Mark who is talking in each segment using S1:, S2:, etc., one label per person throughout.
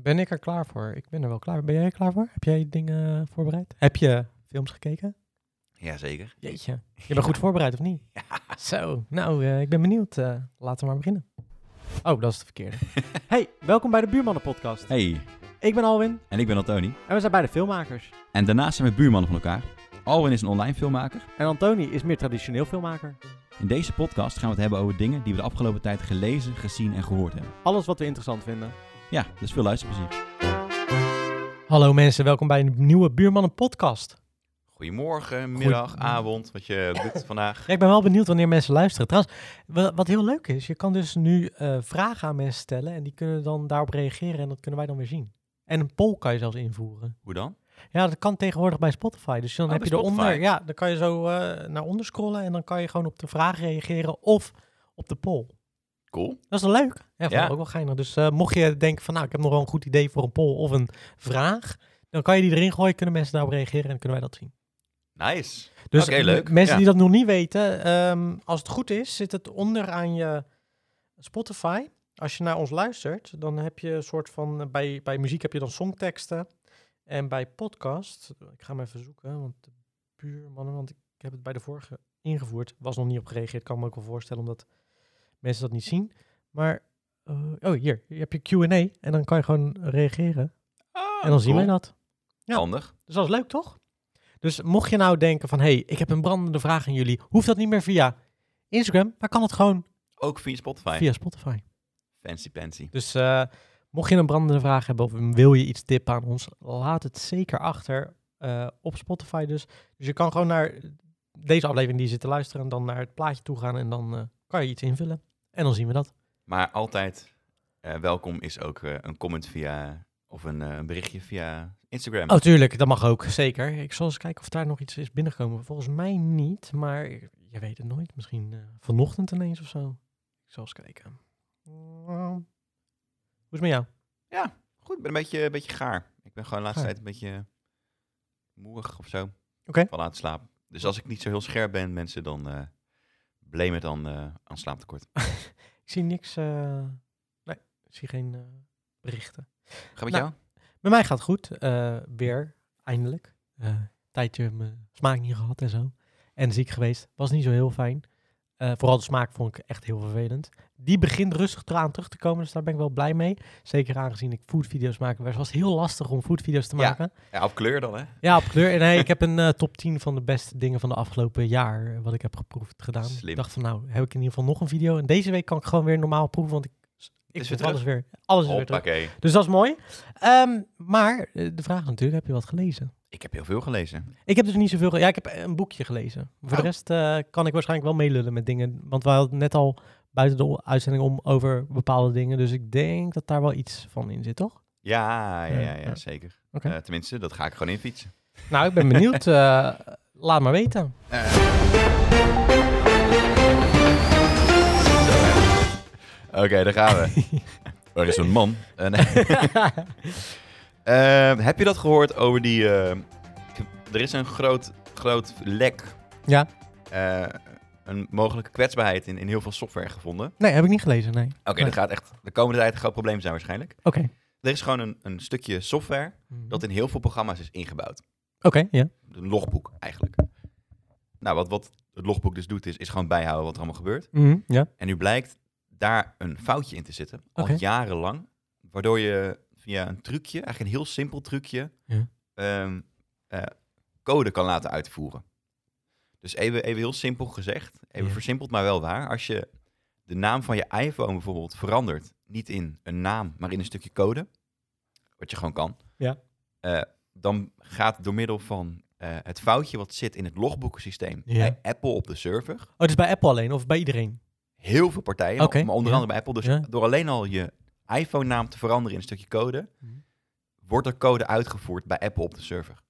S1: Ben ik er klaar voor? Ik ben er wel klaar voor. Ben jij er klaar voor? Heb jij dingen voorbereid? Heb je films gekeken?
S2: Jazeker.
S1: Jeetje. Je bent goed voorbereid, of niet? Zo, nou, eh, ik ben benieuwd. Eh, laten we maar beginnen. Oh, dat is de verkeerde. hey, welkom bij de Buurmannen Podcast.
S2: Hey,
S1: Ik ben Alwin
S2: en ik ben Antoni.
S1: en we zijn beide filmmakers.
S2: En daarnaast zijn we buurmannen van elkaar. Alwin is een online filmmaker.
S1: En Antoni is meer traditioneel filmmaker.
S2: In deze podcast gaan we het hebben over dingen die we de afgelopen tijd gelezen, gezien en gehoord hebben.
S3: Alles wat we interessant vinden.
S2: Ja, dus veel luisterplezier.
S1: Hallo mensen, welkom bij een nieuwe Buurmannen Podcast.
S2: Goedemorgen,
S1: middag, Goeie-
S2: avond, wat je doet vandaag.
S1: Ja, ik ben wel benieuwd wanneer mensen luisteren. Trouwens, wa- wat heel leuk is, je kan dus nu eh, vragen aan mensen stellen en die kunnen dan daarop reageren en dat kunnen wij dan weer zien. En een poll kan je zelfs invoeren.
S2: Hoe dan?
S1: Ja, dat kan tegenwoordig bij Spotify. Dus dan
S2: Oh,
S1: heb
S2: bij
S1: je eronder,
S2: Spotify.
S1: ja, dan kan je zo eh, naar onder scrollen en dan kan je gewoon op de vraag reageren of op de poll.
S2: Cool.
S1: Dat is wel leuk. Ja, vond
S2: Ja.
S1: ik ook wel geinig. Dus eh, mocht je denken van, nou, ik heb nog wel een goed idee voor een poll of een vraag, dan kan je die erin gooien, kunnen mensen daarop reageren en dan kunnen wij dat zien.
S2: Nice.
S1: Dus
S2: Oké,
S1: m-
S2: leuk.
S1: mensen
S2: Ja.
S1: die dat nog niet weten, ehm, als het goed is, zit het onder aan je Spotify. Als je naar ons luistert, dan heb je een soort van, eh, bij, bij muziek heb je dan songteksten. En bij podcast, ik ga hem even zoeken, want de buurmannen, want ik heb het bij de vorige ingevoerd, was nog niet op gereageerd, kan me ook wel voorstellen, omdat mensen dat niet zien. Maar, eh, oh hier, hier heb je Q&A en dan kan je gewoon reageren Ah, en dan zien wij dat. ja.
S2: Ah, Handig.
S1: Dus dat is leuk, toch? Dus mocht je nou denken van, hé, hey, ik heb een brandende vraag aan jullie, hoeft dat niet meer via Instagram, maar kan het gewoon
S2: Ook via Spotify.
S1: via Spotify.
S2: Fancy Pansy.
S1: Dus eh, mocht je een brandende vraag hebben of wil je iets tippen aan ons, laat het zeker achter eh, op Spotify dus. Dus je kan gewoon naar deze aflevering die je zit te luisteren en dan naar het plaatje toe gaan en dan eh, kan je iets invullen. En dan zien we dat.
S2: Maar altijd eh, welkom is ook eh, een comment via, of een eh, een berichtje via Instagram.
S1: Oh, tuurlijk, dat mag ook, zeker. Ik zal eens kijken of daar nog iets is binnengekomen. Volgens mij niet, maar je weet het nooit. Misschien eh, vanochtend ineens of zo. Ik zal eens kijken. Hoe is het met jou?
S2: Goed, ik ben een beetje, een beetje gaar. Ik ben gewoon de laatste
S1: Gaar.
S2: tijd een beetje moerig of zo.
S1: Ah. Oké.
S2: Van laat slapen. Dus als ik niet zo heel scherp ben, mensen, dan eh blame het aan, eh, aan slaaptekort.
S1: Ik zie niks. eh, nee, ik zie geen eh, berichten.
S2: Gaat met
S1: Nou.
S2: jou?
S1: Bij mij gaat het goed. eh, weer, eindelijk. Eh tijdje mijn smaak niet gehad en zo. En ziek geweest. Was niet zo heel fijn. Eh, vooral de smaak vond ik echt heel vervelend. Die begint rustig eraan terug te komen, dus daar ben ik wel blij mee. Zeker aangezien ik foodvideo's maak. Het was heel lastig om foodvideo's te
S2: Ja.
S1: maken. Ja,
S2: Ja, op kleur dan, hè?
S1: op kleur. En hey, ik heb een eh, top 10 van de beste dingen van de afgelopen jaar, eh, wat ik heb geproefd gedaan.
S2: Slim.
S1: Ik dacht van, nou, heb ik in ieder geval nog een video. En deze week kan ik gewoon weer normaal proeven, want ik, ik
S2: weer
S1: vind
S2: terug.
S1: alles weer, alles is weer terug.
S2: Hoppakee.
S1: Dus dat is mooi. Ehm, maar eh, de vraag is natuurlijk, heb je wat gelezen?
S2: Ik heb heel veel gelezen.
S1: Ik heb dus niet zoveel... ge- Ja, ik heb eh, een boekje gelezen. Voor
S2: Oh.
S1: de rest eh, kan ik waarschijnlijk wel meelullen met dingen. Want we hadden het net al buiten de o- uitzending om over bepaalde dingen. Dus ik denk dat daar wel iets van in zit, toch?
S2: Ja, ja,
S1: Ja,
S2: ja, ja,
S1: ja.
S2: zeker.
S1: Oké.
S2: Eh, tenminste, dat ga ik gewoon infietsen.
S1: Nou, ik ben benieuwd. eh, laat maar weten.
S2: Oké, daar gaan we. er is een man. Eh, nee. Eh, heb je dat gehoord over die... eh, k- er is een groot, groot lek.
S1: Ja.
S2: Eh, een mogelijke kwetsbaarheid in, in heel veel software gevonden. Oké,
S1: nee, heb ik niet gelezen, nee. Oké.
S2: dat gaat echt de komende tijd een groot probleem zijn waarschijnlijk. Er is gewoon een, een stukje software dat in heel veel programma's is ingebouwd.
S1: Hmm. Oké, ja.
S2: Een logboek eigenlijk. Nou, wat, wat het logboek dus doet is, is gewoon bijhouden wat er allemaal gebeurt.
S1: Mhm, ja.
S2: En nu blijkt daar een foutje in te zitten, al
S1: Oké.
S2: jarenlang. Waardoor je via een trucje, eigenlijk een heel simpel trucje,
S1: Ja.
S2: ehm, eh, code kan laten uitvoeren. Dus even, even heel simpel gezegd, even
S1: Ja.
S2: versimpeld, maar wel waar. Als je de naam van je iPhone bijvoorbeeld verandert, niet in een naam, maar in een stukje code, wat je gewoon kan,
S1: Ja.
S2: eh, dan gaat door middel van eh, het foutje wat zit in het logboekensysteem
S1: Ja.
S2: bij Apple op de server,
S1: Oh, het is bij Apple alleen of bij iedereen?
S2: heel veel partijen, maar-
S1: Oké,
S2: maar onder
S1: ja.
S2: andere bij Apple. Dus
S1: Ja.
S2: door alleen al je iPhone-naam te veranderen in een stukje code,
S1: Mhm.
S2: wordt er code uitgevoerd bij Apple op de server.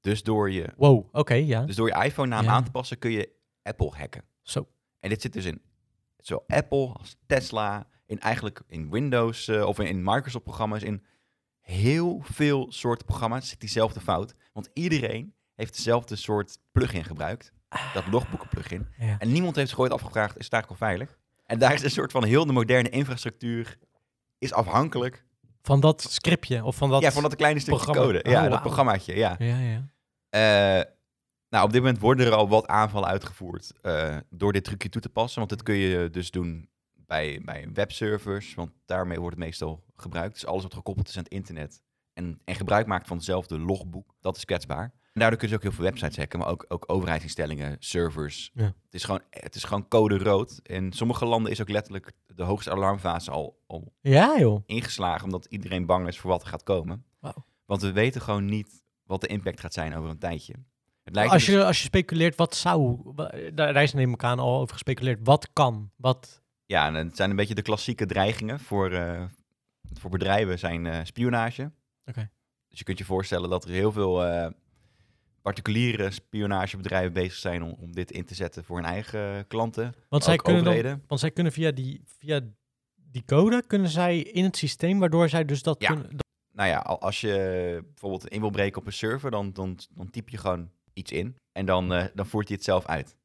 S2: Dus door je,
S1: Wow, oké, ja.
S2: dus door je iPhone-naam
S1: Ja.
S2: aan te passen, kun je Apple hacken.
S1: Zo.
S2: En dit zit dus in zowel Apple als Tesla, in eigenlijk in Windows eh, of in, in Microsoft-programma's, in heel veel soorten programma's zit diezelfde fout. Want iedereen heeft dezelfde soort plugin gebruikt, dat logboeken-plugin.
S1: Ja.
S2: En niemand heeft zich ooit afgevraagd, is het eigenlijk wel veilig? En daar is een soort van heel de moderne infrastructuur is afhankelijk
S1: Van dat scriptje of van dat...
S2: ja, van dat kleine stukje
S1: programma.
S2: code. Ja,
S1: Oh,
S2: dat
S1: wauw.
S2: programmaatje, ja.
S1: Ja, ja.
S2: Eh, nou, op dit moment worden er al wat aanvallen uitgevoerd eh, door dit trucje toe te passen. Want dat kun je dus doen bij, bij webservers, want daarmee wordt het meestal gebruikt. Dus alles wat gekoppeld is aan het internet en, en gebruik maakt van hetzelfde logboek, dat is kwetsbaar. En daardoor kunnen ze ook heel veel websites hacken, maar ook, ook overheidsinstellingen, servers.
S1: Ja.
S2: Het, is gewoon, het is gewoon code rood. In sommige landen is ook letterlijk de hoogste alarmfase al, al
S1: Ja, joh.
S2: ingeslagen, omdat iedereen bang is voor wat er gaat komen.
S1: Wauw.
S2: Want we weten gewoon niet wat de impact gaat zijn over een tijdje. Het lijkt
S1: Als
S2: dus-
S1: je, als je speculeert, wat zou... wa- Daar daar is neem ik aan al over gespeculeerd. Wat kan? Wat...
S2: Ja, en het zijn een beetje de klassieke dreigingen voor, eh, voor bedrijven zijn eh, spionage.
S1: Oké.
S2: Dus je kunt je voorstellen dat er heel veel eh, particuliere spionagebedrijven bezig zijn om, om dit in te zetten voor hun eigen klanten.
S1: Want zij,
S2: ook
S1: kunnen dan,
S2: overheden.
S1: want zij kunnen via die, via die code, kunnen zij in het systeem, waardoor zij dus dat
S2: Ja.
S1: kunnen... dat-
S2: Nou ja, al- als je bijvoorbeeld in wil breken op een server, dan, dan, dan typ je gewoon iets in en dan, eh, dan voert hij het zelf uit.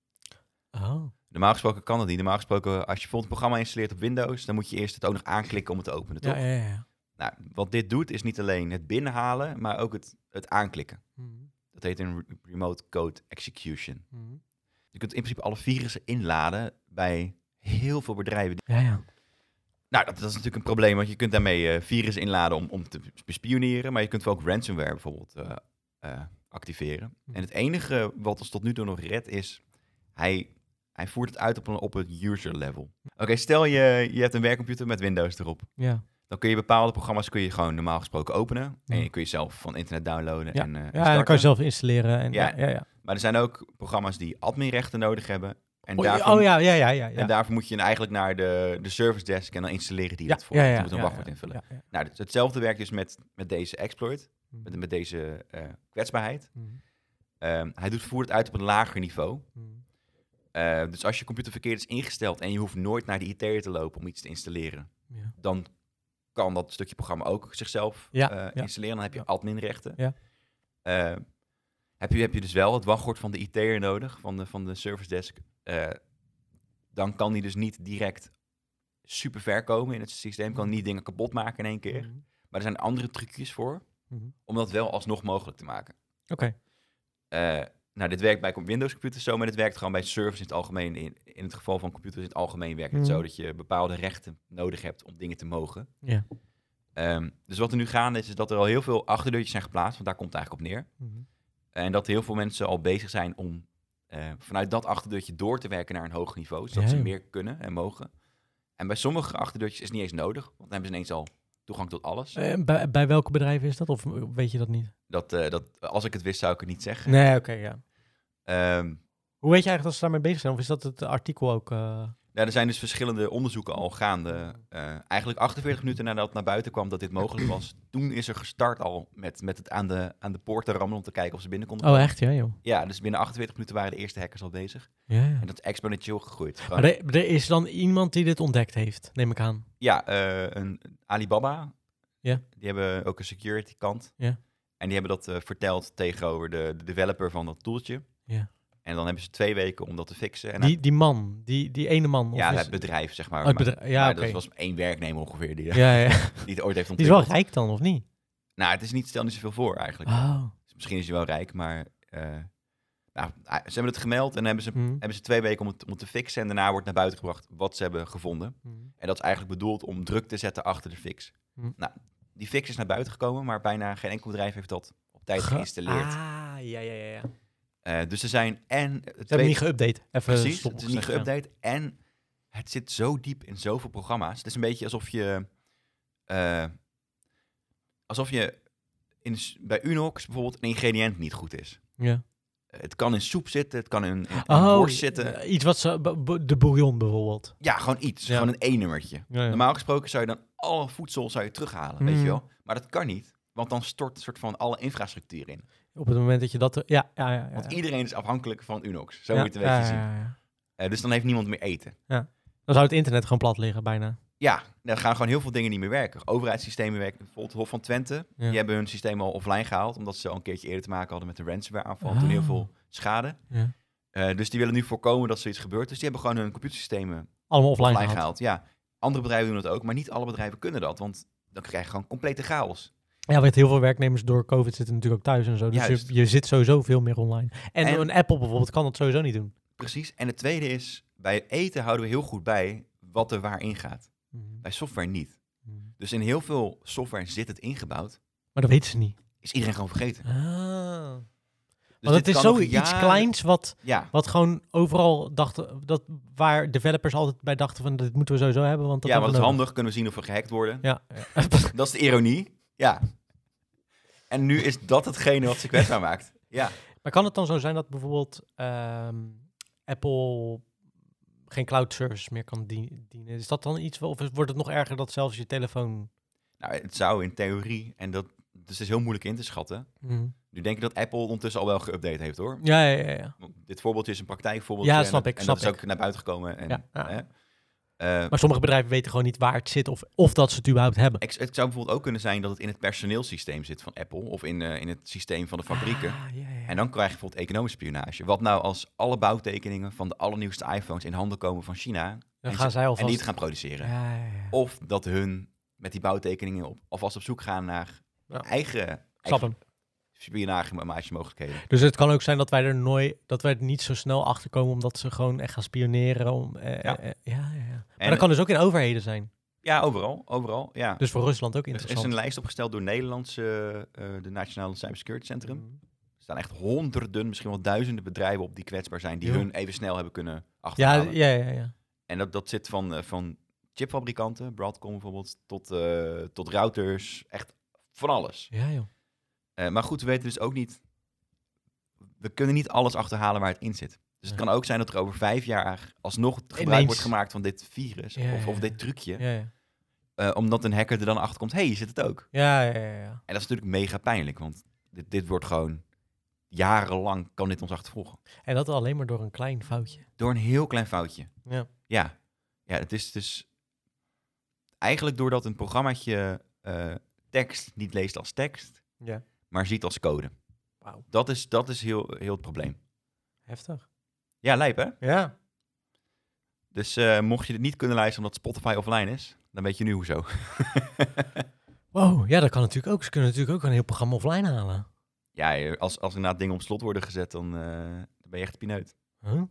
S1: Oh.
S2: Normaal gesproken kan dat niet. Normaal gesproken, als je bijvoorbeeld een programma installeert op Windows, dan moet je eerst het ook nog aanklikken om het te openen. Toch?
S1: Ja, ja, ja.
S2: Nou, wat dit doet, is niet alleen het binnenhalen, maar ook het, het aanklikken.
S1: Hmm,
S2: Dat heet een re- remote code execution. Je kunt in principe alle virussen inladen bij heel veel bedrijven.
S1: Ja, ja.
S2: Nou, dat, dat is natuurlijk een probleem, want je kunt daarmee eh, virussen inladen om, om te bespioneren, maar je kunt wel ook ransomware bijvoorbeeld eh, eh, activeren.
S1: Hm.
S2: En het enige wat ons tot nu toe nog redt is, hij, hij voert het uit op, een, op het user level.
S1: Hm.
S2: Oké, stel je, je hebt een werkcomputer met Windows erop.
S1: Ja,
S2: Dan kun je bepaalde programma's kun je gewoon normaal gesproken openen. En
S1: Hm.
S2: je kun je zelf van internet downloaden en, eh, en
S1: ja dan kan je
S2: starten.
S1: zelf installeren. En,
S2: Ja.
S1: ja, ja, ja.
S2: Maar er zijn ook programma's die adminrechten nodig hebben. En
S1: Oh, ja,
S2: daarvoor
S1: oh ja, ja, ja. ja,
S2: en
S1: ja.
S2: daarvoor moet je eigenlijk naar de, de service desk en dan installeren die
S1: Ja,
S2: dat voor.
S1: ja,
S2: je.
S1: ja,
S2: je moet een
S1: ja,
S2: wachtwoord
S1: ja,
S2: invullen.
S1: ja, ja.
S2: Nou, dus hetzelfde werkt dus met, met deze exploit,
S1: Mhm.
S2: met, met deze eh, kwetsbaarheid.
S1: Mhm.
S2: Ehm, hij doet voert het uit op een lager niveau.
S1: Mhm.
S2: Eh, dus als je computer verkeerd is ingesteld en je hoeft nooit naar de IT'er te lopen om iets te installeren,
S1: Ja.
S2: dan kan dat stukje programma ook zichzelf
S1: Ja,
S2: eh,
S1: ja.
S2: installeren. Dan heb je
S1: Ja.
S2: adminrechten.
S1: Ja.
S2: Eh, heb, je, heb je dus wel het wachtwoord van de IT'er nodig, van de, van de service desk, eh, dan kan die dus niet direct super ver komen in het systeem. Kan niet dingen kapot maken in één keer.
S1: Mhm.
S2: Maar er zijn andere trucjes voor
S1: Mhm.
S2: om dat wel alsnog mogelijk te maken.
S1: Oké.
S2: Eh, nou, dit werkt bij Windows-computers zo, maar dit werkt gewoon bij servers in het algemeen. In, in het geval van computers in het algemeen werkt het
S1: Mhm.
S2: zo dat je bepaalde rechten nodig hebt om dingen te mogen.
S1: Ja.
S2: Ehm, dus wat er nu gaande is, is dat er al heel veel achterdeurtjes zijn geplaatst, want daar komt het eigenlijk op neer.
S1: Mhm.
S2: En dat heel veel mensen al bezig zijn om eh, vanuit dat achterdeurtje door te werken naar een hoger niveau, zodat
S1: Ja,
S2: ze
S1: joh.
S2: meer kunnen en mogen. En bij sommige achterdeurtjes is het niet eens nodig, want dan hebben ze ineens al toegang tot alles.
S1: Eh, bij, bij welke bedrijven is dat? Of weet je dat niet?
S2: Dat, eh, dat, als ik het wist, zou ik het niet zeggen.
S1: Nee, oké, ja.
S2: Ehm,
S1: Hoe weet je eigenlijk dat ze daarmee bezig zijn? Of is dat het artikel ook... eh,
S2: Ja, er zijn dus verschillende onderzoeken al gaande. Eh, eigenlijk 48 minuten nadat het naar buiten kwam dat dit mogelijk was, toen is er gestart al met, met het aan de, aan de poort te rammen om te kijken of ze binnen konden.
S1: Oh, echt? Ja, joh.
S2: Ja, dus binnen 48 minuten waren de eerste hackers al bezig.
S1: Ja, ja.
S2: En dat is exponentieel gegroeid. Gewoon-
S1: Maar er, er is dan iemand die dit ontdekt heeft, neem ik aan.
S2: Ja, eh, een, Alibaba,
S1: Ja.
S2: die hebben ook een security kant.
S1: Ja.
S2: En die hebben dat eh, verteld tegenover de, de developer van dat toeltje.
S1: Ja.
S2: En dan hebben ze twee weken om dat te fixen. En
S1: Die, die man, die, die ene man. Of
S2: nou. ja,
S1: is-
S2: het bedrijf, zeg maar.
S1: Oh, het
S2: Maar-
S1: bedrijf- ja,
S2: maar
S1: oké.
S2: dat was één werknemer ongeveer die,
S1: Ja, ja.
S2: die het ooit heeft ontwikkeld.
S1: Die is wel rijk dan, of niet?
S2: Nou, het is niet, stel niet zoveel voor eigenlijk.
S1: Oh.
S2: Dus misschien is hij wel rijk, maar eh, nou, ah, ze hebben het gemeld en hebben ze,
S1: Mhm.
S2: hebben ze twee weken om het, om het te fixen. En daarna wordt naar buiten gebracht wat ze hebben gevonden.
S1: Mhm.
S2: En dat is eigenlijk bedoeld om druk te zetten achter de fix.
S1: Mhm.
S2: Nou, die fix is naar buiten gekomen, maar bijna geen enkel bedrijf heeft dat op tijd
S1: Ge-
S2: geïnstalleerd.
S1: Ah, ja, ja, ja. ja. Ze
S2: Eh, dus er zijn en...
S1: hebben hem niet geüpdate. Even
S2: Precies,
S1: stom
S2: het is niet
S1: gezegd, ja.
S2: geüpdate. En het zit zo diep in zoveel programma's. Het is een beetje alsof je... eh, alsof je in, s- bij Unox bijvoorbeeld een ingrediënt niet goed is.
S1: Ja.
S2: Eh, Het kan in soep zitten, het kan in, in, in
S1: Oh,
S2: worst zitten.
S1: eh, iets wat ze... b- b- De bouillon bijvoorbeeld.
S2: Ja, gewoon iets.
S1: Ja.
S2: Gewoon een E-nummertje.
S1: Ja, ja.
S2: Normaal gesproken zou je dan alle voedsel zou je terughalen, weet je
S1: Mm.
S2: wel. Maar dat kan niet, want dan stort soort van alle infrastructuur in.
S1: Op het moment dat je dat... Ja, ja, ja. ja,
S2: Want
S1: ja.
S2: iedereen is afhankelijk van Unox. Zo
S1: Ja,
S2: moet je het een
S1: ja,
S2: beetje zien.
S1: ja, ja.
S2: Eh, dus dan heeft niemand meer eten.
S1: Dan zou het internet gewoon plat liggen, bijna.
S2: Ja, daar gaan gewoon heel veel dingen niet meer werken. Overheidssystemen werken. Bijvoorbeeld het Hof van Twente.
S1: Ja.
S2: Die hebben hun systeem al offline gehaald. Omdat ze al een keertje eerder te maken hadden met een ransomware aanval. Toen
S1: Ah.
S2: heel veel schade.
S1: Ja.
S2: Eh, dus die willen nu voorkomen dat zoiets gebeurt. Dus die hebben gewoon hun computersystemen
S1: Allemaal
S2: offline,
S1: offline gehaald.
S2: gehaald. Ja, andere bedrijven doen dat ook. Maar niet alle bedrijven kunnen dat. Want dan krijg je gewoon complete chaos.
S1: Ja, want heel veel werknemers door COVID zitten natuurlijk ook thuis en zo. Dus
S2: Juist.
S1: je, je zit sowieso veel meer online. En,
S2: En-
S1: een Apple bijvoorbeeld kan dat sowieso niet doen.
S2: Precies. En het tweede is, bij eten houden we heel goed bij wat er waarin gaat. Bij software niet. Dus in heel veel software zit het ingebouwd.
S1: Maar dat weten ze niet.
S2: Is iedereen gewoon vergeten.
S1: Ah.
S2: Dus
S1: Want het
S2: dit
S1: is
S2: kan nog
S1: zoiets
S2: jaren-
S1: kleins wat,
S2: Ja,
S1: wat gewoon overal dachten, dat, waar developers altijd bij dachten van dit moeten we sowieso hebben. Want dat
S2: ja want
S1: hebben
S2: het is
S1: we
S2: handig. Kunnen we zien of we gehackt worden.
S1: nodig. Ja.
S2: Dat is de ironie. Ja. En nu is dat hetgene wat ze kwetsbaar maakt. Ja.
S1: Maar kan het dan zo zijn dat bijvoorbeeld ehm, Apple geen cloud service meer kan dien- dienen? Is dat dan iets, wel- of wordt het nog erger dat zelfs je telefoon...
S2: Nou, het zou in theorie, en dat dus het is heel moeilijk in te schatten. Nu denk ik dat Apple ondertussen al wel geüpdate heeft hoor.
S1: Ja, ja, ja. ja.
S2: Want Dit voorbeeldje is een praktijkvoorbeeldje.
S1: Ja,
S2: en
S1: snap
S2: dat-
S1: ik,
S2: En
S1: snap
S2: dat is
S1: ik.
S2: ook naar buiten gekomen. En,
S1: Ja, ja.
S2: Hè? Eh,
S1: Maar sommige bedrijven weten gewoon niet waar het zit of, of dat ze het überhaupt hebben.
S2: ik- het zou bijvoorbeeld ook kunnen zijn dat het in het personeelsysteem zit van Apple. Of in, eh, in het systeem van de fabrieken.
S1: Ah, ja, ja.
S2: En dan krijg je bijvoorbeeld economische spionage. Wat nou als alle bouwtekeningen van de allernieuwste iPhones in handen komen van China.
S1: Dan
S2: en
S1: gaan
S2: ze-
S1: zij alvast...
S2: En die het gaan produceren.
S1: Ja, ja, ja.
S2: Of dat hun met die bouwtekeningen op, alvast op zoek gaan naar
S1: Ja.
S2: eigen,
S1: Ik snap
S2: eigen
S1: hem.
S2: spionage mogelijkheden.
S1: Dus het kan ook zijn dat wij er nooit, dat wij er niet zo snel achter komen, omdat ze gewoon echt gaan spioneren. Om, eh,
S2: Ja.
S1: eh, eh, ja, ja, ja. Maar
S2: En-
S1: dat kan dus ook in overheden zijn.
S2: Ja, overal. overal ja.
S1: Dus voor Rusland ook
S2: er is
S1: interessant.
S2: een lijst opgesteld door Nederlandse, eh, eh, de Nationale Cybersecurity Centrum.
S1: Mm.
S2: Er staan echt honderden, misschien wel duizenden bedrijven op die kwetsbaar zijn, die
S1: Ja.
S2: hun even snel hebben kunnen
S1: Ja,
S2: achterhalen.
S1: ja, ja, ja.
S2: En dat, dat zit van, eh, van chipfabrikanten, Broadcom bijvoorbeeld, tot, eh, tot routers, echt van alles.
S1: Ja, joh.
S2: Eh, maar goed, we weten dus ook niet. We kunnen niet alles achterhalen waar het in zit. Dus het
S1: Nee.
S2: kan ook zijn dat er over vijf jaar alsnog gebruik
S1: Ineens.
S2: wordt gemaakt van dit virus
S1: Ja,
S2: of,
S1: ja,
S2: of
S1: ja.
S2: dit trucje.
S1: Ja, ja.
S2: eh, omdat een hacker er dan achter komt: hé, hey, hier zit het ook.
S1: Ja, ja, ja, ja.
S2: En dat is natuurlijk mega pijnlijk, want dit, dit wordt gewoon jarenlang kan dit ons achtervolgen.
S1: En dat alleen maar door een klein foutje.
S2: Door een heel klein foutje.
S1: Ja.
S2: Ja, ja het is dus eigenlijk doordat een programmaatje eh, tekst niet leest als tekst,
S1: Ja.
S2: maar ziet als code.
S1: Wauw,
S2: Dat is, dat is heel, heel het probleem.
S1: heftig.
S2: Ja, lijp hè?
S1: Ja.
S2: Dus eh, mocht je dit niet kunnen luisteren omdat Spotify offline is, dan weet je nu hoezo.
S1: Wow, ja, dat kan natuurlijk ook. Ze kunnen natuurlijk ook een heel programma offline halen.
S2: ja, eh, als, als inderdaad dingen op slot worden gezet, dan eh, dan ben je echt pineut.
S1: Huh?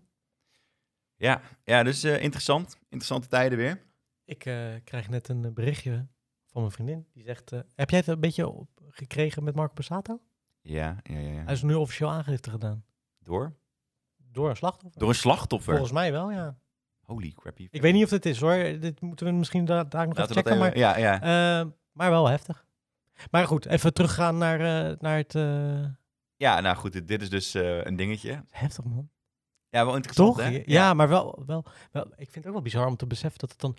S2: Ja, ja dus eh, interessant. Interessante tijden weer.
S1: Ik eh, krijg net een eh, berichtje van mijn vriendin. Die zegt, eh, heb jij het een beetje op- gekregen met Marco Passato?
S2: Ja, ja, ja.
S1: Hij
S2: ja.
S1: is nu officieel aangifte gedaan.
S2: Door?
S1: Door een slachtoffer?
S2: Door een slachtoffer.
S1: Volgens mij wel, ja.
S2: Holy crappy.
S1: Ik weet niet of dit is hoor. Dit moeten we misschien da- daar nog even
S2: Laten we
S1: checken.
S2: dat
S1: maar,
S2: even... Ja, ja.
S1: eh, maar wel heftig. Maar goed, even teruggaan naar, eh, naar het... eh,
S2: ja, nou goed, dit, dit is dus eh, een dingetje.
S1: heftig man.
S2: Ja, wel interessant,
S1: Toch?
S2: hè?
S1: Ja, maar wel, wel, wel. Ik vind het ook wel bizar om te beseffen dat het dan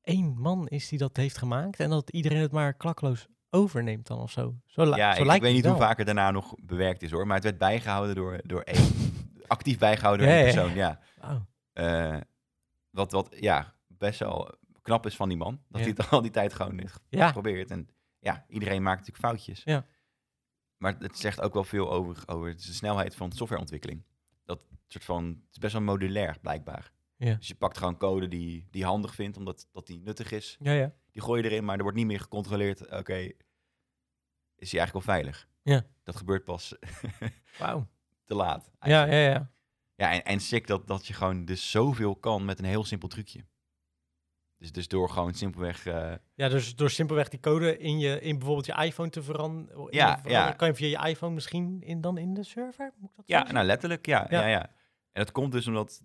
S1: één man is die dat heeft gemaakt. En dat iedereen het maar klakloos overneemt dan of zo. Zo, li-
S2: Ja,
S1: zo
S2: ik, ik
S1: lijkt
S2: weet
S1: het
S2: niet hoe
S1: wel.
S2: vaak het daarna nog bewerkt is, hoor. Maar het werd bijgehouden door, door één... actief bijgehouden door
S1: Ja,
S2: één
S1: ja, ja.
S2: persoon, ja.
S1: Wauw.
S2: Eh, wat, wat ja, best wel knap is van die man. Dat
S1: Ja.
S2: hij het al die tijd gewoon heeft
S1: Ja.
S2: geprobeerd. En ja, iedereen maakt natuurlijk foutjes.
S1: Ja.
S2: Maar het zegt ook wel veel over, over de snelheid van softwareontwikkeling. Dat soort van, het is best wel modulair blijkbaar.
S1: Ja.
S2: Dus je pakt gewoon code die, die je handig vindt, omdat dat die nuttig is.
S1: Ja, ja.
S2: Die gooi je erin, maar er wordt niet meer gecontroleerd. Oké, is die eigenlijk wel veilig?
S1: Ja.
S2: Dat gebeurt pas
S1: Wauw.
S2: te laat.
S1: Ja,
S2: eigenlijk.
S1: ja, ja.
S2: Ja, en, en sick dat, dat je gewoon dus zoveel kan met een heel simpel trucje. Dus, dus door gewoon simpelweg... eh,
S1: Ja, dus door simpelweg die code in, je, in bijvoorbeeld je iPhone te veran- in
S2: Ja,
S1: te veranderen,
S2: ja.
S1: kan je via je iPhone misschien in, dan in de server? Moet ik dat
S2: ja,
S1: zo
S2: nou letterlijk, ja, ja.
S1: Ja.
S2: ja, En dat komt dus omdat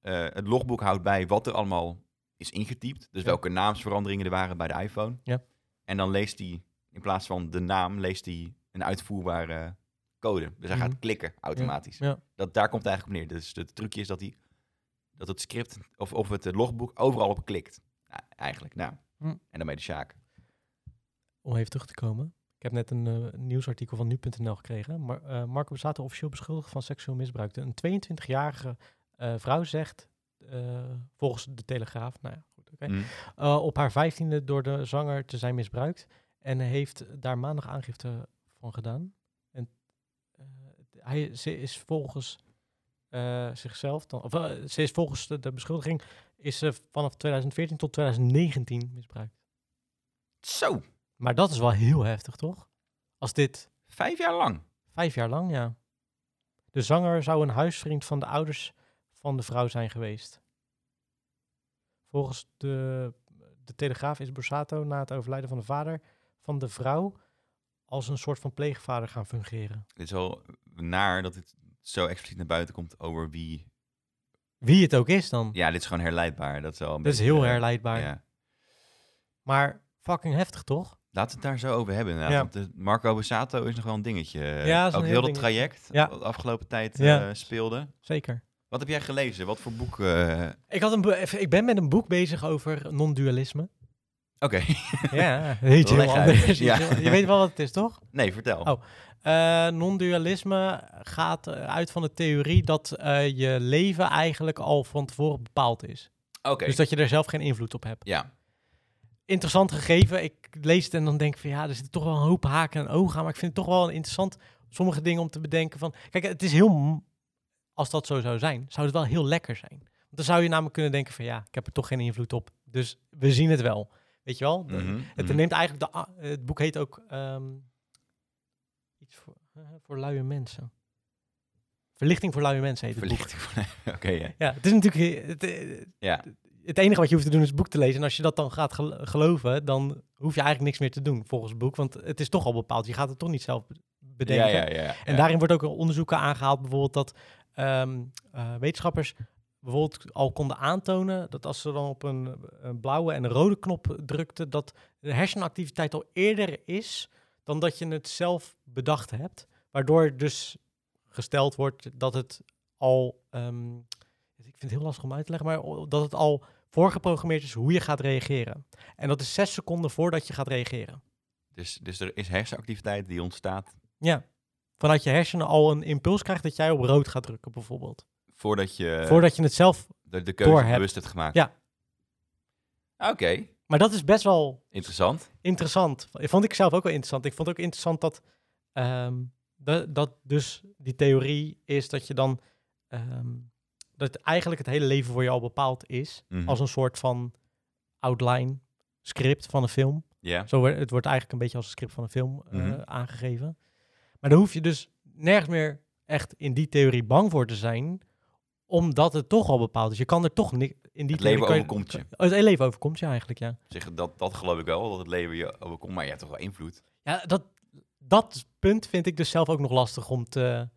S2: eh, het logboek houdt bij wat er allemaal is ingetypt. Dus
S1: Ja.
S2: welke naamsveranderingen er waren bij de iPhone.
S1: Ja.
S2: En dan leest hij, in plaats van de naam, leest hij een uitvoerbare code. Dus hij
S1: Mhm.
S2: gaat klikken automatisch.
S1: ja.
S2: Dat, daar komt het eigenlijk op neer. Dus het trucje is dat, hij, dat het script of, of het eh, logboek overal op klikt. Nou, eigenlijk, nou.
S1: Hm.
S2: En daarmee de Sjaak. nou.
S1: om even terug te komen. Ik heb net een eh, nieuwsartikel van nu.nl gekregen. Mar eh, Marco Bazzato officieel beschuldigd van seksueel misbruik. De- Een 22-jarige eh, vrouw zegt, eh, volgens de Telegraaf, nou ja, goed, oké,
S2: Mm.
S1: eh, op haar 15e door de zanger te zijn misbruikt. En heeft daar maandag aangifte van gedaan. En eh, hij, ze is volgens eh, zichzelf, dan, of eh, ze is volgens de, de beschuldiging, is ze vanaf 2014 tot 2019 misbruikt.
S2: Zo,
S1: Maar dat is wel heel heftig, toch? Als dit
S2: vijf jaar lang.
S1: vijf jaar lang, ja. De zanger zou een huisvriend van de ouders van de vrouw zijn geweest. Volgens de, de Telegraaf is Borsato na het overlijden van de vader van de vrouw als een soort van pleegvader gaan fungeren.
S2: Het is wel naar dat het zo expliciet naar buiten komt over wie...
S1: Wie het ook is dan.
S2: Ja, dit is gewoon herleidbaar. Dat is wel een
S1: Dat is
S2: beetje,
S1: heel
S2: eh,
S1: herleidbaar.
S2: Ja.
S1: Maar fucking heftig, toch?
S2: Laten we het daar zo over hebben. inderdaad,
S1: Ja.
S2: Want de- Marco Bussato is nog wel een dingetje.
S1: Ja, is een
S2: Ook
S1: heel
S2: heel dat
S1: dingetje.
S2: traject
S1: Ja.
S2: wat de afgelopen tijd
S1: Ja.
S2: eh, speelde.
S1: Zeker.
S2: Wat heb jij gelezen? Wat voor boek? eh,
S1: Ik, had een boe- even- ik ben met een boek bezig over non-dualisme.
S2: Oké,
S1: ja, heet heel
S2: Leg uit.
S1: anders.
S2: Ja.
S1: Je weet wel wat het is, toch?
S2: nee, vertel.
S1: Oh. Eh, non-dualisme gaat eh, uit van de theorie dat eh, je leven eigenlijk al van tevoren bepaald is.
S2: Oké,
S1: Dus dat je er zelf geen invloed op hebt.
S2: ja.
S1: Interessant gegeven. Ik lees het en dan denk ik van ja, er zitten toch wel een hoop haken en ogen aan. Maar ik vind het toch wel interessant sommige dingen om te bedenken van... Kijk, het is heel... m- Als dat zo zou zijn, zou het wel heel lekker zijn. Want dan zou je namelijk kunnen denken van ja, ik heb er toch geen invloed op. Dus we zien het wel. Weet je wel? De-
S2: Mhm,
S1: het
S2: mhm.
S1: neemt eigenlijk de. a- Het boek heet ook. ehm, iets voor, eh, voor luie mensen. Verlichting voor luie mensen heet het boek.
S2: Verlichting van... Mhm. Oké, ja.
S1: Ja, het is natuurlijk. eh, Het, eh,
S2: Ja.
S1: het enige wat je hoeft te doen is het boek te lezen. En als je dat dan gaat gel- geloven, dan hoef je eigenlijk niks meer te doen volgens het boek. Want het is toch al bepaald. Je gaat het toch niet zelf be- bedenken.
S2: ja, ja, ja, ja.
S1: En daarin wordt ook onderzoeken aangehaald, bijvoorbeeld dat ehm, eh, wetenschappers bijvoorbeeld al konden aantonen dat als ze dan op een, een blauwe en een rode knop drukten, dat de hersenactiviteit al eerder is dan dat je het zelf bedacht hebt. Waardoor dus gesteld wordt dat het al, ehm, ik vind het heel lastig om uit te leggen, maar o- dat het al voorgeprogrammeerd is hoe je gaat reageren. En dat is zes seconden voordat je gaat reageren.
S2: Dus, dus er is hersenactiviteit die ontstaat
S1: Ja. Vanuit je hersenen al een impuls krijgt dat jij op rood gaat drukken, bijvoorbeeld.
S2: voordat je
S1: Voordat je het zelf.
S2: de, de keuze
S1: doorhebt.
S2: bewust hebt gemaakt.
S1: Ja.
S2: Oké,
S1: Maar dat is best wel
S2: interessant.
S1: interessant. Vond ik zelf ook wel interessant. Ik vond ook interessant dat. ehm, da- dat dus die theorie is dat je dan. ehm, dat eigenlijk het hele leven voor je al bepaald is.
S2: Mhm.
S1: Als een soort van outline, script van een film.
S2: Ja,
S1: Zo, wordt- het wordt eigenlijk een beetje als een script van een film eh,
S2: Mhm.
S1: aangegeven. Maar dan hoef je dus nergens meer echt in die theorie bang voor te zijn, omdat het toch al bepaald is. Je kan er toch niks in die theorie
S2: het leven
S1: kan je-
S2: overkomt je.
S1: Oh, Het leven overkomt je eigenlijk, ja.
S2: Zeg, dat, dat geloof ik wel, dat het leven je overkomt, maar je hebt toch wel invloed.
S1: Ja, dat, dat punt vind ik dus zelf ook nog lastig om te,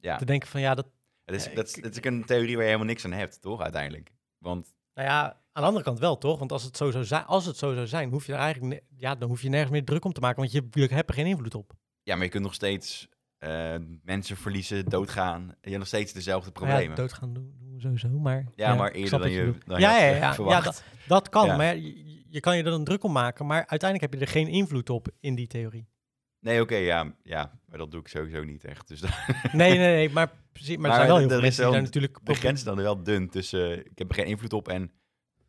S2: Ja.
S1: te denken van ja, dat,
S2: Het is,
S1: Ja,
S2: dat, is, dat is ook een theorie waar je helemaal niks aan hebt, toch, uiteindelijk? Want,
S1: nou ja, aan de andere kant wel toch? Want als het zo zou zijn, als het zo zou zijn, hoef je er eigenlijk, ne- ja, dan hoef je nergens meer druk om te maken, want je, je hebt er geen invloed op. Nou
S2: ja, maar je kunt nog steeds eh, mensen verliezen, doodgaan. Je hebt nog steeds dezelfde
S1: Ja,
S2: problemen. Ja,
S1: doodgaan doen, doen we sowieso, maar...
S2: maar
S1: ik
S2: eerder
S1: snap
S2: dan
S1: wat
S2: je,
S1: bedoelt.
S2: dan je
S1: ja,
S2: had,
S1: ja,
S2: eh,
S1: ja, ja,
S2: verwacht.
S1: dat, dat kan,
S2: Ja.
S1: maar je, je kan je er dan druk om maken, maar uiteindelijk heb je er geen invloed op in die theorie.
S2: Nee, oké, ja, ja, maar dat doe ik sowieso niet echt. Dus daar-
S1: Nee, nee, nee, maar, precies, maar er
S2: Maar
S1: zijn wel heel veel
S2: er is
S1: mensen die
S2: wel
S1: daar
S2: een-
S1: natuurlijk...
S2: de grens is dan wel dun tussen eh, ik heb er geen invloed op en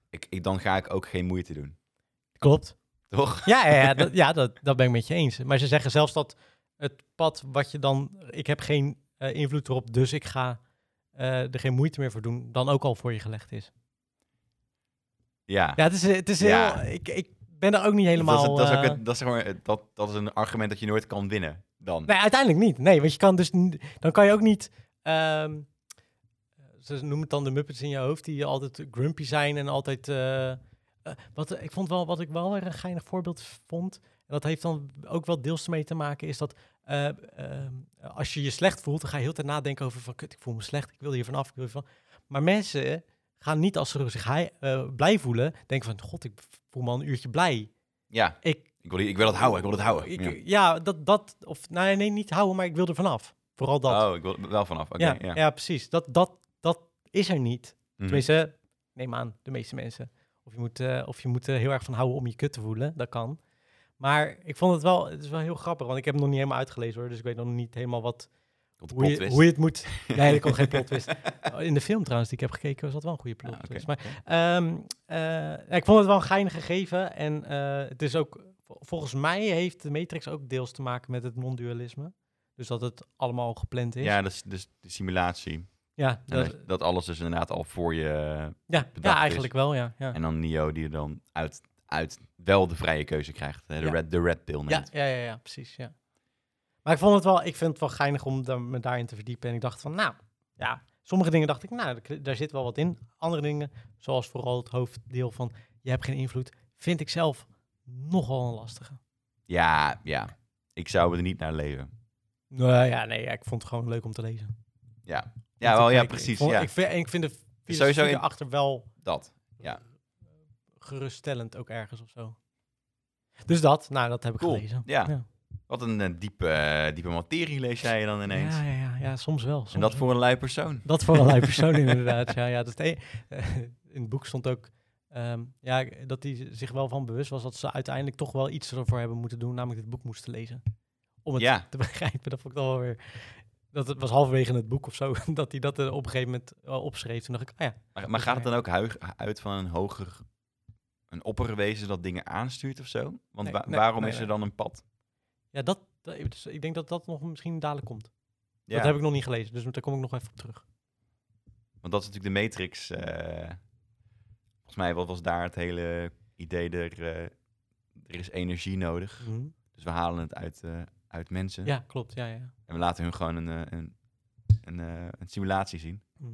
S2: ik, ik, dan ga ik ook geen moeite doen.
S1: Klopt.
S2: Toch?
S1: Ja, ja, ja, dat, ja dat, dat ben ik met je eens. Maar ze zeggen zelfs dat het pad wat je dan... Ik heb geen eh, invloed erop, dus ik ga eh, er geen moeite meer voor doen... dan ook al voor je gelegd is.
S2: Ja.
S1: Ja, het is, het is heel...
S2: Ja.
S1: Ik, ik ben er ook niet helemaal...
S2: Dat is, dat, is ook
S1: eh,
S2: het- dat, is zeg maar, het- dat, dat is een argument dat je nooit kan winnen. Dan.
S1: Nee, uiteindelijk niet. Nee, want je kan dus... n- Dan kan je ook niet... ehm, ze noemen het dan de Muppets in je hoofd... die altijd grumpy zijn en altijd... eh, eh, wat, ik vond wel, wat ik wel weer een geinig voorbeeld vond... en dat heeft dan ook wel deels mee te maken... is dat eh, ehm, als je je slecht voelt... dan ga je heel de tijd nadenken over... van kut, ik voel me slecht, ik wil hier vanaf, ik wil hier van... Maar mensen gaan niet als ze zich hei- eh, blij voelen... denken van, god, ik voel me al een uurtje blij.
S2: Ja,
S1: Ik
S2: ik wil, die- ik wil dat houden, ik wil dat houden.
S1: ik-
S2: Ja.
S1: ja, dat, dat of nee, nee, niet houden, maar ik wil er vanaf. Vooral dat.
S2: Oh, ik wil er wel vanaf. Oké,
S1: ja,
S2: ja.
S1: ja. precies. Dat, dat, dat is er niet.
S2: Mhm.
S1: Tenminste, neem aan, de meeste mensen. Of je moet, eh, of je moet er heel erg van houden om je kut te voelen. Dat kan. Maar ik vond het wel, het is wel heel grappig, want ik heb hem nog niet helemaal uitgelezen hoor. Dus ik weet nog niet helemaal wat,
S2: Komt de
S1: hoe, je,
S2: plot
S1: hoe
S2: twist.
S1: je het moet. Nee, er komt geen plot twist. Oh, In de film trouwens die ik heb gekeken was dat wel een goede plot
S2: Ah, oké.
S1: twist. Maar Ehm, eh, ik vond het wel een geinig gegeven. En eh, het is ook, vol- volgens mij heeft de Matrix ook deels te maken met het non-dualisme. Dus dat het allemaal gepland is.
S2: Ja, dat is dus de simulatie.
S1: ja,
S2: En
S1: dat-
S2: dat, dat alles is inderdaad al voor je. eh,
S1: ja, ja
S2: is.
S1: eigenlijk wel, ja. ja.
S2: En dan Nio die er dan uit, uit wel de vrije keuze krijgt. hè, De,
S1: Ja.
S2: red, de red pill neemt.
S3: Ja.
S1: Ja, ja, ja, precies, ja. Maar ik vond het wel, ik vind het wel geinig om daar- me daarin te verdiepen. En ik dacht van, nou, ja, sommige dingen dacht ik, nou, daar- daar zit wel wat in. Andere dingen, zoals vooral het hoofddeel van, je hebt geen invloed, vind ik zelf nogal een lastige.
S2: Ja, ja. Ik zou er niet naar leven.
S1: Nou ja, nee, ja, ik vond het gewoon leuk om te lezen.
S2: Ja,
S1: Om
S2: ja,
S1: te
S2: wel, ja
S1: kijken. Ik,
S2: precies.
S1: vond-
S2: Ja,
S1: ik vind, en ik vind de
S2: sowieso
S1: filosofie
S2: in-
S1: erachter wel
S2: dat.
S1: geruststellend ook ergens of zo. Dus dat, nou, dat heb ik
S2: Cool.
S1: gelezen.
S2: Ja.
S1: Ja.
S2: Wat een eh, diepe, eh, diepe materie lees jij dan ineens.
S1: Ja, ja, ja, ja, soms wel. Soms
S2: en dat voor een lui persoon.
S1: Dat voor een lui persoon inderdaad. Ja, ja, dat is het e- in het boek stond ook ehm, ja, dat hij zich wel van bewust was dat ze uiteindelijk toch wel iets ervoor hebben moeten doen, namelijk dit boek moesten lezen. Om het
S2: Ja.
S1: te begrijpen. Dat vond ik dan wel weer. Dat het was halverwege het boek of zo, dat hij dat eh, op een gegeven moment eh, opschreef. Toen dacht ik, ah ja,
S2: Maar, maar gaat het dan ook huig- uit van een hoger, een opperwezen dat dingen aanstuurt of zo? Want
S1: Nee,
S2: wa-
S1: nee,
S2: waarom
S1: nee,
S2: is
S1: nee.
S2: er dan een pad?
S1: ja dat, dat- dus ik denk dat dat nog misschien dadelijk komt.
S2: Ja,
S1: Dat heb ik nog niet gelezen, dus daar kom ik nog even op terug.
S2: Want dat is natuurlijk de Matrix. eh, volgens mij wat was daar het hele idee, er, eh, er is energie nodig. Dus we halen het uit, eh, uit mensen.
S1: Ja, klopt. Ja, ja.
S2: En we laten hun gewoon een, eh, een, een, eh, een simulatie zien.
S1: Mhm.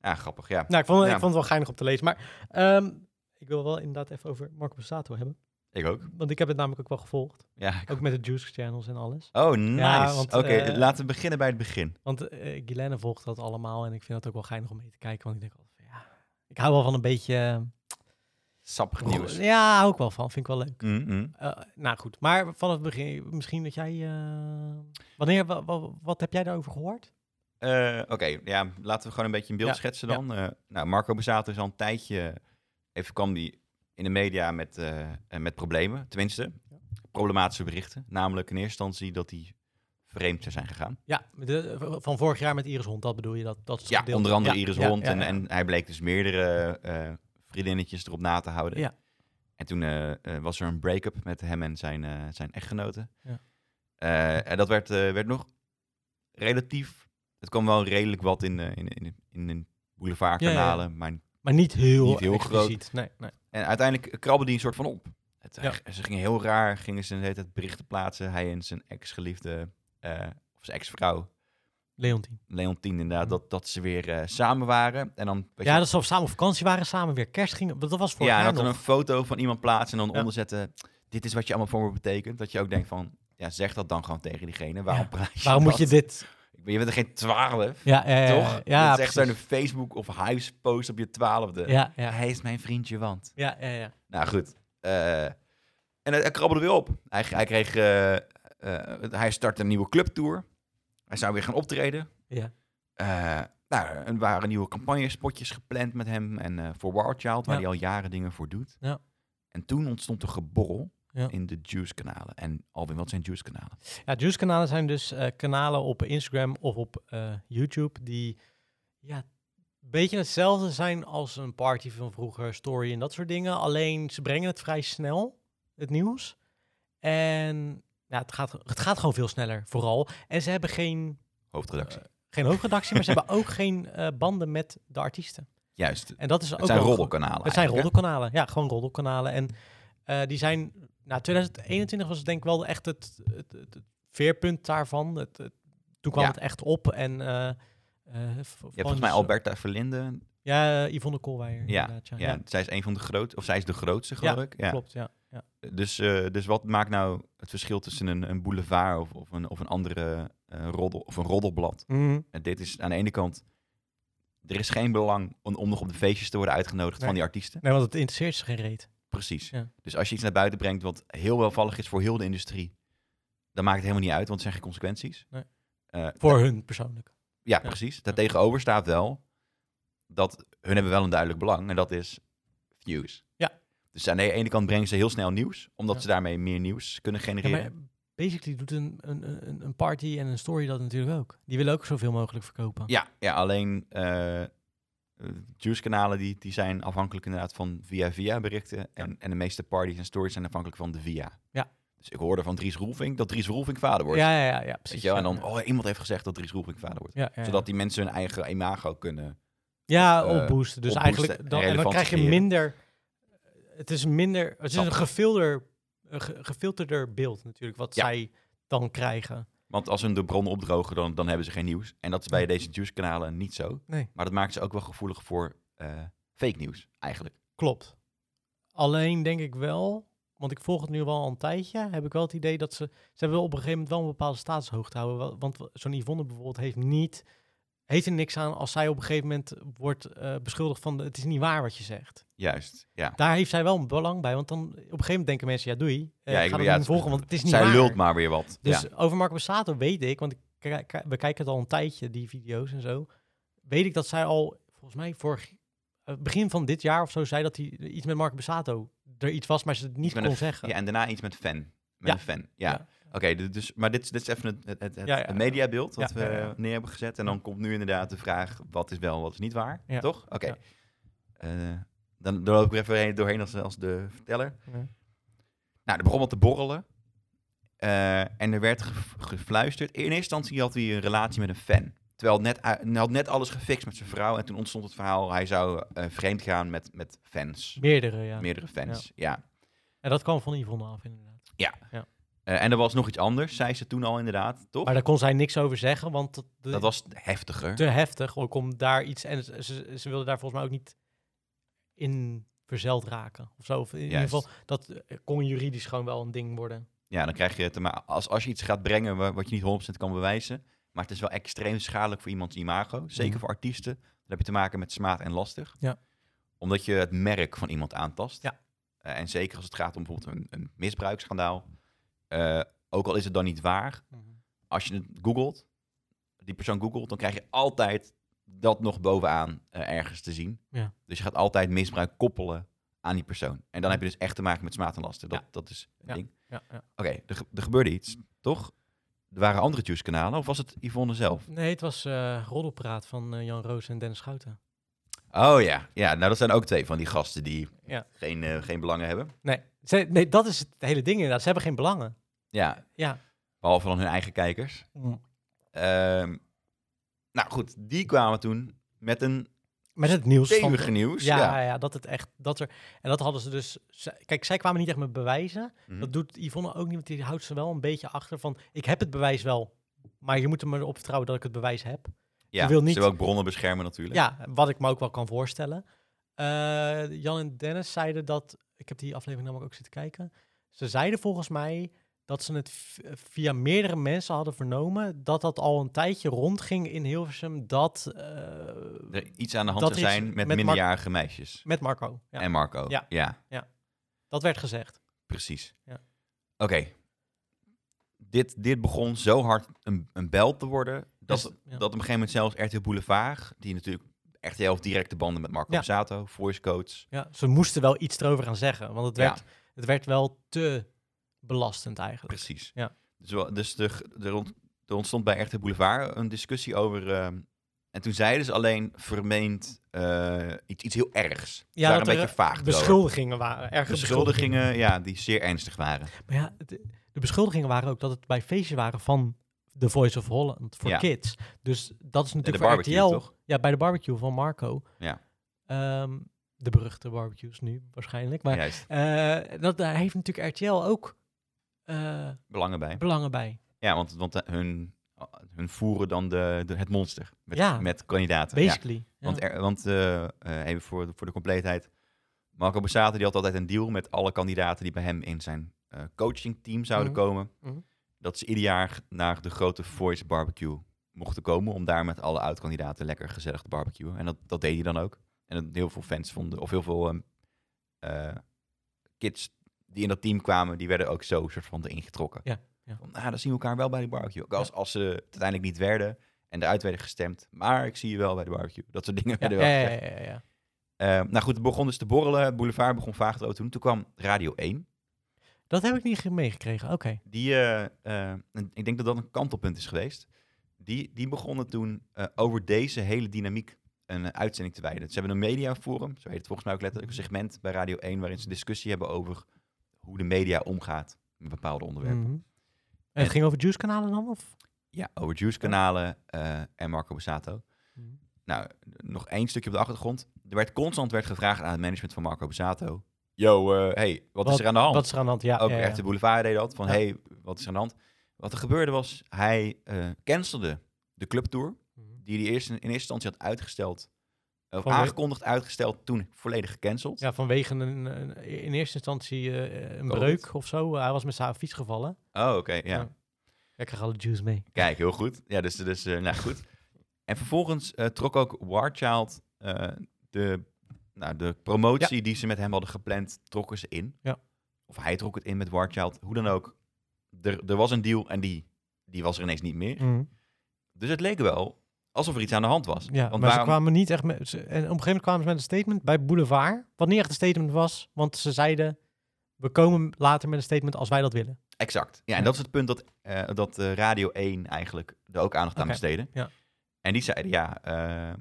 S2: Ja, grappig, ja.
S1: Nou, ik vond,
S2: Ja.
S1: ik vond het wel geinig om te lezen. Maar ehm, ik wil wel inderdaad even over Marco Passato hebben.
S2: Ik ook.
S1: Want ik heb het namelijk ook wel gevolgd.
S2: Ja, ik
S1: Ook met de Juice Channels en alles.
S2: Oh, nice.
S1: Ja, want,
S2: Oké,
S1: eh,
S2: laten we beginnen bij het begin.
S1: Want eh Guilaine volgt dat allemaal. En ik vind het ook wel geinig om mee te kijken. Want ik denk altijd van, ja, ik hou wel van een beetje...
S2: Sappig
S1: eh,
S2: nieuws.
S1: Ja, hou ik wel van. Vind ik wel leuk.
S2: Mm, mm.
S1: Eh, nou goed, maar vanaf het begin, misschien dat jij... eh, wanneer, wa- wa- wat heb jij daarover gehoord?
S2: Eh, Oké, ja, laten we gewoon een beetje een beeld
S1: Ja,
S2: schetsen
S1: ja.
S2: dan. Eh, nou, Marco Bezato is al een tijdje... Even kwam die in de media met, eh, eh, met problemen. Tenminste, problematische berichten. Namelijk in eerste instantie dat hij vreemd zou zijn gegaan.
S1: Ja, de, van vorig jaar met Iris Hond, dat bedoel je? Dat, dat is het
S2: Ja,
S1: gedeelte.
S2: onder andere
S1: Ja,
S2: Iris
S1: ja,
S2: Hond.
S1: ja,
S2: en,
S1: ja.
S2: en hij bleek dus meerdere eh, vriendinnetjes erop na te houden.
S1: Ja.
S2: En toen eh, eh, was er een break-up met hem en zijn, eh, zijn echtgenote.
S1: Ja.
S2: Eh, en dat werd, eh, werd nog relatief... Het kwam wel redelijk wat in, eh, in, in, in de boulevardkanalen. Maar,
S1: Maar niet heel,
S2: Niet heel groot.
S1: expliciet. Nee, nee.
S2: en uiteindelijk krabbelde hij een soort van op. Het,
S1: Ja.
S2: hij- Ze gingen heel raar, gingen ze de hele tijd berichten plaatsen. Hij en zijn ex-geliefde, eh, of zijn ex-vrouw,
S1: Leontien.
S2: Leontien inderdaad,
S1: Hm.
S2: dat, dat ze weer eh, samen waren. En dan, weet je,
S1: Ja, dat ze samen op vakantie waren, samen weer kerst gingen. want Dat was vorig
S2: ja, en
S1: jaar
S2: dat
S1: nog.
S2: dan een foto van iemand plaatsen en dan
S1: Ja.
S2: onderzetten. Dit is wat je allemaal voor me betekent. Dat je ook denkt van, ja, zeg dat dan gewoon tegen diegene. Waarom
S1: Ja,
S2: praat je
S1: Waarom moet je
S2: dat?
S1: dit...
S2: Ik ben- Je bent er geen twaalf,
S1: Ja, eh,
S2: toch?
S1: Ja,
S2: dat is echt
S1: precies.
S2: zo'n Facebook of huispost op je twaalfde.
S1: Ja, ja,
S2: Hij is mijn vriendje, want...
S1: ja, ja, ja.
S2: Nou, goed. Eh, en hij, hij krabbelde weer op. Hij, hij kreeg... eh, eh, hij startte een nieuwe clubtour. Hij zou weer gaan optreden.
S1: Ja.
S2: Eh, nou, er waren nieuwe campagnespotjes gepland met hem en eh, voor Wildchild, waar
S1: Ja.
S2: hij al jaren dingen voor doet.
S1: Ja.
S2: En toen ontstond er geborrel
S1: Ja.
S2: in de Juice-kanalen. En Alwin, wat zijn Juice-kanalen?
S1: Ja, Juice-kanalen zijn dus eh, kanalen op Instagram of op eh, YouTube die ja, een beetje hetzelfde zijn als een party van vroeger, story en dat soort dingen. Alleen ze brengen het vrij snel, het nieuws. En ja, het, gaat, het gaat gewoon veel sneller, vooral. En ze hebben geen, eh,
S2: Hoofdredactie.
S1: geen hoofdredactie, maar ze hebben ook geen eh, banden met de artiesten.
S2: Juist. Het
S1: En dat is ook
S2: zijn
S1: wel-
S2: roddelkanalen.
S1: Het zijn
S2: eigenlijk,
S1: roddelkanalen, ja, gewoon roddelkanalen. En eh, die zijn, nou, 2021 was denk ik wel echt het, het, het, het veerpunt daarvan. Het, het- toen kwam
S2: Ja.
S1: het echt op en... eh, eh, v-
S2: hè? Je
S1: gewoon
S2: hebt volgens mij
S1: zo-
S2: Alberta Verlinde.
S1: Ja, eh, Yvonne Koolweijer. inderdaad,
S2: Ja, zij is een van de groot, of zij is de grootste,
S1: Ja,
S2: geloof ik. Ja.
S1: klopt, ja. ja.
S2: Dus, eh, dus wat maakt nou het verschil tussen een, een boulevard of, of, een, of een andere eh, roddel of een roddelblad? En dit is aan de ene kant, er is geen belang om, om nog op de feestjes te worden uitgenodigd
S1: Nee.
S2: van die artiesten.
S1: Nee, want het interesseert ze geen reet.
S2: Precies.
S1: Ja.
S2: Dus als je iets naar buiten brengt wat heel welvallig is voor heel de industrie, dan maakt het helemaal niet uit, want er zijn geen consequenties.
S1: Nee.
S2: Eh,
S1: Voor hun persoonlijk.
S2: ja, precies. Daartegenover staat wel dat hun hebben wel een duidelijk belang en dat is views.
S1: Ja.
S2: Dus aan de ene kant brengen ze heel snel nieuws, omdat
S1: Ja.
S2: ze daarmee meer nieuws kunnen
S1: Ja,
S2: genereren.
S1: maar basically doet een, een, een- een party en een story dat natuurlijk ook. Die willen ook zoveel mogelijk verkopen.
S2: Ja, ja alleen eh juice-kanalen die, die zijn afhankelijk inderdaad van via-via berichten. En, en de meeste parties en stories zijn afhankelijk van de via.
S1: Ja.
S2: Dus ik hoorde van Dries Roelvink dat Dries Roelvink vader wordt.
S1: ja, ja, ja, ja,
S2: Weet
S1: precies.
S2: je wel? En dan,
S1: ja.
S2: oh, iemand heeft gezegd dat Dries Roelvink vader wordt.
S1: Ja, ja, ja.
S2: Zodat die mensen hun eigen imago kunnen.
S1: Ja,
S2: eh,
S1: opboosten. Dus
S2: opboosten
S1: eigenlijk
S2: en
S1: dan, en dan
S2: relevant
S1: krijg je
S2: creëren.
S1: minder. eh, het is minder, het is
S2: Snap
S1: een
S2: ik.
S1: gefilter, een ge- gefilterder beeld natuurlijk, wat
S2: Ja.
S1: zij dan krijgen.
S2: Want als hun de bronnen opdrogen, dan, dan hebben ze geen nieuws. En dat is bij
S1: Nee.
S2: deze nieuwskanalen niet zo.
S1: Nee.
S2: Maar dat maakt ze ook wel gevoelig voor eh, fake nieuws, eigenlijk.
S1: Klopt. Alleen denk ik wel, want ik volg het nu wel al een tijdje, heb ik wel het idee dat ze, ze willen op een gegeven moment wel een bepaalde statushoogte houden. wa- Want zo'n Yvonne bijvoorbeeld heeft niet, heeft er niks aan als zij op een gegeven moment wordt eh, beschuldigd van het is niet waar wat je zegt.
S2: Juist, ja.
S1: Daar heeft zij wel een belang bij, want dan op een gegeven moment denken mensen, ja doei, eh,
S2: Ja, ik
S1: ik ga
S2: wil-
S1: het
S2: ja,
S1: niet
S2: het-
S1: volgen, want het is niet
S2: Zij
S1: waar.
S2: lult maar weer wat.
S1: Dus
S2: ja.
S1: over Marco Bassato weet ik, want ik kijk- kijk- we kijken het al een tijdje, die video's en zo. Weet ik dat zij al, volgens mij vorig, eh, begin van dit jaar of zo, zei dat hij iets met Marco Bassato er iets was, maar ze het niet
S2: met
S1: kon
S2: een-
S1: zeggen.
S2: ja, en daarna iets met fan. Met
S1: Ja.
S2: een fan, ja.
S1: Ja.
S2: Oké, du- dus, maar dit, is- dit is even het, het, het, het-
S1: Ja, ja.
S2: het mediabeeld dat
S1: Ja,
S2: we
S1: ja, ja.
S2: neer hebben gezet. En dan komt nu inderdaad de vraag, wat is wel, wat is niet waar?
S1: Ja.
S2: Toch? Oké.
S1: Ja.
S2: Eh, dan, dan loop ik er even heen- doorheen als, als de verteller.
S1: Ja.
S2: Nou, er begon wat te borrelen. Eh, en er werd ge- gefluisterd. In eerste instantie had hij een relatie met een fan. Terwijl het net, u- hij had net alles gefixt met zijn vrouw. En toen ontstond het verhaal, hij zou eh, vreemd gaan met, met fans.
S1: Meerdere, ja.
S2: Meerdere fans, ja.
S1: En dat kwam van Yvonne af, inderdaad.
S2: Eh, en er was nog iets anders, zei ze toen al inderdaad, toch?
S1: Maar daar kon zij niks over zeggen, want dat, de-
S2: dat was heftiger.
S1: te heftig ook om daar iets... En ze, ze, ze wilde daar volgens mij ook niet in verzeld raken of zo. Of in ieder
S2: Juist.
S1: geval, dat eh, kon juridisch gewoon wel een ding worden.
S2: Ja, dan krijg je het. Maar als, als je iets gaat brengen wa- wat je niet 100% kan bewijzen. Maar het is wel extreem schadelijk voor iemands imago. Zeker
S1: Mhm.
S2: voor artiesten. Dan heb je te maken met smaad en lastig.
S1: Ja.
S2: Omdat je het merk van iemand aantast.
S1: Ja.
S2: Eh, en zeker als het gaat om bijvoorbeeld een, een misbruiksschandaal. Eh, ook al is het dan niet waar. Als je het googelt, die persoon googelt, dan krijg je altijd dat nog bovenaan eh, ergens te zien.
S1: Ja.
S2: Dus je gaat altijd misbruik koppelen aan die persoon. En dan heb je dus echt te maken met smaad en lasten. Dat,
S1: Ja.
S2: dat is het ding.
S1: Ja, ja.
S2: Oké, er, ge- er gebeurde iets, toch? Er waren andere juice-kanalen, of was het Yvonne zelf?
S1: Nee, het was eh roddelpraat van eh, Jan Roos en Dennis Schouten.
S2: Oh ja, ja, nou dat zijn ook twee van die gasten die
S1: Ja.
S2: geen, eh, geen belangen hebben.
S1: Nee, ze, nee, dat is het hele ding inderdaad. Ze hebben geen belangen.
S2: Ja,
S1: Ja.
S2: behalve dan hun eigen kijkers. Ehm, nou goed, die kwamen toen met een
S1: Met het nieuws van...
S2: stevige nieuws.
S1: Ja, ja. ja, dat het echt... Dat er, en dat hadden ze dus... ze- kijk, zij kwamen niet echt met bewijzen.
S2: Mhm.
S1: Dat doet Yvonne ook niet, want die houdt ze wel een beetje achter van... Ik heb het bewijs wel, maar je moet er maar op vertrouwen dat ik het bewijs heb.
S2: ja.
S1: ze wil niet-
S2: Ze wil ook bronnen beschermen natuurlijk.
S1: Ja, wat ik me ook wel kan voorstellen. Eh, Jan en Dennis zeiden dat... Ik heb die aflevering namelijk ook zitten kijken. Ze zeiden volgens mij dat ze het v- via meerdere mensen hadden vernomen... dat dat al een tijdje rondging in Hilversum... dat eh,
S2: Er iets aan de hand
S1: Dat
S2: zou
S1: is
S2: zijn met,
S1: met Mar-
S2: minderjarige meisjes.
S1: met Marco. Ja,
S2: En Marco.
S1: Ja.
S2: ja.
S1: dat werd gezegd.
S2: Precies.
S1: Ja.
S2: Oké. Dit, dit begon zo hard een, een bel te worden. Dat,
S1: Dus- ja.
S2: dat op een gegeven moment zelfs RTL Boulevard, die natuurlijk echt heel directe banden met Marco
S1: Ja.
S2: Bazzato, voice coach.
S1: Ja, ze moesten wel iets erover gaan zeggen, want het
S2: Ja.
S1: werd, het werd wel te belastend eigenlijk.
S2: Precies.
S1: Ja.
S2: Dus, wel- dus er, er, ont- er ontstond bij RTL Boulevard een discussie over. ehm, en toen zeiden ze alleen vermeend eh, iets, iets heel ergs. Ja,
S1: Ja,
S2: waren
S1: dat
S2: een
S1: er
S2: beetje vaag. erover.
S1: Beschuldigingen waren erg
S2: Beschuldigingen, ja, die zeer ernstig waren.
S1: Maar ja, de, de beschuldigingen waren ook dat het bij feestjes waren van The Voice of Holland voor
S2: Ja.
S1: kids. Dus dat is
S2: En de
S1: natuurlijk voor
S2: barbecue,
S1: RTL.
S2: toch?
S1: Ja, bij de barbecue van Marco.
S2: Ja.
S1: Ehm, de beruchte barbecues nu waarschijnlijk. Maar
S2: Juist,
S1: eh, dat, daar heeft natuurlijk RTL ook eh,
S2: belangen bij.
S1: belangen bij.
S2: Ja, want, want eh, hun, hun voeren dan de, de- het monster met,
S1: Ja.
S2: met kandidaten. Ja.
S1: Basically. ja.
S2: Want, er- want eh, eh, even voor de, voor de compleetheid. Marco Borsato die had altijd een deal met alle kandidaten die bij hem in zijn eh, coachingteam zouden
S1: Mhm.
S2: komen.
S1: Mhm.
S2: Dat ze ieder jaar naar de grote Voice Barbecue mochten komen. Om daar met alle oud-kandidaten lekker gezellig te barbecuen. En dat, dat deed hij dan ook. En dat heel veel fans vonden, of heel veel ehm, eh, kids die in dat team kwamen, die werden ook zo soort van erin getrokken.
S1: Ja, ja.
S2: Van, ah, dan zien we elkaar wel bij de barbecue. Ook als,
S1: Ja.
S2: als ze uiteindelijk niet werden en eruit werden gestemd. Maar ik zie je wel bij de barbecue. Dat soort dingen
S1: ja,
S2: werden
S1: ja,
S2: wel
S1: ja,
S2: gezegd.
S1: ja, ja, ja.
S2: Eh, nou goed, het begon dus te borrelen. Boulevard begon vaag te doen. Toen kwam Radio 1.
S1: Dat heb ik niet ge- meegekregen. Oké.
S2: Die, eh, eh, en ik denk dat dat een kantelpunt is geweest. Die, die begonnen toen eh, over deze hele dynamiek een eh, uitzending te wijden. Ze hebben een mediaforum, zo heet het volgens mij ook letterlijk, een segment bij Radio 1 waarin ze discussie hebben over hoe de media omgaat met bepaalde onderwerpen.
S1: Mhm. En het ging over juice-kanalen dan? Of?
S2: Ja, over Juice-kanalen eh, en Marco Bussato. Nou, nog één stukje op de achtergrond. Er werd constant werd gevraagd aan het management van Marco Bussato. yo, eh, hey, wat, is er aan de hand?
S1: Wat is er aan de hand? Ja,
S2: ook
S1: ja, ja.
S2: echt de boulevard deed dat, van
S1: Ja.
S2: hey, wat is er aan de hand? Wat er gebeurde was, hij eh cancelde de clubtour,
S1: Mhm.
S2: die hij eerst in, in eerste instantie had uitgesteld, of
S1: Vanwege-
S2: aangekondigd, uitgesteld, toen volledig gecanceld.
S1: Ja, vanwege een, een- in eerste instantie eh, een
S2: Covid.
S1: breuk of zo. Hij was met zijn fiets gevallen.
S2: Oh, oké, ja.
S1: Ja. Ik krijg alle juice mee.
S2: Kijk, heel goed. Ja, dus, dus eh, nou goed. En vervolgens eh, trok ook Warchild eh, de, nou, de promotie die ze met hem hadden gepland, trokken ze in.
S1: Ja.
S2: Of hij trok het in met Warchild, hoe dan ook. Er, er was een deal en die, die was er ineens niet meer. Dus het leek wel alsof er iets aan de hand was.
S1: Mm. Ja, maar
S2: Want
S1: ze
S2: waarom-
S1: kwamen niet echt met... ze- en op een gegeven moment kwamen ze met een statement bij Boulevard. Wat niet echt een statement was, want ze zeiden... We komen later met een statement als wij dat willen.
S2: Exact. Ja, en
S1: Ja.
S2: dat is het punt dat, eh, dat eh, Radio 1 eigenlijk er ook aandacht aan
S1: Oké,
S2: besteedde.
S1: ja.
S2: En die zeiden, ja, eh, eh,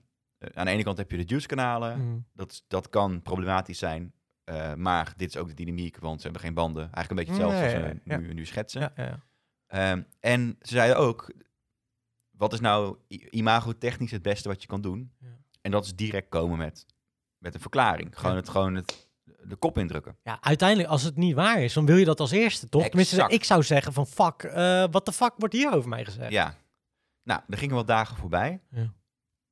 S2: aan de ene kant heb je de juice-kanalen.
S1: Hm. Mm.
S2: Dat, is- dat kan problematisch zijn. eh, maar dit is ook de dynamiek, want ze hebben geen banden. Eigenlijk een beetje hetzelfde
S1: Nee,
S2: als we
S1: ja.
S2: nu, nu schetsen.
S1: Ja, ja, ja.
S2: Ehm, en ze zeiden ook, wat is nou i- imago-technisch het beste wat je kan doen?
S1: Ja.
S2: En dat is direct komen met, met een verklaring. Gewoon,
S1: Ja.
S2: het, gewoon het, de kop indrukken.
S1: Ja, uiteindelijk, als het niet waar is, dan wil je dat als eerste, toch? Tenminste,
S2: Exact.
S1: ik zou zeggen van, fuck, eh wat de fuck wordt hier over mij gezegd?
S2: Ja. Nou, er gingen wat dagen voorbij.
S1: Ja.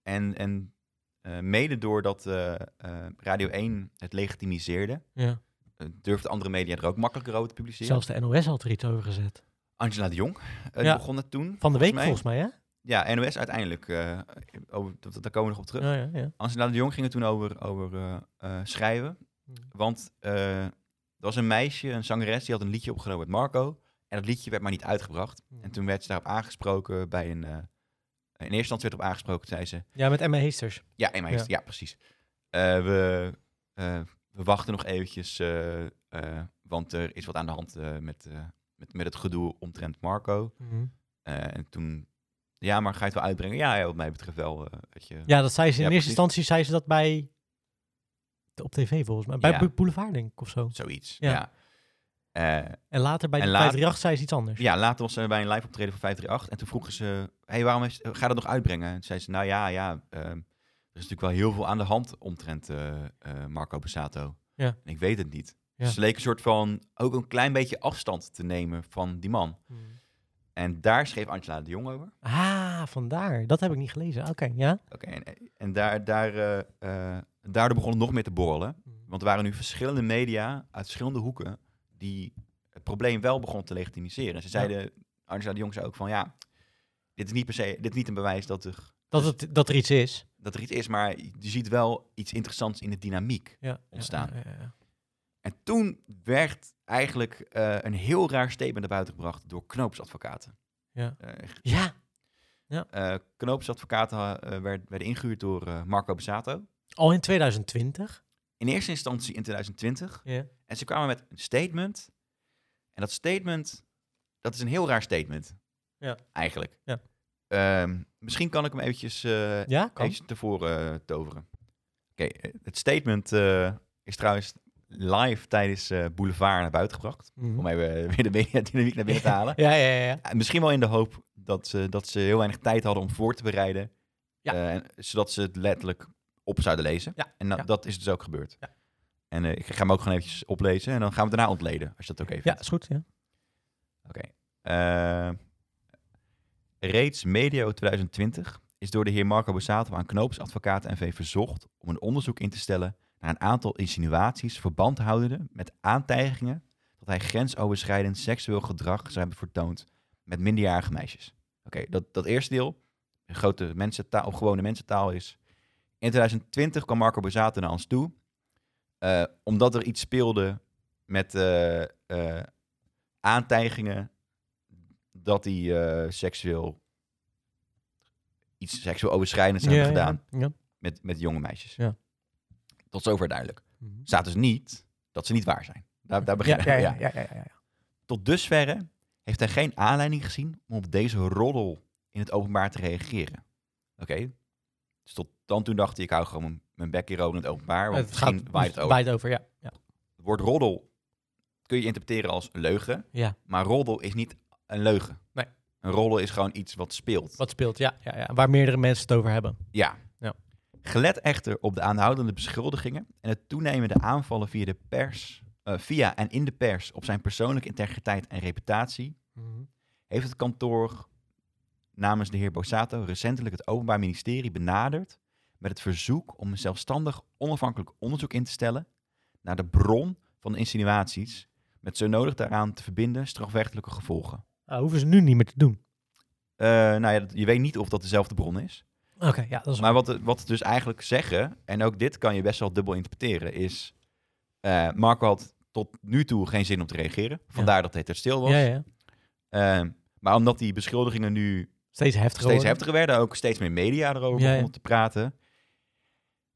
S2: En, en eh, mede doordat eh, eh, Radio 1 het legitimiseerde,
S1: Ja.
S2: eh, durfden andere media er ook makkelijker over te publiceren.
S1: Zelfs de NOS had er iets over gezet.
S2: Angela de Jong eh,
S1: Ja.
S2: die begon dat toen.
S1: Van de week,
S2: mij.
S1: volgens mij, hè?
S2: Ja, NOS uiteindelijk. eh, over, dat- daar komen we nog op terug.
S1: Ja, ja, ja.
S2: Angela de Jong ging het toen over, over eh, eh, schrijven.
S1: Hmm.
S2: Want eh, er was een meisje, een zangeres, die had een liedje opgenomen met Marco. En dat liedje werd maar niet uitgebracht. En toen werd ze daarop aangesproken bij een... eh, in eerste instantie werd op aangesproken, zei ze...
S1: Ja, met Emma Heesters.
S2: Ja, Emma heeft, ja. precies. Eh, we, eh, we wachten nog eventjes, eh, eh, want er is wat aan de hand eh, met, eh, met, met het gedoe omtrent Marco. Eh, en toen, ja, maar ga je het wel uitbrengen? Ja, ja wat mij betreft wel. eh, weet je.
S1: Ja, dat zei ze in eerste
S2: Ja, precies.
S1: instantie zei ze dat bij op tv volgens mij. Bij
S2: Ja.
S1: Bou- Boulevard denk ik of zo.
S2: Zoiets,
S1: Ja.
S2: ja. Eh,
S1: En later bij de
S2: En later-
S1: 538 zei ze iets anders.
S2: ja, later was ze bij een live optreden van 538. En toen vroegen ze, hey, waarom is, ga je dat nog uitbrengen? En toen zei ze, nou ja, ja, ehm, er is natuurlijk wel heel veel aan de hand omtrent eh, eh, Marco Bassato.
S1: Ja.
S2: En ik weet het niet.
S1: Ja.
S2: Dus ze leek een soort van, ook een klein beetje afstand te nemen van die man. En daar schreef Angela de Jong over.
S1: Ah, vandaar. Dat heb ik niet gelezen. Oké, ja.
S2: Oké, en, en daar, daar, eh, eh, daardoor begon het nog meer te borrelen. Want er waren nu verschillende media uit verschillende hoeken die het probleem wel begon te legitimiseren. Ze zeiden, Angela de Jong zei ook van ja, dit is niet per se, dit is niet een bewijs dat er,
S1: Dat, het, dat er iets is.
S2: dat er iets is, maar je ziet wel iets interessants in de dynamiek.
S1: Ja.
S2: Ontstaan.
S1: Ja, ja, ja.
S2: En toen werd eigenlijk eh, een heel raar statement naar buiten gebracht door knoopsadvocaten.
S1: Ja.
S2: Eh, echt,
S1: Ja,
S2: eh, knoopsadvocaten eh, werd, werden ingehuurd door eh, Marco Bezato.
S1: al in 2020.
S2: In eerste instantie in 2020
S1: Ja.
S2: En ze kwamen met een statement. En dat statement, dat is een heel raar statement.
S1: Ja.
S2: Eigenlijk.
S1: Ja.
S2: Ehm, misschien kan ik hem eventjes, eh
S1: Ja, kan.
S2: eventjes tevoren eh, toveren. Oké, eh, het statement eh, is trouwens live tijdens eh, Boulevard naar buiten gebracht.
S1: Mhm.
S2: Om even eh, weer de mediadynamiek naar binnen te halen.
S1: Ja, ja, ja, ja.
S2: Eh, Misschien wel in de hoop dat ze, dat ze heel weinig tijd hadden om voor te bereiden.
S1: Ja.
S2: Eh, en- zodat ze het letterlijk op zouden lezen.
S1: Ja,
S2: En dat,
S1: ja.
S2: dat is dus ook gebeurd.
S1: Ja.
S2: En eh, ik ga hem ook gewoon eventjes oplezen. En dan gaan we het daarna ontleden, als je dat ook even
S1: Ja, is goed. Ja.
S2: Oké. Eh, reeds medio 2020 is door de heer Marco Borsato aan knoopsadvocaat NV verzocht om een onderzoek in te stellen naar een aantal insinuaties verband houdende met aantijgingen dat hij grensoverschrijdend seksueel gedrag zou hebben vertoond met minderjarige meisjes. Oké, dat, dat eerste deel, in grote mensentaal, of gewone mensentaal is. In 2020 kwam Marco Borsato naar ons toe, eh, omdat er iets speelde met eh, eh, aantijgingen dat hij eh, seksueel iets seksueel overschrijdends zou
S1: ja,
S2: hebben gedaan
S1: Ja. ja.
S2: met, met jonge meisjes.
S1: Ja.
S2: Tot zover duidelijk.
S1: Mhm.
S2: Staat dus niet dat ze niet waar zijn. Daar, daar
S1: Ja,
S2: beginnen we.
S1: ja,
S2: ja.
S1: ja, ja, ja, ja, ja.
S2: Tot dusverre heeft hij geen aanleiding gezien om op deze roddel in het openbaar te reageren. Oké. Dus tot dan toe dacht hij, ik hou gewoon mijn- mijn bek hierover in het openbaar. Want
S1: Het gaat
S2: misschien waait het over.
S1: wijd over, ja. ja.
S2: Het woord roddel kun je interpreteren als leugen.
S1: Ja.
S2: Maar roddel is niet een leugen.
S1: Nee.
S2: Een roddel is gewoon iets wat speelt.
S1: Wat speelt, ja, ja, ja. Waar meerdere mensen het over hebben.
S2: Ja.
S1: Ja.
S2: Gelet echter op de aanhoudende beschuldigingen en het toenemende aanvallen via, de pers, eh, via en in de pers op zijn persoonlijke integriteit en reputatie,
S1: Mhm.
S2: heeft het kantoor namens de heer Bosato recentelijk het Openbaar Ministerie benaderd met het verzoek om een zelfstandig onafhankelijk onderzoek in te stellen naar de bron van de insinuaties, met zo nodig daaraan te verbinden strafrechtelijke gevolgen.
S1: Ah, hoeven ze nu niet meer te doen.
S2: Eh, nou ja, dat- je weet niet of dat dezelfde bron is.
S1: Oké, ja, dat is
S2: Maar wat, het- wat het dus eigenlijk zeggen, en ook dit kan je best wel dubbel interpreteren, is eh, Marco had tot nu toe geen zin om te reageren. Vandaar dat hij ter stil was.
S1: ja, ja.
S2: Eh, maar omdat die beschuldigingen nu
S1: Steeds heftiger.
S2: steeds
S1: worden.
S2: heftiger werden, ook steeds meer media erover
S1: Ja, ja.
S2: begonnen te praten,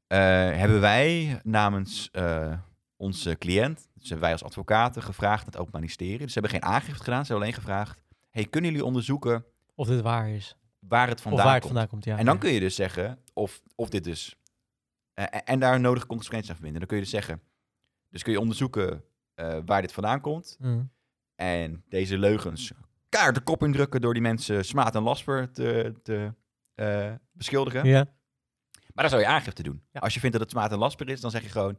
S2: eh, hebben wij namens eh, onze cliënt, dus hebben wij als advocaten, gevraagd aan het Openbaar Ministerie. Dus ze hebben geen aangifte gedaan, ze hebben alleen gevraagd, hey, kunnen jullie onderzoeken
S1: Of dit waar is.
S2: waar het vandaan
S1: of waar het
S2: komt?
S1: vandaan komt, ja.
S2: en dan
S1: ja.
S2: kun je dus zeggen, of, of dit dus, eh, en- en daar nodige consequenties aan verbinden. Dan kun je dus zeggen, dus kun je onderzoeken eh, waar dit vandaan komt.
S1: Mhm.
S2: En deze leugens kaart de kop indrukken door die mensen smaad en lasper te, te eh, beschuldigen.
S1: Ja.
S2: Maar dan zou je aangifte doen.
S1: Ja.
S2: Als je vindt dat het smaad en lasper is, dan zeg je gewoon,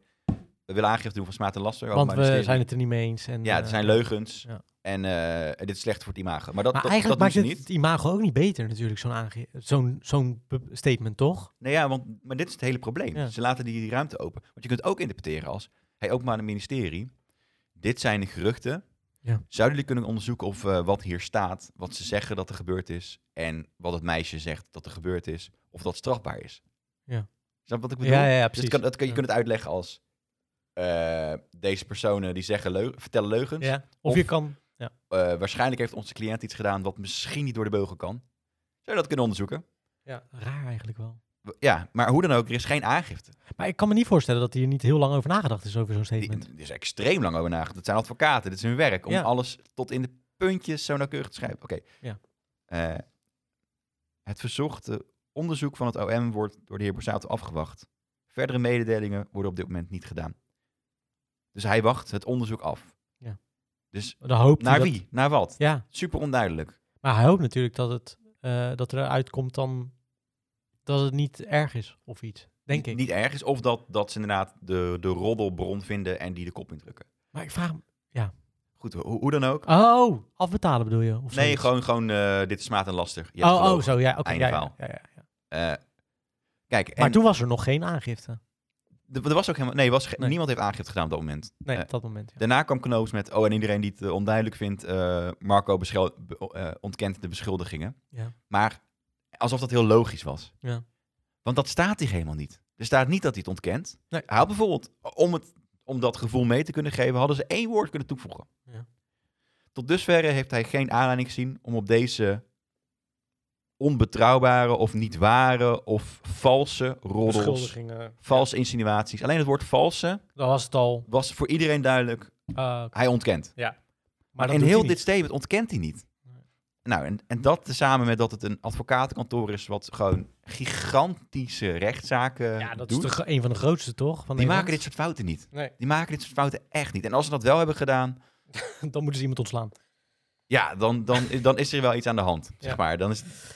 S2: we willen aangifte doen van smaad en laster.
S1: Want
S2: maar
S1: we
S2: ministerie-
S1: zijn het er niet mee eens. En,
S2: Ja,
S1: eh,
S2: het zijn leugens.
S1: ja.
S2: En eh, dit is slecht voor het imago. Maar dat,
S1: maar
S2: dat,
S1: eigenlijk
S2: dat doen
S1: maakt
S2: ze
S1: het,
S2: niet.
S1: het imago ook niet beter natuurlijk, zo'n aange- zo'n zo'n be- statement, toch?
S2: Nou ja, want maar dit is het hele probleem.
S1: Ja.
S2: Ze laten die, die ruimte open. Want je kunt ook interpreteren als, hey, ook maar aan het ministerie. Dit zijn de geruchten.
S1: Ja.
S2: Zouden jullie kunnen onderzoeken of eh, wat hier staat, wat ze zeggen dat er gebeurd is, en wat het meisje zegt dat er gebeurd is, of dat strafbaar is?
S1: Ja.
S2: Snap je wat ik bedoel?
S1: Ja, ja, ja,
S2: Dus
S1: precies.
S2: het kan, dat kan, je
S1: Ja.
S2: kunt het uitleggen als eh, deze personen die zeggen leu- vertellen leugens.
S1: Ja. Of,
S2: Of-
S1: je kan... Ja.
S2: Eh, waarschijnlijk heeft onze cliënt iets gedaan wat misschien niet door de beugel kan. Zou je dat kunnen onderzoeken?
S1: ja, raar eigenlijk wel.
S2: W- Ja, maar hoe dan ook, er is geen aangifte.
S1: Maar ik kan me niet voorstellen dat hier niet heel lang over nagedacht is over zo'n
S2: Die-
S1: statement.
S2: Er is extreem lang over nagedacht. Het zijn advocaten, dit is hun werk. Om
S1: Ja.
S2: alles tot in de puntjes zo nauwkeurig te schrijven. Oké.
S1: Ja.
S2: Eh, het verzochte onderzoek van het OM wordt door de heer Borsato afgewacht. Verdere mededelingen worden op dit moment niet gedaan. Dus hij wacht het onderzoek af.
S1: Ja.
S2: Dus
S1: Dan hoopt hij
S2: naar
S1: dat-
S2: wie? Naar wat?
S1: Ja,
S2: Super onduidelijk.
S1: maar hij hoopt natuurlijk dat het eh, dat er uitkomt dan dat het niet erg is of iets, denk
S2: Niet-
S1: ik.
S2: Niet ergens. Of dat, dat ze inderdaad de, de roddelbron vinden en die de kop indrukken.
S1: Maar ik vraag me...
S2: Goed, hoe, hoe dan ook.
S1: Oh, afbetalen bedoel je? Of
S2: Nee,
S1: zoiets?
S2: gewoon, gewoon eh, dit is smaad en laster. Je hebt
S1: Oh, oh,
S2: gelogen.
S1: zo, ja, oké.
S2: Einde
S1: ja, ja,
S2: verhaal.
S1: ja, ja, ja.
S2: Eh, kijk, en
S1: Maar toen was er nog geen aangifte.
S2: d- er was ook helemaal. Nee, was ge-
S1: Nee.
S2: niemand heeft aangifte gedaan op dat moment.
S1: Nee,
S2: Eh,
S1: op dat moment. Ja.
S2: Daarna kwam Knoos met. Oh, en iedereen die het eh, onduidelijk vindt. eh, Marco beschel- be- eh, ontkent de beschuldigingen.
S1: Ja.
S2: Maar alsof dat heel logisch was.
S1: Ja.
S2: Want dat staat hier helemaal niet. Er staat niet dat hij het ontkent.
S1: Nee.
S2: Hij had bijvoorbeeld. Om, het, om dat gevoel mee te kunnen geven. hadden ze één woord kunnen toevoegen.
S1: Ja.
S2: Tot dusverre heeft hij geen aanleiding gezien om op deze onbetrouwbare of niet ware of valse roddels
S1: Beschuldigingen.
S2: Valse insinuaties. Alleen het woord valse
S1: Dan was het al.
S2: was voor iedereen duidelijk.
S1: eh,
S2: Hij ontkent.
S1: maar dat
S2: en
S1: doet
S2: heel
S1: hij
S2: dit
S1: niet.
S2: statement ontkent hij niet.
S1: Nee.
S2: Nou, en, en dat tezamen met dat het een advocatenkantoor is... wat gewoon gigantische rechtszaken
S1: Ja, dat
S2: eh, doet.
S1: is toch een van de grootste, toch? Van
S2: Die
S1: Nederland?
S2: maken dit soort fouten niet.
S1: Nee.
S2: Die maken dit soort fouten echt niet. En als ze dat wel hebben gedaan...
S1: Dan moeten ze iemand ontslaan.
S2: ja, dan, dan, dan is er wel iets aan de hand,
S1: Ja.
S2: zeg maar. Dan is het-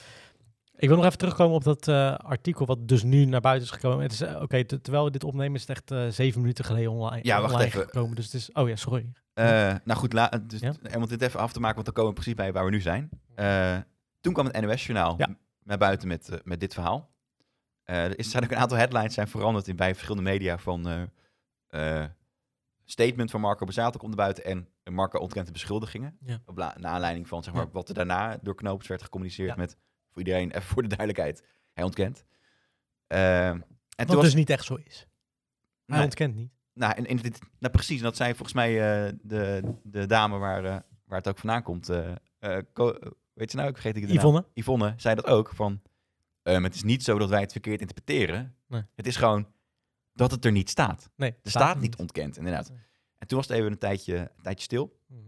S1: Ik wil nog even terugkomen op dat eh, artikel wat dus nu naar buiten is gekomen. Het is, eh, Oké, te- terwijl we dit opnemen is het echt eh, zeven minuten geleden online,
S2: Ja, wacht
S1: online
S2: even.
S1: gekomen. Dus het is, oh ja, sorry.
S2: eh, nou goed, la, dus,
S1: Ja.
S2: en om dit even af te maken... want dan komen we precies bij waar we nu zijn. Eh, toen kwam het NOS-journaal
S1: Ja.
S2: m- naar buiten met, eh, met dit verhaal. Eh, er is- zijn ook een aantal headlines zijn veranderd in, bij verschillende media van eh, eh, statement van Marco Bazzato komt naar buiten en Marco ontkent de beschuldigingen.
S1: Ja.
S2: Op na- naar aanleiding van zeg maar,
S1: Ja.
S2: wat er daarna door Knoops werd gecommuniceerd
S1: Ja.
S2: met voor iedereen, even voor de duidelijkheid, hij ontkent. Eh, en toen
S1: Wat
S2: was-
S1: dus niet echt zo is. Hij
S2: Nee.
S1: ontkent niet.
S2: nou, en, en dit, nou, precies. En dat zei volgens mij eh, de, de dame waar, eh, waar het ook vandaan komt. eh, eh, Co- weet je nou, ik vergeet ik de naam.
S1: Yvonne?
S2: Yvonne zei dat ook. Van, ehm, het is niet zo dat wij het verkeerd interpreteren.
S1: Nee.
S2: Het is gewoon dat het er niet staat.
S1: Nee.
S2: Er staat, niet ontkend, inderdaad.
S1: Nee.
S2: En toen was het even een tijdje, een tijdje stil.
S1: Mhm.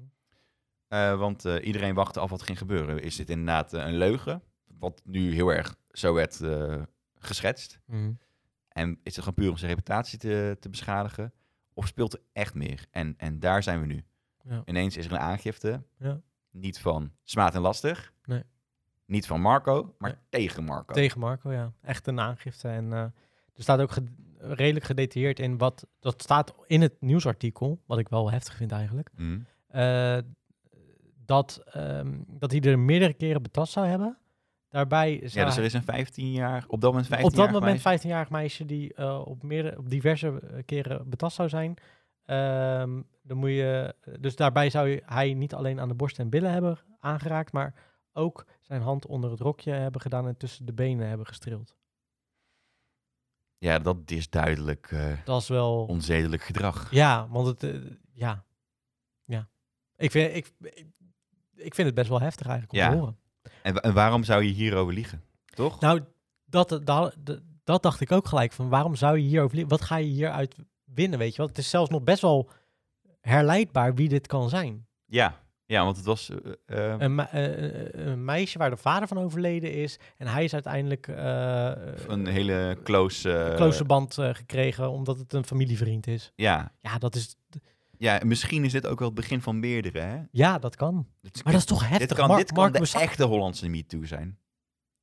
S2: eh, want eh, iedereen wachtte af wat ging gebeuren. Is dit inderdaad eh, een leugen? Wat nu heel erg zo werd eh, geschetst.
S1: Mhm.
S2: En is het gewoon puur om zijn reputatie te, te beschadigen? Of speelt er echt meer? En, en daar zijn we nu.
S1: Ja.
S2: Ineens is er een aangifte.
S1: Ja.
S2: Niet van smaad en lastig.
S1: Nee.
S2: Niet van Marco, maar
S1: Nee.
S2: tegen Marco.
S1: Tegen Marco, ja. Echt een aangifte. En eh, Er staat ook ged- redelijk gedetailleerd in wat... Dat staat in het nieuwsartikel, wat ik wel heftig vind eigenlijk.
S2: Mm.
S1: eh, dat, ehm, dat die er meerdere keren betast zou hebben. Daarbij is
S2: Ja, dus er is een 15 jaar, op dat moment 15
S1: op dat
S2: jaar
S1: moment
S2: geweest.
S1: 15-jarig meisje die eh, op, meerdere, op diverse eh, keren betast zou zijn. Ehm, dan moet je, dus daarbij zou je, hij niet alleen aan de borst en billen hebben aangeraakt, maar ook zijn hand onder het rokje hebben gedaan en tussen de benen hebben gestreeld.
S2: Ja, dat is duidelijk eh,
S1: Dat is wel.
S2: onzedelijk gedrag.
S1: Ja, want het. eh, ja. Ja. Ik vind, ik, ik, ik vind het best wel heftig eigenlijk om
S2: Ja.
S1: te horen.
S2: En, wa- en waarom zou je hierover liegen? Toch?
S1: Nou, dat, dat, dat dacht ik ook gelijk. Van waarom zou je hierover... li- Wat ga je hieruit winnen, weet je wel? Het is zelfs nog best wel herleidbaar wie dit kan zijn.
S2: Ja. ja, want het was... eh, eh,
S1: Een, me- eh, eh, een meisje waar de vader van overleden is... en hij is uiteindelijk eh,
S2: een hele close... eh,
S1: een close band eh, gekregen... omdat het een familievriend is.
S2: ja.
S1: Ja, dat, is,
S2: ja, misschien is dit ook wel het begin van meerdere, hè?
S1: ja, dat kan.
S2: Dit-
S1: Maar dat is toch heftig.
S2: dit kan,
S1: Mar-
S2: dit kan
S1: Mark
S2: de
S1: Moussa-
S2: echte Hollandse MeToo zijn.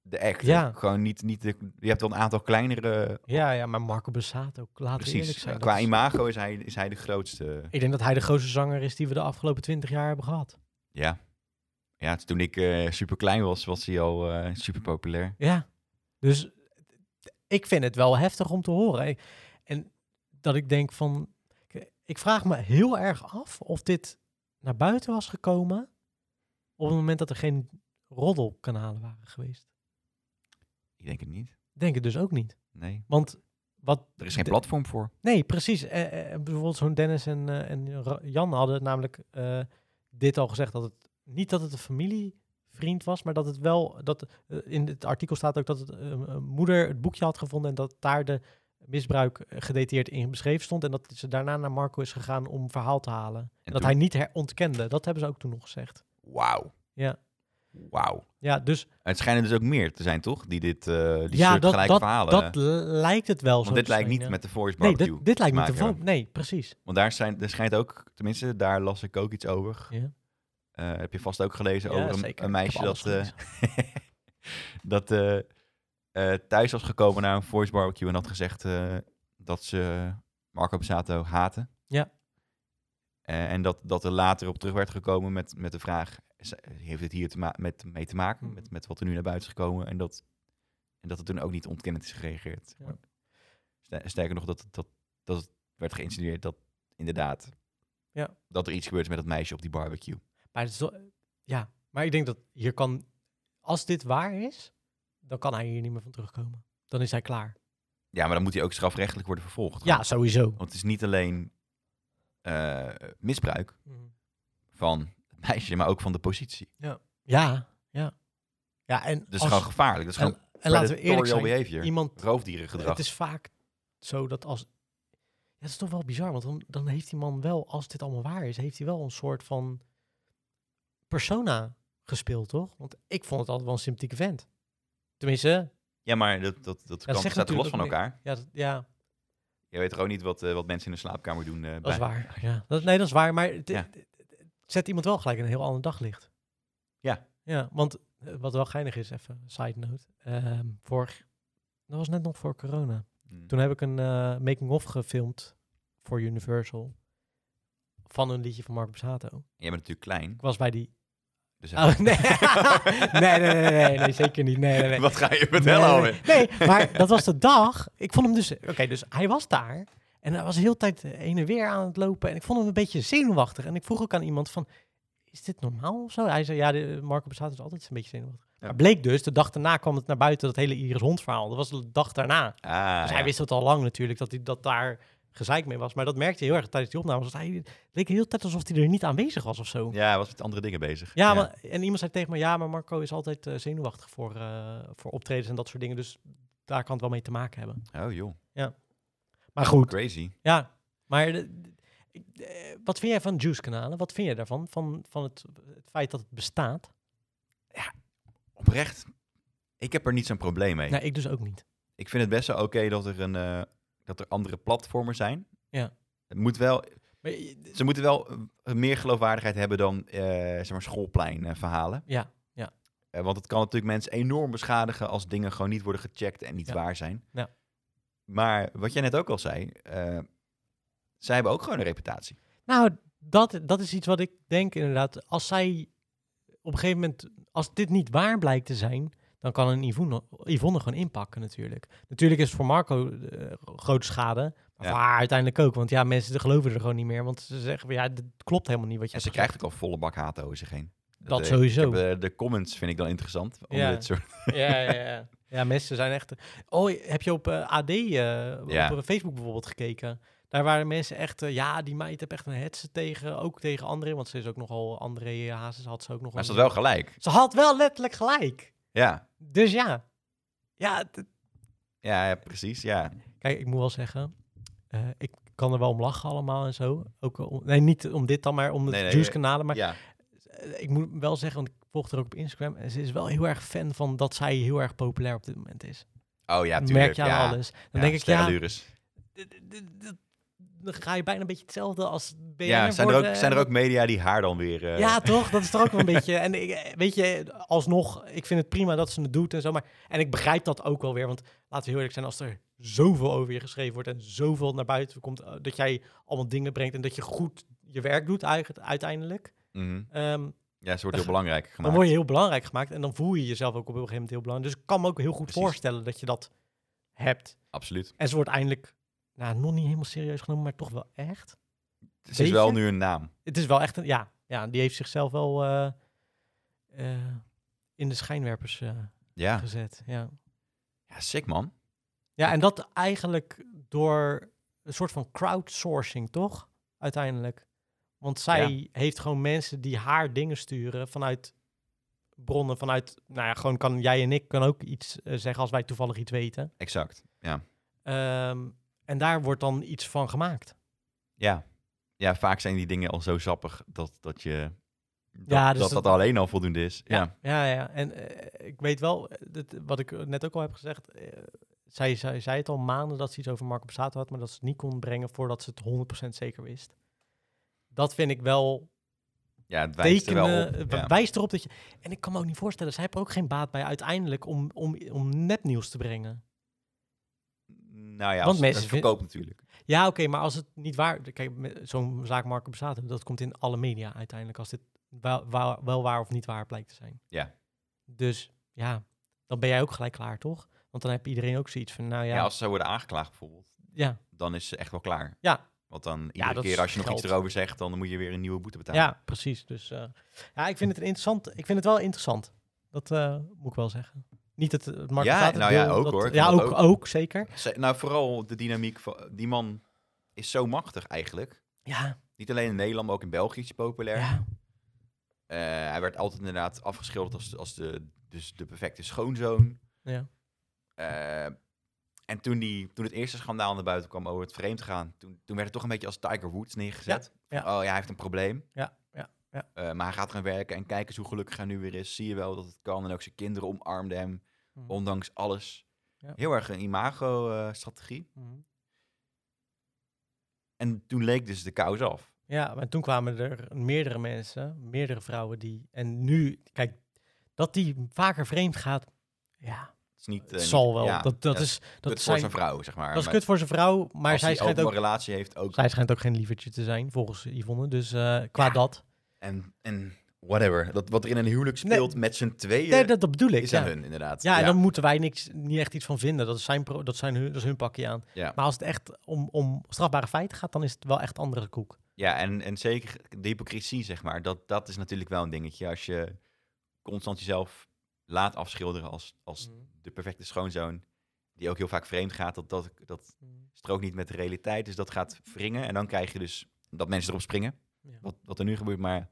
S2: De echte.
S1: Ja.
S2: Gewoon niet, niet de, je hebt wel een aantal kleinere...
S1: Ja, ja, maar Marco Bussato, ook. Laten we eerlijk
S2: Precies. eh,
S1: zijn.
S2: Qua
S1: dat is-
S2: imago is hij, is hij de grootste.
S1: ik denk dat hij de grootste zanger is... die we de afgelopen twintig jaar hebben gehad.
S2: Ja. Ja, t- toen ik super klein was, was hij al eh, super populair.
S1: Ja, dus t- ik vind het wel heftig om te horen. Ik- En dat ik denk van, ik- ik vraag me heel erg af of dit naar buiten was gekomen op het moment dat er geen roddelkanalen waren geweest.
S2: Ik denk het niet.
S1: Ik Denk het dus ook niet.
S2: Nee.
S1: Want wat...
S2: Er is geen
S1: de-
S2: platform voor.
S1: Nee, precies. Eh, eh, bijvoorbeeld zo'n Dennis en, eh, en Ra- Jan hadden namelijk eh, dit al gezegd. Dat het niet dat het een familievriend was, maar dat het wel... Dat, eh, in het artikel staat ook dat het, eh, een moeder het boekje had gevonden... en dat daar de misbruik eh, gedetailleerd in beschreven stond... en dat ze daarna naar Marco is gegaan om verhaal te halen. En
S2: En
S1: dat
S2: toen-
S1: hij niet her- ontkende. Dat hebben ze ook toen nog gezegd.
S2: Wauw.
S1: Ja.
S2: Wauw.
S1: Ja, dus
S2: Het schijnen dus ook meer te zijn, toch? Die dit eh die
S1: ja,
S2: soort
S1: dat,
S2: gelijke
S1: dat,
S2: verhalen...
S1: dat lijkt het wel zo
S2: want dit
S1: te
S2: lijkt
S1: zijn,
S2: niet
S1: ja.
S2: met de Voice
S1: Nee,
S2: Barbecue.
S1: dit, dit lijkt niet
S2: te
S1: te
S2: maken
S1: vo- Nee, precies.
S2: Want daar, zijn, er schijnt ook... Tenminste, daar las ik ook iets over.
S1: Ja.
S2: Eh, heb je vast ook gelezen
S1: Ja,
S2: over een-
S1: zeker.
S2: een
S1: Ik
S2: meisje
S1: heb alles
S2: dat... eh,
S1: gelezen.
S2: dat eh, eh, thuis was gekomen naar een voice barbecue en had gezegd eh, dat ze Marco Bazzato haatte.
S1: Ja.
S2: Eh, en dat, dat er later op terug werd gekomen met, met de vraag, is- heeft het hier te ma- met, mee te maken,
S1: Hmm.
S2: met, met wat er nu naar buiten is gekomen? En dat, en dat het toen ook niet ontkennend is gereageerd.
S1: Ja.
S2: Ster- Sterker nog, dat, dat, dat het werd geïnsinueerd dat inderdaad
S1: Ja.
S2: dat er iets gebeurt met dat meisje op die barbecue.
S1: Maar het is wel- ja, maar ik denk dat hier kan, als dit waar is, dan kan hij hier niet meer van terugkomen. Dan is hij klaar.
S2: Ja, maar dan moet hij ook strafrechtelijk worden vervolgd.
S1: Ja, sowieso.
S2: Want het is niet alleen eh, misbruik
S1: Mhm.
S2: van het meisje, maar ook van de positie.
S1: Ja, ja. Ja, en,
S2: Dat is
S1: als-
S2: gewoon gevaarlijk. Dat is gewoon
S1: en, en laten we eerlijk
S2: predatorial
S1: zijn,
S2: behavior.
S1: iemand,
S2: Roofdierengedrag.
S1: het is vaak zo dat als, ja, het is toch wel bizar, want dan, dan heeft die man wel, als dit allemaal waar is, heeft hij wel een soort van persona gespeeld, toch? Want ik vond het altijd wel een sympathieke vent. Tenminste,
S2: Ja, maar dat, dat, dat kan,
S1: zegt
S2: staat toch los van
S1: natuurlijk ook
S2: elkaar.
S1: ja, dat, ja
S2: Je weet toch ook niet wat, eh, wat mensen in de slaapkamer doen. eh,
S1: Dat
S2: bij-
S1: is waar. Ja. Dat, nee, dat is waar. Maar het,
S2: Ja.
S1: het- het zet iemand wel gelijk in een heel ander daglicht.
S2: Ja.
S1: Ja, want eh, wat wel geinig is, even side note. Ehm vorig, dat was net nog voor corona.
S2: Hmm.
S1: Toen heb ik een eh, making-of gefilmd voor Universal. Van een liedje van Marco Bussato.
S2: En jij bent natuurlijk klein.
S1: Ik was bij die...
S2: Dus
S1: Oh, nee. nee, nee, nee, nee, nee, nee, zeker niet. Nee, nee, nee.
S2: Wat ga je vertellen
S1: Nee,
S2: alweer?
S1: Nee, nee, maar dat was de dag. Ik vond hem dus... Oké, dus hij was daar. En hij was de hele tijd eh, heen en weer aan het lopen. En ik vond hem een beetje zenuwachtig. En ik vroeg ook aan iemand van... Is dit normaal of zo? Hij zei, ja, de, Marco Bassato is altijd een beetje zenuwachtig.
S2: Ja.
S1: Maar bleek dus, de dag daarna kwam het naar buiten, dat hele Iris Hond verhaal. Dat was de dag daarna.
S2: Ah,
S1: Dus
S2: ja.
S1: hij wist dat al lang natuurlijk, dat, hij, dat daar gezeik mee was. Maar dat merkte hij heel erg tijdens die opnames. Dat hij het leek de hele tijd alsof hij er niet aanwezig was of zo.
S2: Ja, hij was met andere dingen bezig.
S1: Ja, maar- en iemand zei tegen me, ja, maar Marco is altijd eh, zenuwachtig voor, eh, voor optredens en dat soort dingen. Dus daar kan het wel mee te maken hebben.
S2: Oh joh,
S1: Maar goed,
S2: crazy.
S1: ja. Maar de- de- ik- eh, wat vind jij van juice-kanalen? Wat vind jij daarvan? Van, van het, het feit dat het bestaat?
S2: Oprecht, ik heb er niet zo'n probleem mee.
S1: Nee, ik dus ook niet.
S2: ik vind het best wel oké dat, er een, eh, dat er andere platformen zijn.
S1: Ja.
S2: Het moet wel,
S1: Maar, je- d-
S2: ze moeten wel eh, meer geloofwaardigheid hebben dan eh, zeg maar schoolpleinverhalen.
S1: ja,
S2: Eh, want het kan natuurlijk mensen enorm beschadigen als dingen gewoon niet worden gecheckt en niet
S1: Ja.
S2: waar zijn.
S1: Ja.
S2: Maar wat jij net ook al zei, eh, zij hebben ook gewoon een reputatie.
S1: Nou, dat, dat is iets wat ik denk inderdaad. Als zij op een gegeven moment, als dit niet waar blijkt te zijn, dan kan een Yvonne, Yvonne gewoon inpakken natuurlijk. Natuurlijk is het voor Marco eh, grote schade, maar
S2: Ja.
S1: voor haar uiteindelijk ook. Want ja, mensen geloven er gewoon niet meer, want ze zeggen, van, ja, dit klopt helemaal niet wat je
S2: En ze
S1: hebt gezegd.
S2: krijgt ook al volle bak haat over zich heen.
S1: Dat
S2: eh,
S1: sowieso.
S2: ik heb, eh, de comments vind ik dan interessant. Om
S1: Ja.
S2: dit soort...
S1: Ja, ja, ja. Ja, mensen zijn echt... Oh, heb je op eh, AD, eh, op eh, Facebook bijvoorbeeld gekeken? Daar waren mensen echt... eh, ja, die meid heb echt een hetze tegen. Ook tegen André, want ze is ook nogal... André Hazes had ze ook nogal...
S2: Maar ze had wel gelijk.
S1: Ze had wel letterlijk gelijk.
S2: Ja,
S1: Dus ja. Ja, het-
S2: ja, ja, precies. Ja.
S1: kijk, ik moet wel zeggen... eh, ik kan er wel om lachen allemaal en zo. Ook eh, om, nee, niet om dit dan, maar om de
S2: Nee, nee,
S1: Juice-kanalen. Maar
S2: ja.
S1: eh, ik moet wel zeggen, want ik volg haar ook op Instagram. En ze is wel heel erg fan van dat zij heel erg populair op dit moment is.
S2: Oh ja,
S1: Dat
S2: tuurlijk.
S1: merk je aan
S2: ja.
S1: alles. Dan
S2: Ja,
S1: denk ik, ja,
S2: sterrenlures.
S1: d- d- d- dan ga je bijna een beetje hetzelfde als BNR
S2: Ja, zijn er, ook,
S1: worden.
S2: zijn er ook media die haar dan weer... eh,
S1: eh, Ja, toch? Dat is toch ook wel een beetje... En ik, eh, weet je, alsnog, ik vind het prima dat ze het doet en zo. Maar, en ik begrijp dat ook wel weer. Want laten we heel eerlijk zijn, als er zoveel over je geschreven wordt... en zoveel naar buiten komt, eh, dat jij allemaal dingen brengt... en dat je goed je werk doet eigenlijk, uiteindelijk...
S2: mhm.
S1: ehm,
S2: Ja, ze wordt heel belangrijk
S1: dan
S2: gemaakt.
S1: word je heel belangrijk gemaakt... en dan voel je jezelf ook op een gegeven moment heel belangrijk. Dus ik kan me ook heel goed
S2: Precies.
S1: voorstellen dat je dat hebt.
S2: Absoluut.
S1: En ze wordt eindelijk... Nou, nog niet helemaal serieus genomen, maar toch wel echt.
S2: Ze is
S1: Beetje?
S2: wel nu een naam.
S1: Het is wel echt een. Ja, ja die heeft zichzelf wel eh, eh, in de schijnwerpers eh,
S2: Ja.
S1: gezet. Ja.
S2: ja, sick man.
S1: ja, en dat eigenlijk door een soort van crowdsourcing, toch? Uiteindelijk. Want zij heeft gewoon mensen die haar dingen sturen vanuit bronnen, vanuit. Nou ja, gewoon kan jij en ik kan ook iets eh, zeggen als wij toevallig iets weten.
S2: Exact. Ja.
S1: Ehm, en daar wordt dan iets van gemaakt.
S2: Ja. ja, vaak zijn die dingen al zo sappig dat, dat je... Dat,
S1: Ja, dus
S2: dat,
S1: dat-
S2: dat alleen al voldoende is. Ja.
S1: Ja, ja, ja. En eh, ik weet wel, eh, dat, wat ik eh, net ook al heb gezegd. eh, zij, zij zei het al maanden dat ze iets over Marco Borsato had, maar dat ze het niet kon brengen voordat ze het 100% zeker wist. Dat vind ik wel
S2: Ja, het wijst er wel
S1: tekenen.
S2: op.
S1: eh,
S2: Ja.
S1: Wijst erop dat je. En ik kan me ook niet voorstellen, zij heeft er ook geen baat bij uiteindelijk om, om, om nepnieuws te brengen.
S2: Nou ja,
S1: Want
S2: als,
S1: mensen
S2: dat
S1: vin-
S2: verkoopt natuurlijk.
S1: Ja, oké, maar als het niet waar. Kijk, me- zo'n zaak Marco Borsato, dat komt in alle media uiteindelijk. Als dit wel, wel, wel waar of niet waar blijkt te zijn.
S2: Ja.
S1: Dus ja, dan ben jij ook gelijk klaar, toch? Want dan heb iedereen ook zoiets van, nou ja.
S2: Ja. als ze worden aangeklaagd bijvoorbeeld,
S1: ja,
S2: dan is ze echt wel klaar.
S1: Ja.
S2: Want dan iedere
S1: dat
S2: keer
S1: is
S2: als je nog
S1: geld.
S2: iets erover zegt, dan moet je weer een nieuwe boete betalen.
S1: ja, precies. Dus eh, ja, ik vind het een interessant. Ik vind het wel interessant. Dat eh, moet ik wel zeggen. Niet dat het Marco
S2: Ja,
S1: Borsato
S2: nou
S1: wil
S2: ja, ook
S1: dat-
S2: hoor. Ik
S1: Ja,
S2: vind
S1: ook,
S2: dat
S1: ook. zeker.
S2: Ze- nou, vooral de dynamiek van die man is zo machtig eigenlijk.
S1: Ja,
S2: Niet alleen in Nederland, maar ook in België is hij populair.
S1: ja.
S2: Eh, hij werd altijd inderdaad afgeschilderd als, als de, dus de perfecte schoonzoon.
S1: Ja.
S2: Eh, en toen, die, toen het eerste schandaal naar buiten kwam over het vreemd gaan, toen, toen werd het toch een beetje als Tiger Woods neergezet.
S1: Ja,
S2: Oh ja, hij heeft een probleem.
S1: Ja, ja, ja.
S2: Eh, maar hij gaat gaan werken en kijk eens hoe gelukkig hij nu weer is. Zie je wel dat het kan. En ook zijn kinderen omarmden hem,
S1: Mhm.
S2: ondanks alles.
S1: Ja.
S2: Heel erg een eh, imago-strategie.
S1: Mhm.
S2: en toen leek dus de kous af.
S1: Ja, maar toen kwamen er meerdere mensen, meerdere vrouwen die. En nu, kijk, dat die vaker vreemd gaat, ja,
S2: Het is niet,
S1: het
S2: eh,
S1: zal
S2: niet-
S1: wel.
S2: ja,
S1: dat dat
S2: ja,
S1: is,
S2: kut
S1: dat
S2: voor
S1: zijn,
S2: zijn vrouw, zeg maar.
S1: dat is
S2: Maar
S1: kut voor zijn vrouw, maar
S2: als
S1: zij
S2: hij
S1: schijnt,
S2: open
S1: ook,
S2: een relatie heeft ook.
S1: zij schijnt ook geen lievertje te zijn, volgens Yvonne. Dus eh, qua dat.
S2: En, en whatever. Dat, wat er in een huwelijk speelt met z'n tweeën
S1: Nee, dat, dat bedoel ik.
S2: is aan
S1: Ja.
S2: hun, inderdaad.
S1: ja, en dan moeten wij niks, niet echt iets van vinden. Dat is, zijn, pro- dat zijn hun, dat is hun pakje aan.
S2: Ja.
S1: Maar als het echt om, om strafbare feiten gaat, dan is het wel echt andere koek.
S2: Ja, en, en zeker de hypocrisie, zeg maar. Dat, dat is natuurlijk wel een dingetje. Als je constant jezelf laat afschilderen als, als
S1: Mm.
S2: de perfecte schoonzoon, die ook heel vaak vreemd gaat, dat, dat, dat strookt niet met de realiteit. Dus dat gaat wringen. En dan krijg je dus dat mensen erop springen.
S1: Ja.
S2: Wat, wat er nu gebeurt, maar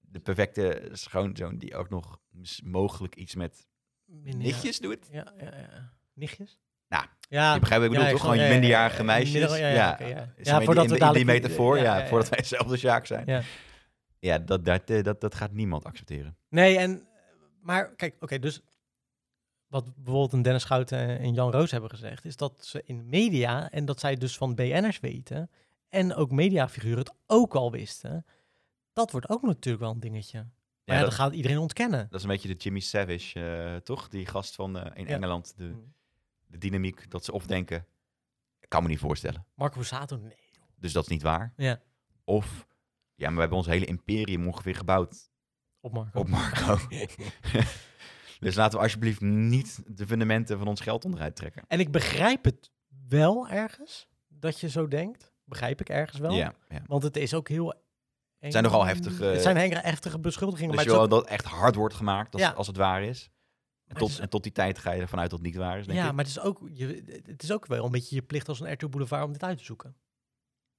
S2: de perfecte schoonzoon die ook nog mis- mogelijk iets met nichtjes doet.
S1: Ja, ja, ja. Nichtjes?
S2: Nou,
S1: ja,
S2: Je begrijpt wat ik
S1: ja,
S2: bedoel, toch? Gewoon
S1: ja,
S2: je
S1: ja, ja,
S2: minderjarige
S1: ja,
S2: meisjes.
S1: minder- ja, ja, oké, ja. Ja, voordat
S2: voordat
S1: we
S2: in, de- in die
S1: dadelijk-
S2: metafoor,
S1: ja,
S2: ja,
S1: ja, ja.
S2: voordat wij zelf de Sjaak zijn.
S1: Ja.
S2: Ja, dat, dat, eh, dat, dat gaat niemand accepteren.
S1: Nee, en maar kijk, oké, dus wat bijvoorbeeld een Dennis Schouten en en Jan Roos hebben gezegd, is dat ze in media en dat zij dus van BN'ers weten en ook mediafiguren het ook al wisten, dat wordt ook natuurlijk wel een dingetje. Maar ja,
S2: Ja,
S1: dat,
S2: dat,
S1: gaat iedereen ontkennen.
S2: dat is een beetje de Jimmy Savage, eh, toch? Die gast van eh, in
S1: Ja. Mm.
S2: Engeland, de, de dynamiek dat ze of denken, ik kan me niet voorstellen.
S1: Marco Borsato, nee.
S2: Dus dat is niet waar.
S1: Ja.
S2: Of, ja, maar we hebben ons hele imperium ongeveer gebouwd
S1: Op Marco.
S2: op Marco. dus laten we alsjeblieft niet de fundamenten van ons geld onderuit trekken.
S1: En ik begrijp het wel ergens, dat je zo denkt. Begrijp ik ergens wel.
S2: Ja, ja.
S1: Want het is ook heel... eng.
S2: zijn nogal heftige-
S1: Het zijn henge- heftige beschuldigingen.
S2: Dus
S1: Maar
S2: je
S1: het is
S2: wil dat echt hard wordt gemaakt als,
S1: Ja.
S2: als het waar is. En
S1: Maar
S2: tot,
S1: het is-
S2: en tot die tijd ga je ervan uit dat het niet waar is,
S1: ook-
S2: denk
S1: ja,
S2: ik.
S1: maar het is, ook, je, het is ook wel een beetje je plicht als een RTL Boulevard om dit uit te zoeken.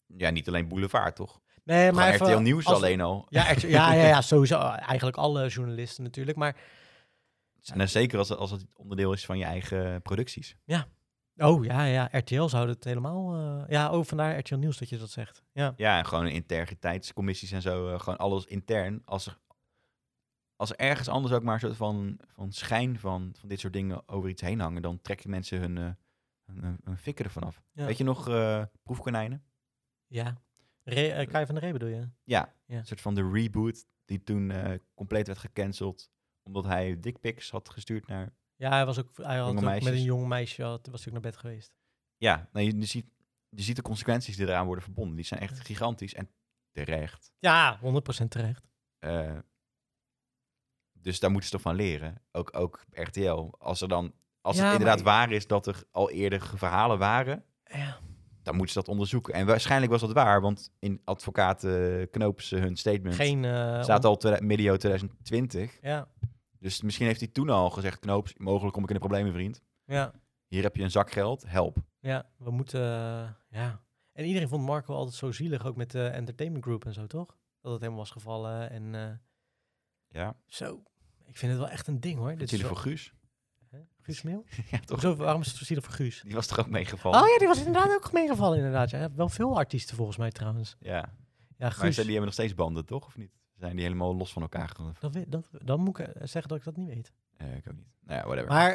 S2: Ja, niet alleen Boulevard, toch?
S1: Nee,
S2: Maar
S1: maar even
S2: RTL Nieuws
S1: als-
S2: alleen al.
S1: Ja, RTL ja, ja, ja, sowieso. Eigenlijk alle journalisten natuurlijk. Maar
S2: En dan zeker als, als het onderdeel is van je eigen producties.
S1: Oh ja, ja, RTL zou het helemaal. eh, ja, oh, vandaar RTL Nieuws dat je dat zegt. Ja,
S2: Ja, en gewoon integriteitscommissies en zo. eh, gewoon alles intern. Als er, als er ergens anders ook maar een soort van, van schijn van, van dit soort dingen over iets heen hangen, dan trekken mensen hun, eh hun, hun- hun fikken ervan af.
S1: Ja.
S2: Weet je nog eh, proefkonijnen?
S1: ja. Re eh, Kai van der Ree bedoel je?
S2: Ja,
S1: Ja.
S2: een soort van de reboot die toen eh, compleet werd gecanceld. Omdat hij dickpics had gestuurd naar...
S1: Ja, hij was ook, hij
S2: Jonge
S1: had ook met
S2: meisjes.
S1: een jong meisje had, was hij ook naar bed geweest.
S2: Ja, nou, je, je, ziet, je ziet de consequenties die eraan worden verbonden. Die zijn echt gigantisch en terecht.
S1: Ja, 100% terecht.
S2: Eh, dus daar moeten ze toch van leren. Ook, ook RTL. Als, er dan, als
S1: Ja,
S2: het
S1: maar
S2: inderdaad
S1: ik-
S2: waar is dat er al eerder ge- verhalen waren...
S1: Ja.
S2: dan moeten ze dat onderzoeken. En waarschijnlijk was dat waar, want in advocaat eh, Knoops eh, hun statement...
S1: Geen. eh,
S2: staat
S1: on-
S2: al twe- medio 2020...
S1: Ja,
S2: Dus misschien heeft hij toen al gezegd, Knoops, mogelijk kom ik in de problemen, vriend.
S1: ja,
S2: Hier heb je een zak geld, help.
S1: ja. We moeten. eh, ja. En iedereen vond Marco altijd zo zielig, ook met de Entertainment Group en zo, toch? Dat het helemaal was gevallen en eh,
S2: Ja,
S1: zo. Ik vind het wel echt een ding hoor.
S2: dit
S1: Dit
S2: is
S1: is
S2: voor
S1: wel...
S2: Guus.
S1: Hè? Guus Meel?
S2: ja, toch?
S1: Hoezo, waarom is het zo zielig voor Guus?
S2: Die was er ook meegevallen.
S1: Oh ja, die was inderdaad ook meegevallen, inderdaad. Ja, wel veel artiesten volgens mij trouwens.
S2: ja.
S1: Ja,
S2: Maar
S1: Guus,
S2: zijn, die hebben nog steeds banden, toch? Of niet? Zijn die helemaal los van elkaar? ge-
S1: dat, weet- dat, dan moet ik eh, zeggen dat ik dat niet weet.
S2: Eh, ik ook niet. Nou ja, whatever.
S1: Maar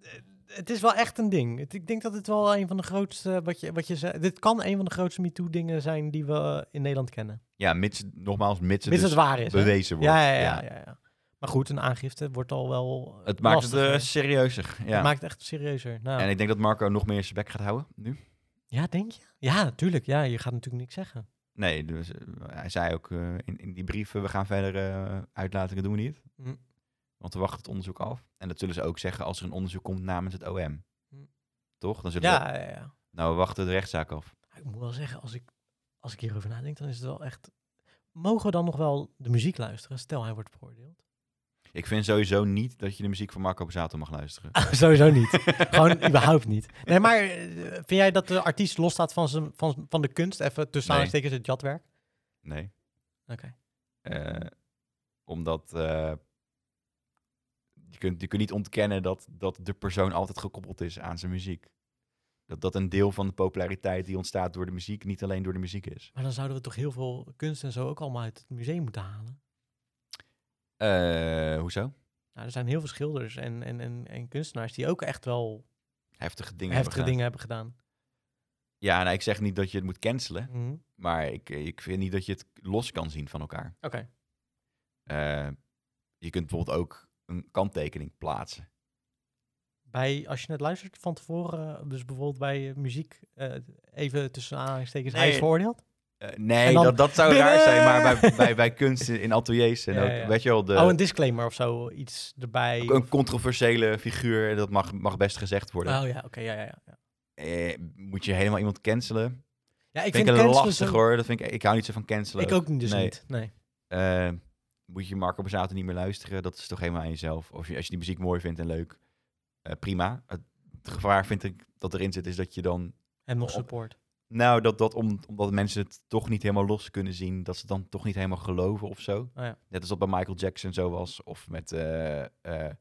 S1: eh, het is wel echt een ding. Het- ik denk dat het wel een van de grootste, eh, wat je, wat je zei, dit kan een van de grootste MeToo-dingen zijn die we eh, in Nederland kennen.
S2: Ja, mits, nogmaals, mits het
S1: Mits
S2: dus
S1: het waar is. hè?
S2: bewezen wordt.
S1: Ja, ja, ja, ja, ja. Maar goed, een aangifte wordt al wel eh,
S2: Het maakt het
S1: lastiger.
S2: eh, serieuzer. Ja.
S1: Het maakt het echt serieuzer. Nou,
S2: En ik denk dat Marco nog meer zijn bek gaat houden nu.
S1: ja, denk je? Ja, natuurlijk. Ja, je gaat natuurlijk niks zeggen.
S2: Nee, dus, eh, hij zei ook eh, in, in die brieven, we gaan verder eh, uitlatingen doen we niet.
S1: Hm.
S2: Want we wachten het onderzoek af. En dat zullen ze ook zeggen als er een onderzoek komt namens het OM.
S1: Hm.
S2: Toch? Dan zullen
S1: Ja, ja, ja.
S2: we... Nou, we wachten de rechtszaak af.
S1: Ik moet wel zeggen, als ik, als ik hierover nadenk, dan is het wel echt... Mogen we dan nog wel de muziek luisteren? Stel, hij wordt veroordeeld.
S2: Ik vind sowieso niet dat je de muziek van Marco Borsato mag luisteren.
S1: Ah, Sowieso niet. Gewoon überhaupt niet. Nee, maar eh, vind jij dat de artiest losstaat van, zijn, van, van de kunst? Even tussen
S2: Nee.
S1: aanstekens het jatwerk.
S2: Nee.
S1: Oké.
S2: Eh, omdat eh, je, kunt, je kunt niet ontkennen dat, dat de persoon altijd gekoppeld is aan zijn muziek. Dat dat een deel van de populariteit die ontstaat door de muziek niet alleen door de muziek is.
S1: Maar dan zouden we toch heel veel kunst en zo ook allemaal uit het museum moeten halen?
S2: Eh, hoezo?
S1: Nou, er zijn heel veel schilders en, en, en, en kunstenaars die ook echt wel
S2: Heftige dingen.
S1: heftige
S2: hebben
S1: dingen hebben gedaan.
S2: gedaan. Ja, nou, ik zeg niet dat je het moet cancelen.
S1: Mhm.
S2: Maar ik, ik vind niet dat je het los kan zien van elkaar.
S1: Oké.
S2: Eh, je kunt bijvoorbeeld ook een kanttekening plaatsen.
S1: Bij, als je net luistert van tevoren, eh, dus bijvoorbeeld bij eh, muziek, eh, even tussen aanhalingstekens, hij is
S2: Nee.
S1: veroordeeld?
S2: Eh, nee,
S1: En dan-
S2: dat, dat zou
S1: Binnen!
S2: raar zijn, maar bij, bij, bij kunst in ateliers en
S1: Ja,
S2: ook,
S1: ja.
S2: weet je wel, de,
S1: oh, een disclaimer of zo, iets erbij.
S2: Eh. ook een controversiële figuur, dat mag, mag best gezegd worden.
S1: Oh ja, oké, ja, ja, ja.
S2: Eh, moet je helemaal iemand cancelen?
S1: ja ik vind
S2: Ik vind ik een
S1: cancelen
S2: lastig
S1: zo-
S2: hoor, dat vind ik, ik hou niet zo van cancelen.
S1: Ik ook niet, dus
S2: Nee.
S1: niet. Nee.
S2: Eh, moet je Marco Bazzato niet meer luisteren, dat is toch helemaal aan jezelf. Of je, als je die muziek mooi vindt en leuk, eh, prima. Het, het gevaar vind ik dat erin zit, is dat je dan
S1: En nog
S2: Op-
S1: support.
S2: Nou, dat, dat om, omdat mensen het toch niet helemaal los kunnen zien. Dat ze het dan toch niet helemaal geloven of zo.
S1: Oh ja.
S2: Net als dat bij Michael Jackson zo was. Of met, eh, eh, nou,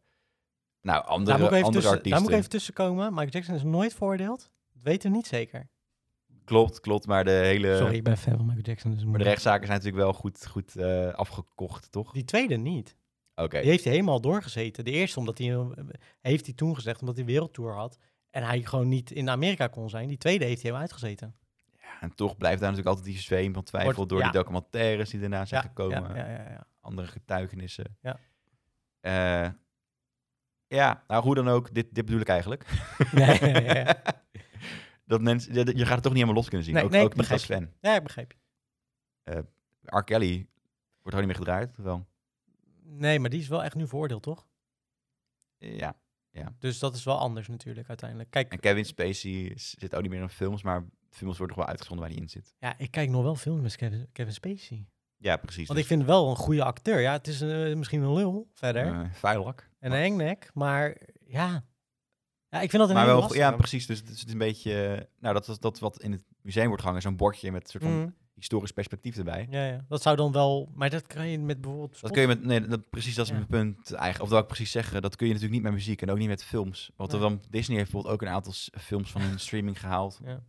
S1: Daar
S2: andere,
S1: moet, ik even
S2: andere
S1: tussen, daar
S2: artiesten.
S1: moet ik even tussen komen. Michael Jackson is nooit veroordeeld. Dat weten we niet zeker.
S2: Klopt, klopt. Maar de hele...
S1: Sorry, ik ben fan van Michael Jackson. Dus
S2: Maar
S1: moet-
S2: de rechtszaken zijn natuurlijk wel goed, goed eh, afgekocht, toch?
S1: Die tweede niet.
S2: Oké.
S1: Die heeft hij helemaal doorgezeten. De eerste omdat hij, een- heeft hij toen gezegd, omdat hij wereldtour had. En hij gewoon niet in Amerika kon zijn. Die tweede heeft hij helemaal uitgezeten.
S2: Ja, en toch blijft daar natuurlijk altijd die zweem van twijfel
S1: Wordt-
S2: door
S1: ja.
S2: die documentaires die daarna zijn
S1: ja,
S2: gekomen.
S1: Ja, ja, ja, ja.
S2: Andere getuigenissen.
S1: Ja.
S2: Eh, Ja, nou hoe dan ook, dit, dit bedoel ik eigenlijk.
S1: Nee, ja, ja.
S2: dat mensen, je je gaat het toch niet helemaal los kunnen zien.
S1: Nee,
S2: ook
S1: nee,
S2: ook
S1: ik
S2: niet als
S1: begrijp
S2: fan.
S1: ja, ik begrijp je.
S2: R. Kelly wordt er ook niet meer gedraaid. of Wel.
S1: Nee, maar die is wel echt nu veroordeeld, toch?
S2: Ja.
S1: Dus dat is wel anders natuurlijk uiteindelijk. Kijk,
S2: En Kevin Spacey zit ook niet meer in films, maar films worden gewoon uitgezonden waar hij in zit.
S1: ja, ik kijk nog wel films met Kevin, Kevin Spacey.
S2: Ja, precies.
S1: Want ik vind hem wel een goede acteur. Ja, het is eh, misschien een lul verder
S2: Dus, eh, vuilak.
S1: en een engnek, maar ja. Ja, ik vind dat een
S2: Maar
S1: hele
S2: wel,
S1: lastige.
S2: ja, precies. Dus het is het is een beetje, eh, nou, dat, dat, dat wat in het museum wordt gehangen, zo'n bordje met een soort van
S1: Mm,
S2: historisch perspectief erbij.
S1: ja, ja, dat zou dan wel... Maar dat kan je met bijvoorbeeld...
S2: Dat kun je met, nee, dat, precies, dat is
S1: Ja.
S2: mijn punt eigenlijk. Of dat ik precies zeggen, dat kun je natuurlijk niet met muziek en ook niet met films. Want
S1: Nee.
S2: dan, Disney heeft bijvoorbeeld ook een aantal s- films van hun streaming gehaald.
S1: Ja.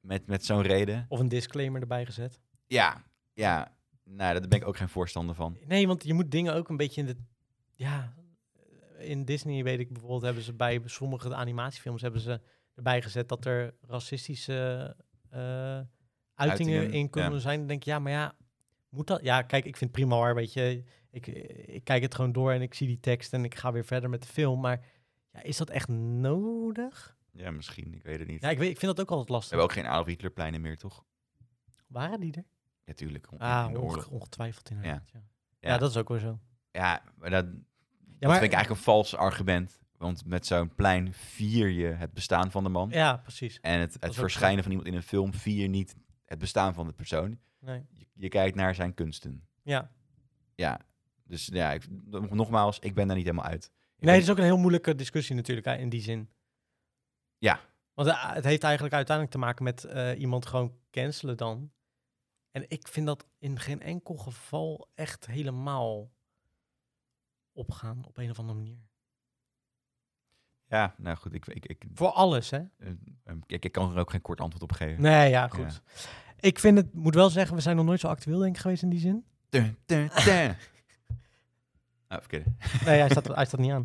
S2: Met, met zo'n reden.
S1: Of een disclaimer erbij gezet.
S2: Ja, ja. Nou, daar ben ik ook geen voorstander van.
S1: Nee, want je moet dingen ook een beetje in de... Ja, in Disney weet ik bijvoorbeeld hebben ze bij sommige animatiefilms hebben ze erbij gezet dat er racistische eh, uitingen,
S2: Uitingen,
S1: in kunnen
S2: ja.
S1: zijn. Dan denk je, ja, maar ja, moet dat? Ja, kijk, ik vind het prima hoor, weet je. Ik, ik kijk het gewoon door en ik zie die tekst en ik ga weer verder met de film. Maar ja, is dat echt nodig?
S2: Ja, misschien. Ik weet het niet.
S1: Ja, ik, weet, ik vind dat ook altijd
S2: We
S1: lastig.
S2: hebben ook geen Adolf Hitlerpleinen meer, toch?
S1: Waren die er?
S2: Natuurlijk. Ja, tuurlijk,
S1: Ah,
S2: in de
S1: onge-
S2: oorlog.
S1: ongetwijfeld inderdaad. Ja. Ja.
S2: Ja.
S1: dat is ook weer zo.
S2: Ja, maar dat,
S1: Ja,
S2: dat
S1: maar,
S2: vind ik eigenlijk een vals argument. Want met zo'n plein vier je het bestaan van de man.
S1: ja precies.
S2: En het,
S1: is
S2: het
S1: ook
S2: verschijnen van iemand in een film vier niet het bestaan van de persoon.
S1: Nee.
S2: Je, je kijkt naar zijn kunsten.
S1: Ja.
S2: Ja, dus ja, ik, nog- nogmaals, ik ben daar niet helemaal uit. Ik
S1: Nee,
S2: ben-
S1: het is ook een heel moeilijke discussie natuurlijk hè, in die zin.
S2: Ja.
S1: Want eh, het heeft eigenlijk uiteindelijk te maken met eh, iemand gewoon cancelen dan. En ik vind dat in geen enkel geval echt helemaal opgaan op een of andere manier.
S2: Ja, nou goed, ik, ik, ik,
S1: Voor alles, hè?
S2: eh, ehm, ik, ik kan er ook geen kort antwoord op geven.
S1: Nee, ja, goed. Ik vind het, moet wel zeggen, we zijn nog nooit zo actueel denk ik geweest in die zin.
S2: Dun, dun, dun. Ah, verkeerde.
S1: Nee, hij staat, hij staat niet aan.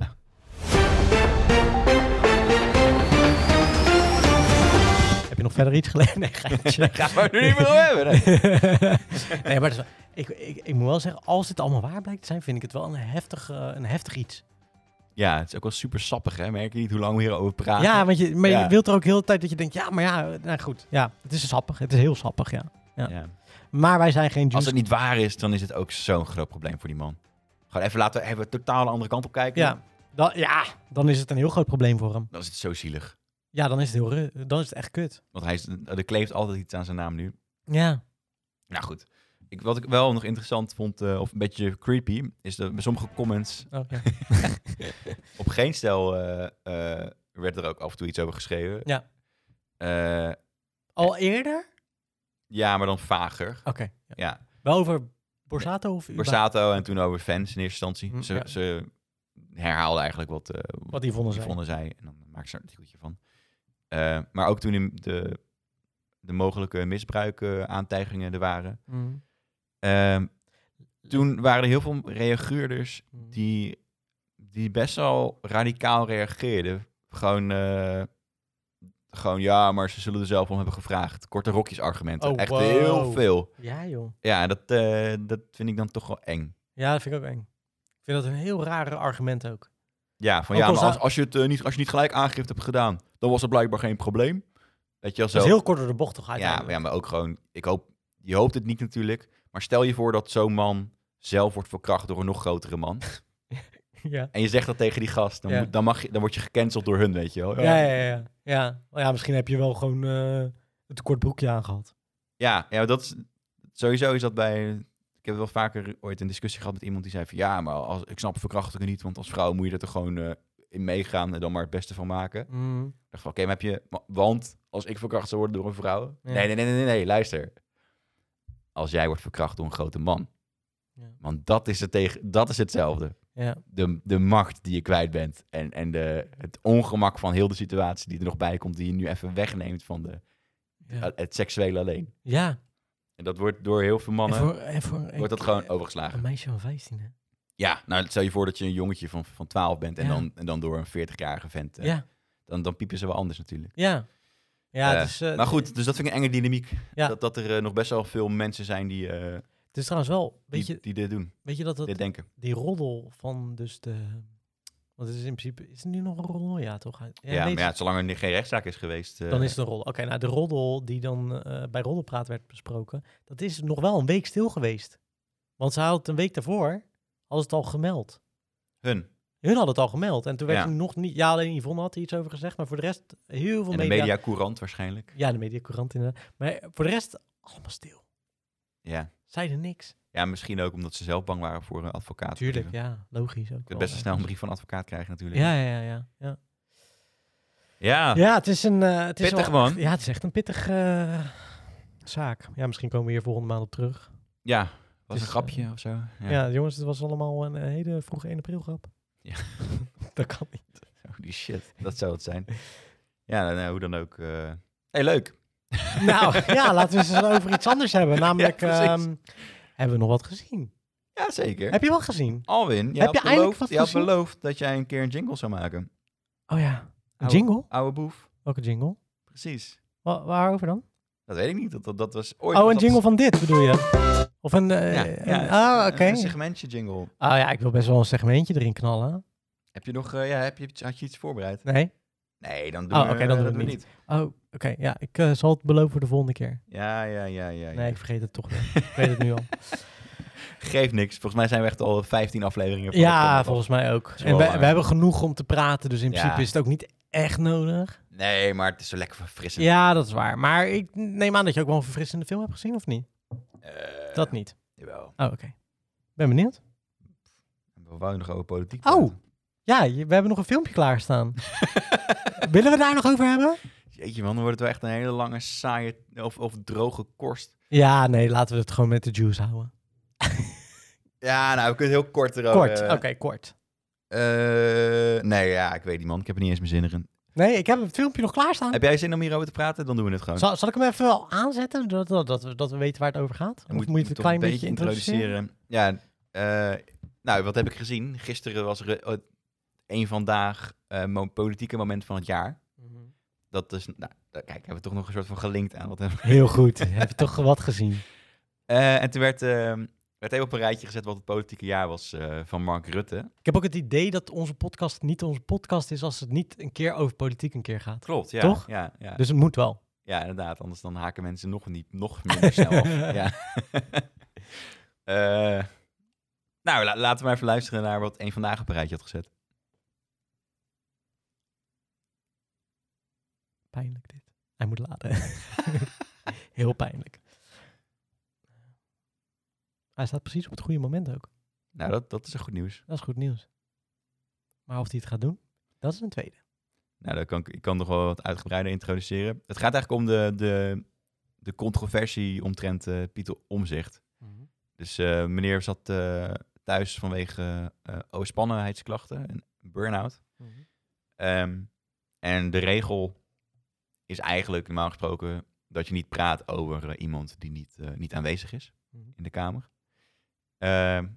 S1: Heb je nog verder iets gelezen? Nee, geintje.
S2: Gaan we het nu niet meer over hebben. nee.
S1: nee, maar dat is wel- ik, ik, ik moet wel zeggen, als dit allemaal waar blijkt te zijn, vind ik het wel een heftig, eh, een heftig iets.
S2: Ja, het is ook wel super sappig, hè? Merk je niet hoe lang we hierover praten?
S1: ja, want je, maar je
S2: Ja.
S1: wilt er ook heel de tijd dat je denkt, ja, maar ja, eh, nou goed. Ja, het is sappig. Het is heel sappig, ja.
S2: Ja.
S1: Maar wij zijn geen
S2: Als
S1: juice.
S2: het niet waar is, dan is het ook zo'n groot probleem voor die man. Gewoon even laten even totaal de andere kant op kijken.
S1: Ja. Dan, ja, dan is het een heel groot probleem voor hem.
S2: Dan is het zo zielig.
S1: Ja, dan is het, heel, ru- dan is het echt kut.
S2: Want hij is, er kleeft altijd iets aan zijn naam nu.
S1: Ja.
S2: Nou goed. Ik, wat ik wel nog interessant vond, eh, of een beetje creepy, is dat bij sommige comments
S1: Oh, ja.
S2: op geen stijl eh, eh, werd er ook af en toe iets over geschreven.
S1: Ja.
S2: Eh,
S1: Al eerder?
S2: ja, maar dan vager.
S1: Oké. ja.
S2: Ja.
S1: Wel over Borsato of überhaupt
S2: Borsato en toen over fans in eerste instantie.
S1: Hm,
S2: Ze,
S1: ja.
S2: ze herhaalden eigenlijk wat, eh,
S1: wat die vonden
S2: die
S1: zijn.
S2: vonden zij. En dan maakte ze er een artikeltje van. Eh, maar ook toen in de, de mogelijke misbruik-aantijgingen er waren.
S1: Mm.
S2: ehm, toen waren er heel veel reageerders
S1: Mm.
S2: die, die best wel radicaal reageerden. Gewoon, eh, gewoon ja, maar ze zullen er zelf om hebben gevraagd. Korte rokjes argumenten.
S1: Oh,
S2: Echt
S1: wow.
S2: heel veel.
S1: Ja, joh.
S2: Ja, dat, eh, dat vind ik dan toch wel eng.
S1: Ja, dat vind ik ook eng. Ik vind dat een heel rare argument ook.
S2: Ja, van
S1: Ook
S2: ja,
S1: al
S2: maar
S1: zou-
S2: als, als, je het, eh, niet, als je niet gelijk aangifte hebt gedaan, dan was het blijkbaar geen probleem. Weet je wel, zo.
S1: Dat is heel kort door de bocht toch
S2: ja, maar
S1: uiteindelijk.
S2: ja, maar ook gewoon, ik hoop, je hoopt het niet natuurlijk. Maar stel je voor dat zo'n man zelf wordt verkracht door een nog grotere man.
S1: Ja.
S2: En je zegt dat tegen die gast, dan,
S1: Ja.
S2: moet, dan, mag je, dan word je gecanceld door hun, weet je wel.
S1: Ja, ja, ja. ja. Ja. Maar ja, misschien heb je wel gewoon eh het kort broekje aangehad.
S2: Ja, ja, dat is, sowieso is dat bij. Ik heb wel vaker ooit een discussie gehad met iemand die zei van ja, maar als, ik snap verkrachtingen niet, want als vrouw moet je er toch gewoon eh, in meegaan en dan maar het beste van maken. Ik dacht van oké, maar heb je, wa- want als ik verkracht zou worden door een vrouw.
S1: Ja.
S2: Nee, nee, nee, nee, nee, luister. Als jij wordt verkracht door een grote man.
S1: Ja.
S2: Want dat is, het tegen, dat is hetzelfde.
S1: Ja.
S2: De, de macht die je kwijt bent. En, en de, het ongemak van heel de situatie die er nog bij komt. Die je nu even wegneemt van de,
S1: Ja.
S2: het seksuele alleen.
S1: ja.
S2: En dat wordt door heel veel
S1: En
S2: mannen.
S1: voor, en voor een,
S2: Wordt dat gewoon
S1: een
S2: overgeslagen?
S1: meisje van 15, hè?
S2: Ja, nou stel je voor dat je een jongetje van, van 12 bent en,
S1: Ja.
S2: dan, en dan door een 40-jarige vent. eh,
S1: Ja.
S2: Dan, dan piepen ze wel anders natuurlijk.
S1: Ja. Ja,
S2: Eh,
S1: het is, eh,
S2: Maar goed, dus dat vind ik een enge dynamiek.
S1: Ja.
S2: Dat, dat er eh, nog best wel veel mensen zijn die, eh,
S1: het is trouwens wel, weet
S2: die,
S1: je,
S2: die dit doen,
S1: weet je dat, dat
S2: dit denken.
S1: die roddel van dus de, Want het is in principe, is het nu nog een roddel? Ja, toch? Ja,
S2: Ja,
S1: nee, het
S2: maar ja, zolang er geen rechtszaak is geweest. eh,
S1: Dan is het een roddel. Oké, nou de roddel die dan eh, bij Roddelpraat werd besproken, dat is nog wel een week stil geweest. Want ze hadden het een week daarvoor, hadden ze het al gemeld.
S2: hun.
S1: Hun hadden het al gemeld. En toen werd
S2: Ja.
S1: toen nog niet, ja alleen Yvonne had er iets over gezegd, maar voor de rest heel veel
S2: En de
S1: media.
S2: media courant waarschijnlijk.
S1: Ja, de mediacourant inderdaad. Maar voor de rest, allemaal stil.
S2: Ja.
S1: Zeiden niks.
S2: ja, misschien ook omdat ze zelf bang waren voor een advocaat.
S1: Tuurlijk, ja. Logisch ook.
S2: Je kunt
S1: wel,
S2: best
S1: hè.
S2: snel een brief van een advocaat krijgen natuurlijk.
S1: Ja, ja, ja. Ja,
S2: Ja.
S1: ja het is een... eh, het is
S2: Pittig,
S1: wel echt-
S2: man.
S1: Ja, het is echt een pittige eh, zaak. Ja, misschien komen we hier volgende maand op terug.
S2: Ja, was
S1: Dus,
S2: een grapje of zo. Ja.
S1: Ja, jongens, het was allemaal een eh, hele vroege 1 april grap.
S2: Ja.
S1: dat kan niet.
S2: Holy shit, dat zou het zijn. Ja, nou, nou, hoe dan ook. eh hey, leuk.
S1: Nou, ja, laten we het eens over iets anders hebben. Namelijk,
S2: precies.
S1: ehm, hebben we nog wat gezien?
S2: Ja, zeker.
S1: Heb je wel gezien?
S2: Alwin, je
S1: Heb
S2: had,
S1: je eindelijk
S2: beloofd,
S1: wat
S2: je had
S1: gezien?
S2: beloofd dat jij een keer een jingle zou maken.
S1: Oh ja. Een
S2: Oude-
S1: jingle?
S2: Oude boef.
S1: Welke jingle?
S2: Precies.
S1: Wa- waarover dan?
S2: Dat weet ik niet. Dat, dat, dat was ooit...
S1: Oh,
S2: was
S1: een
S2: dat-
S1: jingle van dit bedoel je? Of een... eh,
S2: Ja,
S1: een-
S2: ja,
S1: ah,
S2: een-
S1: oké.
S2: Een segmentje jingle.
S1: Oh ja, ik wil best wel een segmentje erin knallen.
S2: Heb je nog... eh, ja, heb je, iets- had je iets voorbereid?
S1: Nee?
S2: Nee, dan doen
S1: Oh,
S2: we,
S1: oké, dan doen we het
S2: niet.
S1: Oh, oké. Ja, ik eh, zal het beloven voor de volgende keer.
S2: Ja, ja, ja, ja. ja.
S1: Nee, ik vergeet het toch weer. ik weet het nu al.
S2: Geeft niks. Volgens mij zijn we echt al 15 afleveringen. van de
S1: Ja,
S2: podcast.
S1: volgens mij ook.
S2: is
S1: En
S2: wel
S1: we,
S2: waar.
S1: we hebben genoeg om te praten, dus in
S2: Ja.
S1: principe is het ook niet echt nodig.
S2: Nee, maar het is zo lekker verfrissend.
S1: Ja, dat is waar. Maar ik neem aan dat je ook wel een verfrissende film hebt gezien, of niet?
S2: Eh,
S1: Dat niet.
S2: Jawel.
S1: Oh, oké. Ben benieuwd.
S2: We wouden nog over politiek
S1: Oh.
S2: praten.
S1: Ja, je- we hebben nog een filmpje klaarstaan. Willen we daar nog over hebben?
S2: Jeetje man, dan wordt het wel echt een hele lange, saaie of, of droge korst.
S1: Ja, nee, laten we het gewoon met de juice houden.
S2: Ja, nou, we kunnen het heel kort erover.
S1: Kort, oké,
S2: hebben.
S1: kort.
S2: Eh, nee, ja, ik weet niet man. Ik heb er niet eens mijn zin in.
S1: Nee, ik heb het filmpje nog klaarstaan.
S2: Heb jij zin om hierover te praten? Dan doen we het gewoon.
S1: Zal, zal ik hem even wel aanzetten, dat, dat, dat, we- dat we weten waar het over gaat? Of
S2: Dan
S1: moet je het een
S2: toch
S1: klein beetje introduceren?
S2: Ja, eh, nou, wat heb ik gezien? Gisteren was er eh, een vandaag eh, mo- politieke moment van het jaar. Dat is, nou, daar- kijk, hebben we toch nog een soort van gelinkt aan. Wat hebben we-
S1: Mhm. Heel goed, heb je toch wat gezien?
S2: Eh, en toen werd, eh, werd even op een rijtje gezet wat het politieke jaar was eh, van Mark Rutte.
S1: Ik heb ook het idee dat onze podcast niet onze podcast is als het niet een keer over politiek een keer gaat.
S2: Klopt, ja.
S1: Toch?
S2: Ja, ja.
S1: Dus het moet wel.
S2: Ja, inderdaad. Anders dan haken mensen nog niet, nog minder snel af. Ja. Eh, nou, la- laten we maar even luisteren naar wat een vandaag op een rijtje had gezet.
S1: Pijnlijk dit. Hij moet laden. Heel pijnlijk. Hij staat precies op het goede moment ook.
S2: Nou, dat, dat is een goed nieuws.
S1: Dat is goed nieuws. Maar of hij het gaat doen, dat is een tweede.
S2: Nou, dan kan ik, ik kan nog wel wat uitgebreider introduceren. Het gaat eigenlijk om de, de, de controversie omtrent eh, Pieter Omzicht. Dus eh, meneer zat eh, thuis vanwege eh overspannenheidsklachten en burn-out. Ehm, en de regel is eigenlijk normaal gesproken dat je niet praat over eh, iemand die niet, eh, niet aanwezig is
S1: Mhm.
S2: in de Kamer. Ehm,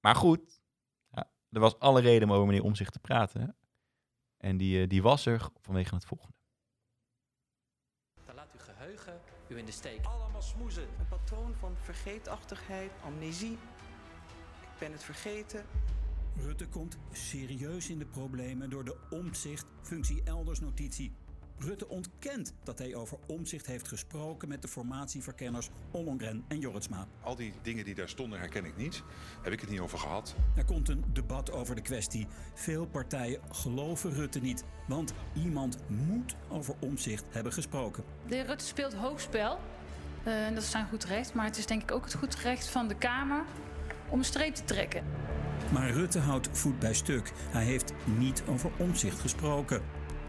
S2: maar goed, ja, er was alle reden om over meneer Omzicht te praten. En die, eh, die was er vanwege het volgende.
S3: Dan laat uw geheugen u in de steek.
S4: Allemaal smoezen. Een patroon van vergeetachtigheid, amnesie. Ik ben het vergeten.
S5: Rutte komt serieus in de problemen door de omzicht functie elders notitie. Rutte ontkent dat hij over omzicht heeft gesproken met de formatieverkenners Ollongren en Jorritsma.
S6: Al die dingen die daar stonden herken ik niet. Heb ik het niet over gehad.
S5: Er komt een debat over de kwestie. Veel partijen geloven Rutte niet, want iemand moet over omzicht hebben gesproken.
S7: De heer Rutte speelt hoogspel. Eh, en dat is zijn goed recht. Maar het is denk ik ook het goed recht van de Kamer om een streep te trekken.
S5: Maar Rutte houdt voet bij stuk. Hij heeft niet over omzicht gesproken.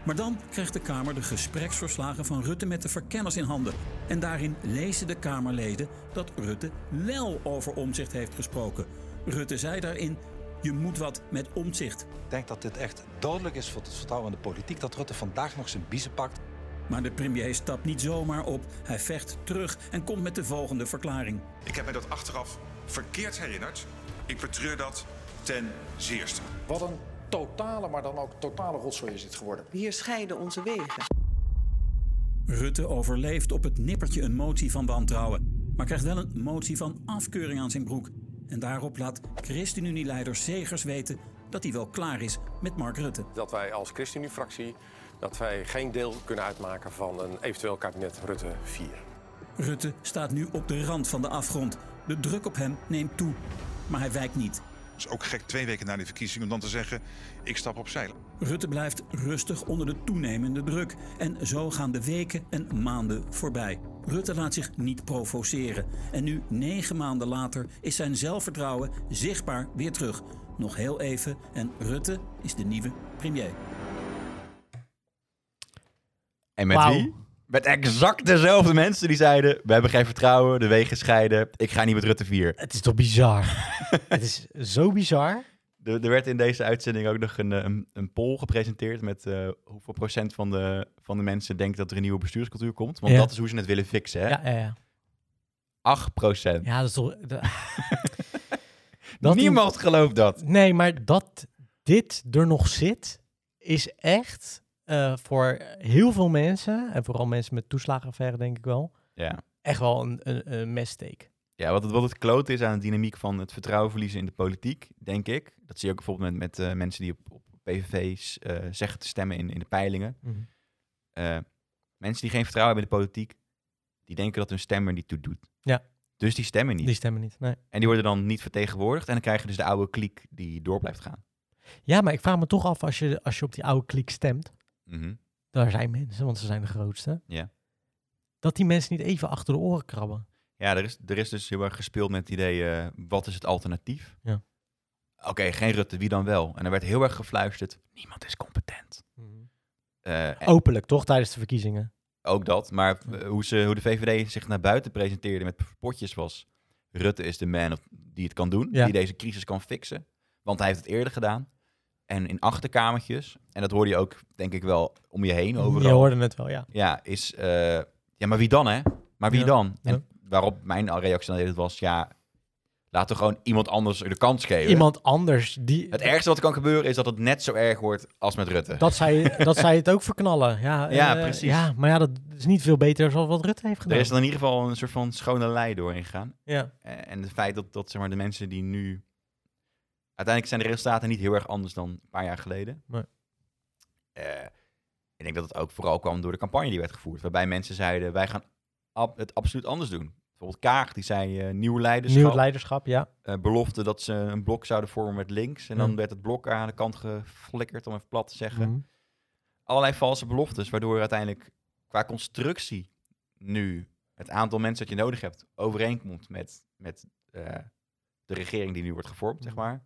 S5: Maar dan krijgt de Kamer de gespreksverslagen van Rutte met de verkenners in handen. En daarin lezen de Kamerleden dat Rutte wel over omzicht heeft gesproken. Rutte zei daarin: Je moet wat met omzicht.
S8: Ik denk dat dit echt dodelijk is voor het vertrouwen in de politiek. Dat Rutte vandaag nog zijn biezen pakt.
S5: Maar de premier stapt niet zomaar op. Hij vecht terug en komt met de volgende verklaring.
S6: Ik heb mij dat achteraf verkeerd herinnerd. Ik betreur dat ten zeerste.
S9: Wat een totale, maar dan ook totale rotzooi is dit geworden.
S4: Hier scheiden onze wegen.
S5: Rutte overleeft op het nippertje een motie van wantrouwen, maar krijgt wel een motie van afkeuring aan zijn broek. En daarop laat ChristenUnie-leider Segers weten dat hij wel klaar is met Mark Rutte.
S10: Dat wij als ChristenUnie-fractie dat wij geen deel kunnen uitmaken van een eventueel kabinet Rutte 4.
S5: Rutte staat nu op de rand van de afgrond. De druk op hem neemt toe, maar hij wijkt niet.
S6: Het is ook gek twee weken na die verkiezing om dan te zeggen, ik stap opzij.
S5: Rutte blijft rustig onder de toenemende druk. En zo gaan de weken en maanden voorbij. Rutte laat zich niet provoceren. En nu, negen maanden later, is zijn zelfvertrouwen zichtbaar weer terug. Nog heel even en Rutte is de nieuwe premier.
S2: En met
S1: Wauw.
S2: wie? Met exact dezelfde mensen die zeiden: We hebben geen vertrouwen, de wegen scheiden, ik ga niet met Rutte 4.
S1: Het is toch bizar? het is zo bizar.
S2: Er, er werd in deze uitzending ook nog een, eh, een, een poll gepresenteerd met eh, hoeveel procent van de, van de mensen denkt dat er een nieuwe bestuurscultuur komt. Want
S1: Ja.
S2: dat is hoe ze het willen fixen. Hè?
S1: Ja, ja, ja.
S2: 8 procent.
S1: ja dat is toch... dat- dat
S2: Niemand gelooft dat.
S1: Nee, maar dat dit er nog zit, is echt eh, voor heel veel mensen, en vooral mensen met toeslagenaffaire denk ik wel,
S2: Ja.
S1: echt wel een, een, een messteek.
S2: Ja, wat het, wat het klote is aan de dynamiek van het vertrouwen verliezen in de politiek, denk ik. Dat zie je ook bijvoorbeeld met, met eh, mensen die op, op PVV's eh, zeggen te stemmen in, in de peilingen.
S1: Mhm.
S2: Eh, mensen die geen vertrouwen hebben in de politiek, die denken dat hun stem er niet toe doet.
S1: Ja.
S2: Dus die stemmen niet.
S1: Die stemmen niet, nee.
S2: En die worden dan niet vertegenwoordigd. En dan krijg je dus de oude kliek die door blijft gaan.
S1: Ja, maar ik vraag me toch af, als je, als je op die oude kliek stemt,
S2: Mhm.
S1: daar zijn mensen, want ze zijn de grootste,
S2: Ja.
S1: dat die mensen niet even achter de oren krabben.
S2: Ja, er is, er is dus heel erg gespeeld met het idee, eh, wat is het alternatief?
S1: Ja.
S2: Oké, geen Rutte, wie dan wel? En er werd heel erg gefluisterd, niemand is competent. Eh, en-
S1: Openlijk, toch, tijdens de verkiezingen.
S2: Ook dat, maar eh, hoe, ze, hoe de VVD zich naar buiten presenteerde met potjes was... Rutte is de man of, die het kan doen,
S1: Ja.
S2: die deze crisis kan fixen. Want hij heeft het eerder gedaan. En in achterkamertjes, en dat hoorde je ook denk ik wel om je heen overal.
S1: Je hoorde het wel, ja.
S2: Ja, is... eh, ja, maar wie dan hè? Maar wie
S1: Ja,
S2: dan? En
S1: ja.
S2: waarop mijn reactie dan altijd was, ja... Laten we gewoon iemand anders de kans geven.
S1: Iemand anders, die,
S2: Het ergste wat er kan gebeuren is dat het net zo erg wordt als met Rutte.
S1: dat, zij, dat zij het ook verknallen. Ja,
S2: Ja,
S1: eh,
S2: precies.
S1: Ja, maar ja, dat is niet veel beter dan wat Rutte heeft gedaan.
S2: er is dan in ieder geval een soort van schone lei doorheen gegaan.
S1: ja.
S2: Eh, En het feit dat, dat zeg maar, de mensen die nu... Uiteindelijk zijn de resultaten niet heel erg anders dan een paar jaar geleden.
S1: Nee.
S2: Eh, ik denk dat het ook vooral kwam door de campagne die werd gevoerd. Waarbij mensen zeiden, wij gaan ab- het absoluut anders doen. Bijvoorbeeld Kaag, die zei eh, nieuw leiderschap.
S1: Nieuw leiderschap, ja.
S2: Eh, belofte dat ze een blok zouden vormen met links. En dan
S1: Ja.
S2: werd het blok aan de kant geflikkerd, om even plat te zeggen.
S1: Mhm.
S2: Allerlei valse beloftes, waardoor uiteindelijk qua constructie nu het aantal mensen dat je nodig hebt overeenkomt met, met eh, de regering die nu wordt gevormd, zeg
S1: Mhm.
S2: maar.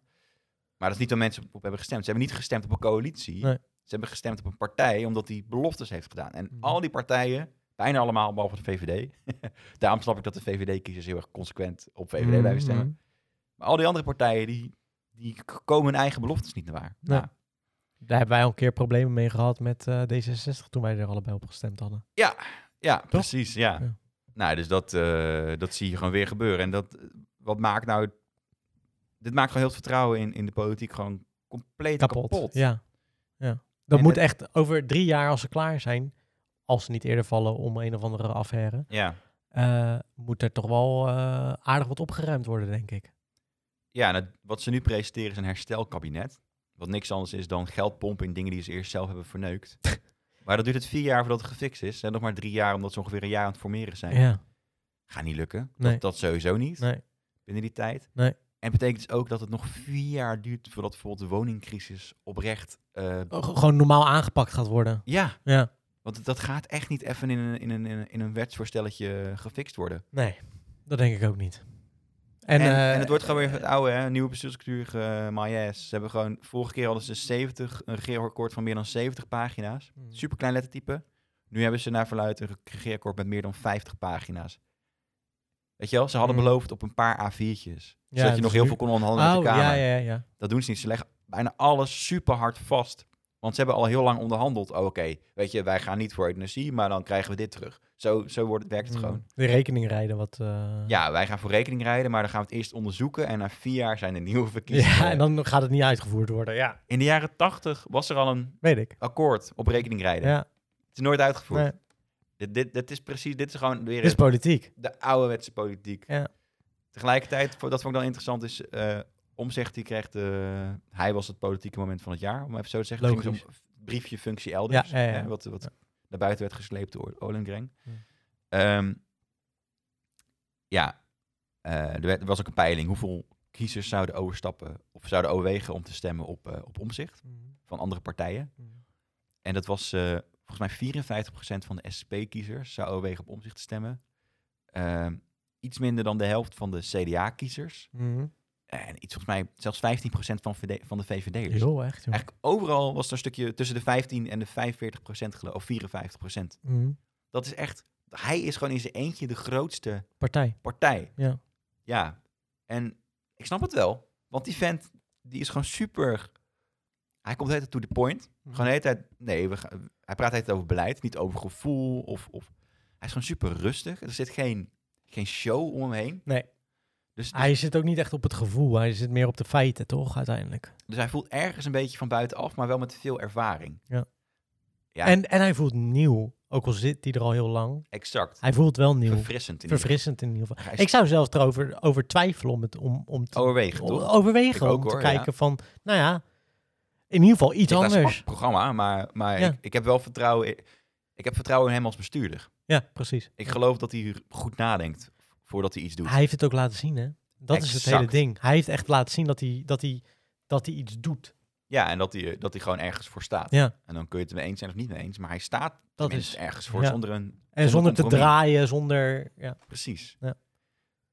S2: Maar dat is niet waar mensen op, op hebben gestemd. Ze hebben niet gestemd op een coalitie.
S1: Nee.
S2: Ze hebben gestemd op een partij omdat die beloftes heeft gedaan. En
S1: Mhm.
S2: al die partijen, bijna allemaal, behalve de VVD. Daarom snap ik dat de VVD-kiezers heel erg consequent op VVD blijven stemmen.
S1: Mhm.
S2: Maar al die andere partijen, die, die k- komen hun eigen beloftes niet naar waar.
S1: Nee.
S2: Nou,
S1: Daar hebben wij al een keer problemen mee gehad met eh, D66 toen wij er allebei op gestemd hadden.
S2: ja, precies, ja.
S1: Ja.
S2: Nou, dus dat, eh, dat zie je gewoon weer gebeuren. En dat, eh, wat maakt nou... Dit maakt gewoon heel het vertrouwen in, in de politiek gewoon compleet kapot.
S1: Ja. ja. Dat
S2: En
S1: moet
S2: het-
S1: echt over drie jaar, als ze klaar zijn, als ze niet eerder vallen om een of andere affaire,
S2: ja.
S1: eh, moet er toch wel eh, aardig wat opgeruimd worden, denk ik.
S2: Ja, en het- wat ze nu presenteren is een herstelkabinet. Wat niks anders is dan geld pompen in dingen die ze eerst zelf hebben verneukt. maar dat duurt het vier jaar voordat het gefixt is. En nog maar drie jaar, omdat ze ongeveer een jaar aan het formeren zijn.
S1: Ja.
S2: Gaat niet lukken.
S1: Nee.
S2: Dat, dat sowieso niet.
S1: Nee.
S2: binnen die tijd.
S1: Nee.
S2: En betekent dus ook dat het nog vier jaar duurt voordat bijvoorbeeld de woningcrisis oprecht... eh,
S1: G- Gewoon normaal aangepakt gaat worden.
S2: ja,
S1: Ja.
S2: want het- dat gaat echt niet even in een, in een, in een- in een wetsvoorstelletje gefixt worden.
S1: Nee, dat denk ik ook niet.
S2: En,
S1: eh,
S2: en het wordt gewoon weer het oude, hè? nieuwe bestuurscultuur, uh, Ze hebben gewoon, vorige keer hadden ze 70, een regeerakkoord van meer dan 70 pagina's.
S1: Mhm.
S2: Super klein lettertype. Nu hebben ze naar verluidt een regeerakkoord met meer dan 50 pagina's. Weet je wel, ze hadden
S1: Mhm.
S2: beloofd op een paar A4'tjes.
S1: Ja,
S2: Zodat
S1: dus
S2: je nog heel
S1: nu-
S2: veel kon onderhandelen
S1: Oh,
S2: met de Kamer.
S1: ja, ja, ja.
S2: Dat doen ze niet. Ze leggen bijna alles super hard vast. Want ze hebben al heel lang onderhandeld. Oh, Oké, weet je, wij gaan niet voor euthanasie, maar dan krijgen we dit terug. Zo, zo wordt, werkt het
S1: Mm.
S2: gewoon.
S1: De rekening rijden wat... eh,
S2: Ja, wij gaan voor rekening rijden, maar dan gaan we het eerst onderzoeken. En na vier jaar zijn er nieuwe verkiezingen.
S1: ja, en dan gaat het niet uitgevoerd worden. Ja,
S2: In de jaren tachtig was er al een
S1: weet ik.
S2: akkoord op rekening rijden.
S1: Ja,
S2: Het is nooit uitgevoerd.
S1: nee.
S2: Dit, dit, dit is precies, dit is gewoon weer
S1: Dit is politiek.
S2: de ouderwetse politiek.
S1: Ja.
S2: Tegelijkertijd, vo- dat vond ik dan interessant, is eh, Omzicht die kreeg de... Hij was het politieke moment van het jaar, om even zo te zeggen. Het ging
S1: Logisch.
S2: dus om briefje functie elders,
S1: Ja, ja, ja.
S2: Hè, wat, wat naar buiten werd gesleept door Olengreng.
S1: Ja.
S2: Ja, ja eh, er, werd- er was ook een peiling. Hoeveel kiezers zouden overstappen of zouden overwegen om te stemmen op, eh, op Omzicht van andere partijen?
S1: Hmm.
S2: En dat was eh, volgens mij 54% van de SP-kiezers zou overwegen op Omzicht te stemmen. Ehm, iets minder dan de helft van de CDA-kiezers.
S1: Hmm.
S2: En iets volgens mij zelfs 15% van, VD van de VVD'ers.
S1: Heel echt, joh.
S2: Eigenlijk overal was er een stukje tussen de 15 en de 45 procent geloof of 54 procent.
S1: Mhm.
S2: Dat is echt, hij is gewoon in zijn eentje de grootste
S1: Partij.
S2: partij.
S1: Ja.
S2: Ja, en ik snap het wel, want die vent, die is gewoon super, hij komt de hele tijd to the point. Gewoon de hele tijd, nee, we gaan, hij praat de hele tijd over beleid, niet over gevoel of, of, hij is gewoon super rustig. Er zit geen, geen show om hem heen.
S1: Nee.
S2: Dus, dus,
S1: Hij zit ook niet echt op het gevoel, hij zit meer op de feiten, toch, uiteindelijk.
S2: dus hij voelt ergens een beetje van buitenaf, maar wel met veel ervaring. Ja.
S1: En, en hij voelt nieuw, ook al zit hij er al heel lang.
S2: Exact.
S1: Hij voelt wel nieuw.
S2: Verfrissend in ieder geval.
S1: Verfrissend in ieder geval.
S2: Hij is-
S1: Ik zou zelfs erover over twijfelen om, het, om, om te
S2: Overwegen, toch?
S1: Oh,
S2: Ik
S1: overwegen.
S2: ook,
S1: om te
S2: hoor, ja.
S1: kijken van, nou ja, in ieder geval iets
S2: Ik luister
S1: anders.
S2: pas het programma, maar, maar
S1: Ja.
S2: ik, ik heb wel vertrouwen in, ik heb vertrouwen in hem als bestuurder.
S1: Ja, precies.
S2: Ik geloof dat hij goed nadenkt voordat hij iets doet.
S1: Hij heeft het ook laten zien, hè? Dat is het
S2: Exact.
S1: hele ding. Hij heeft echt laten zien dat hij, dat hij, dat hij iets doet.
S2: Ja, en dat hij, dat hij gewoon ergens voor staat.
S1: Ja.
S2: En dan kun je het mee eens zijn of niet mee eens, maar hij staat
S1: Dat
S2: tenminste
S1: is,
S2: ergens voor
S1: ja.
S2: zonder een...
S1: en zonder te
S2: compromis.
S1: draaien, zonder... Ja.
S2: Precies.
S1: Ja.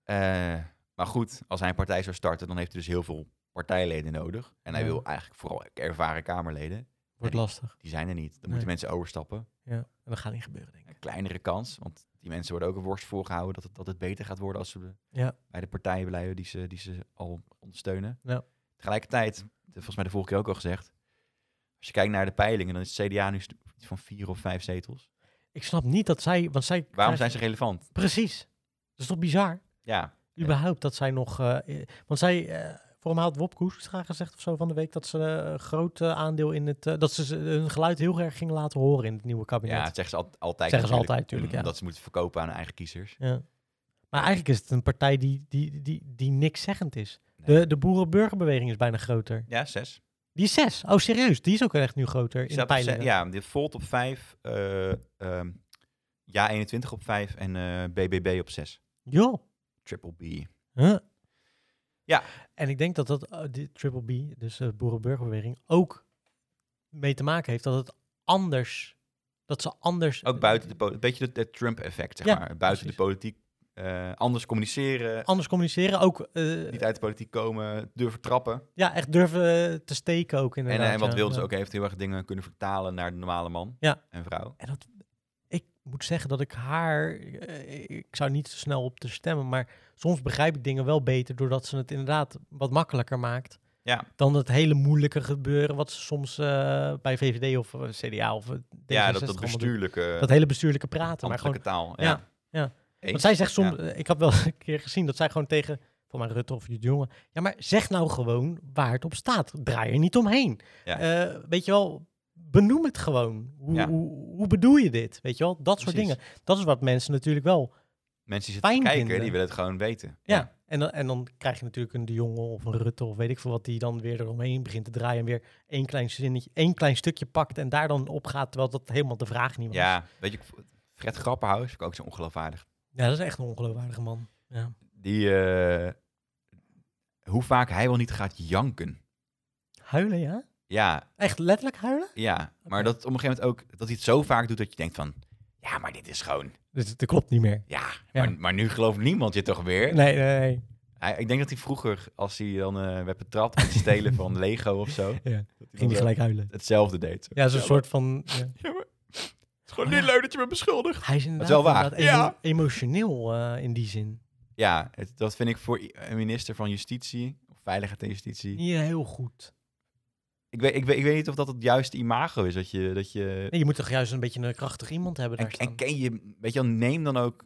S2: Eh, maar goed, als hij een partij zou starten, dan heeft hij dus heel veel partijleden nodig. En hij
S1: Ja.
S2: wil eigenlijk vooral ervaren Kamerleden.
S1: Wordt
S2: Nee.
S1: lastig.
S2: Die zijn er niet. Dan
S1: Nee.
S2: moeten mensen overstappen.
S1: Ja. En dat gaat niet gebeuren, denk ik.
S2: een kleinere kans. Want die mensen worden ook een worst voorgehouden dat het, dat het beter gaat worden als ze
S1: Ja.
S2: bij de partijen blijven die ze, die ze al ondersteunen.
S1: Ja.
S2: Tegelijkertijd, dat is volgens mij de vorige keer ook al gezegd, als je kijkt naar de peilingen, dan is het CDA nu st- iets van vier of vijf zetels.
S1: Ik snap niet dat zij... Want zij
S2: Waarom
S1: krijgen-
S2: zijn ze relevant?
S1: Precies. Dat is toch bizar?
S2: Ja,
S1: Überhaupt dat zij nog... eh, eh, want zij... eh voor hem had Wop Koestra gezegd of zo van de week... dat ze eh, een groot eh, aandeel in het... eh, dat ze ze- hun geluid heel erg gingen laten horen in het nieuwe kabinet.
S2: ja dat zeggen ze al- altijd.
S1: Zeggen ze
S2: natuurlijk,
S1: altijd, tuurlijk, ja.
S2: Omdat ze moeten verkopen aan hun eigen kiezers.
S1: Ja. Maar eigenlijk is het een partij die, die, die, die niks zeggend is.
S2: Nee.
S1: De, de boerenburgerbeweging is bijna groter.
S2: Ja, zes.
S1: Die is zes. Oh, serieus. Die is ook echt nu groter in
S2: Staat
S1: de
S2: op ze-
S1: peilingen.
S2: ja, dit Volt op vijf, eh, ehm, Ja 21 op vijf en eh, BBB op zes.
S1: Joh.
S2: Triple B.
S1: Huh?
S2: Ja.
S1: En ik denk dat dat eh, die Triple B, dus de boerenburgerbeweging, ook mee te maken heeft dat het anders, dat ze anders... eh,
S2: Ook buiten de politiek. Beetje het het Trump-effect, zeg
S1: Ja,
S2: maar. Buiten
S1: precies.
S2: de politiek. eh, anders communiceren.
S1: Anders communiceren, ook eh,
S2: Niet uit de politiek komen. Durven trappen.
S1: ja, echt durven eh, te steken ook
S2: en,
S1: inderdaad.
S2: eh, wat
S1: ja,
S2: wilden
S1: ja.
S2: ze ook heeft heel erg dingen kunnen vertalen naar de normale man
S1: Ja.
S2: en vrouw.
S1: En dat, ik moet zeggen dat ik haar, eh, ik zou niet zo snel op te stemmen, maar soms begrijp ik dingen wel beter doordat ze het inderdaad wat makkelijker maakt
S2: Ja,
S1: dan het hele moeilijke gebeuren wat ze soms eh, bij VVD of eh, CDA of eh, D66
S2: ja dat, dat
S1: allemaal doen.
S2: bestuurlijke,
S1: Dat hele bestuurlijke praten, maar gewoon...
S2: eh, ambtelijke taal.
S1: Ja,
S2: Ja,
S1: ja.
S2: Eens.
S1: Want zij zegt soms,
S2: Ja.
S1: eh, ik heb wel een keer gezien dat zij gewoon tegen, voor mij Rutte of Judith Jonge, ja maar zeg nou gewoon waar het op staat. Draai er niet omheen.
S2: Ja.
S1: Eh, weet je wel, benoem het gewoon. Hoe,
S2: Ja.
S1: hoe, hoe bedoel je dit? Weet je wel, dat soort
S2: Precies.
S1: dingen. Dat is wat mensen natuurlijk wel.
S2: Mensen die zitten
S1: fijn
S2: te kijken,
S1: vinden.
S2: die willen het gewoon weten.
S1: Ja. En, dan, en dan krijg je natuurlijk een de Jonge of een Rutte of weet ik veel wat, die dan weer eromheen begint te draaien en weer één klein zinnetje, één klein stukje pakt en daar dan op gaat, terwijl dat helemaal de vraag niet was.
S2: Ja, weet je, Fred Grapperhaus vind ik ook zo ongeloofwaardig.
S1: Ja, dat is echt een ongeloofwaardige man. Ja.
S2: Die, eh, hoe vaak hij wel niet gaat janken.
S1: Huilen, ja?
S2: Ja,
S1: Echt letterlijk huilen?
S2: Ja, maar dat op een gegeven moment ook dat hij het zo vaak doet dat je denkt van, ja, maar dit is gewoon,
S1: Dus dat klopt niet meer.
S2: ja,
S1: Ja.
S2: Maar, maar nu gelooft niemand je toch weer.
S1: Nee, nee, nee.
S2: Hij, ik denk dat hij vroeger, als hij dan eh, werd betrapt met het stelen van Lego of zo,
S1: Ja,
S2: dat
S1: ging
S2: dan,
S1: die
S2: eh,
S1: gelijk huilen.
S2: hetzelfde deed. Zo.
S1: Ja, zo'n soort van... ja.
S2: Ja, maar het is gewoon niet leuk dat je me beschuldigt.
S1: Hij is inderdaad,
S2: wel waar.
S1: inderdaad emo- emotioneel eh, in die zin.
S2: Ja, het- dat vind ik voor i- een minister van Justitie, of Veiligheid en Justitie.
S1: Niet heel goed.
S2: Ik weet, ik, weet, ik weet niet of dat het juiste imago is, dat je... Dat je
S1: Nee, je moet toch juist een beetje een krachtig iemand hebben
S2: en,
S1: daar staan.
S2: en ken je, weet je wel, neem dan ook...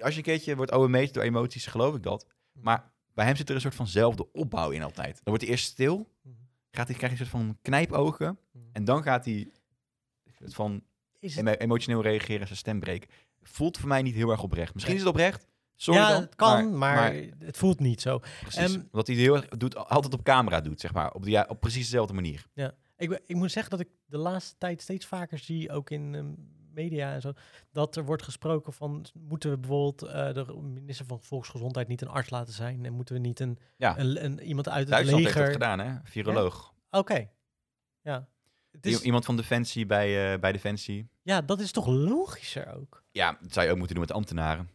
S2: Als je een keertje wordt OM'd door emoties, geloof ik dat.
S1: Mhm.
S2: Maar bij hem zit er een soort vanzelfde opbouw in altijd. Dan wordt hij eerst stil,
S1: Mhm.
S2: gaat hij, krijgt hij een soort van knijpogen. En dan gaat hij een soort van
S1: Hmm. Is het-
S2: emo- emotioneel reageren, zijn stem breken. Voelt voor mij niet heel erg oprecht. Misschien is het oprecht, Sorry
S1: ja,
S2: dan,
S1: het kan, maar, het voelt niet zo.
S2: precies,
S1: Ehm,
S2: wat hij heel erg doet, altijd op camera doet, zeg maar. Op, de, ja- op precies dezelfde manier.
S1: Ja. Ik, be- ik moet zeggen dat ik de laatste tijd steeds vaker zie, ook in ehm, media en zo, dat er wordt gesproken van, moeten we bijvoorbeeld eh, de minister van Volksgezondheid niet een arts laten zijn? En moeten we niet een,
S2: Ja.
S1: een, een- iemand uit het
S2: Duitsland heeft dat
S1: leger...
S2: gedaan, hè? Viroloog.
S1: Oké. Ja. Het
S2: I-
S1: is,
S2: Iemand van Defensie bij, eh, bij Defensie.
S1: ja, dat is toch logischer ook?
S2: Ja, dat zou je ook moeten doen met ambtenaren.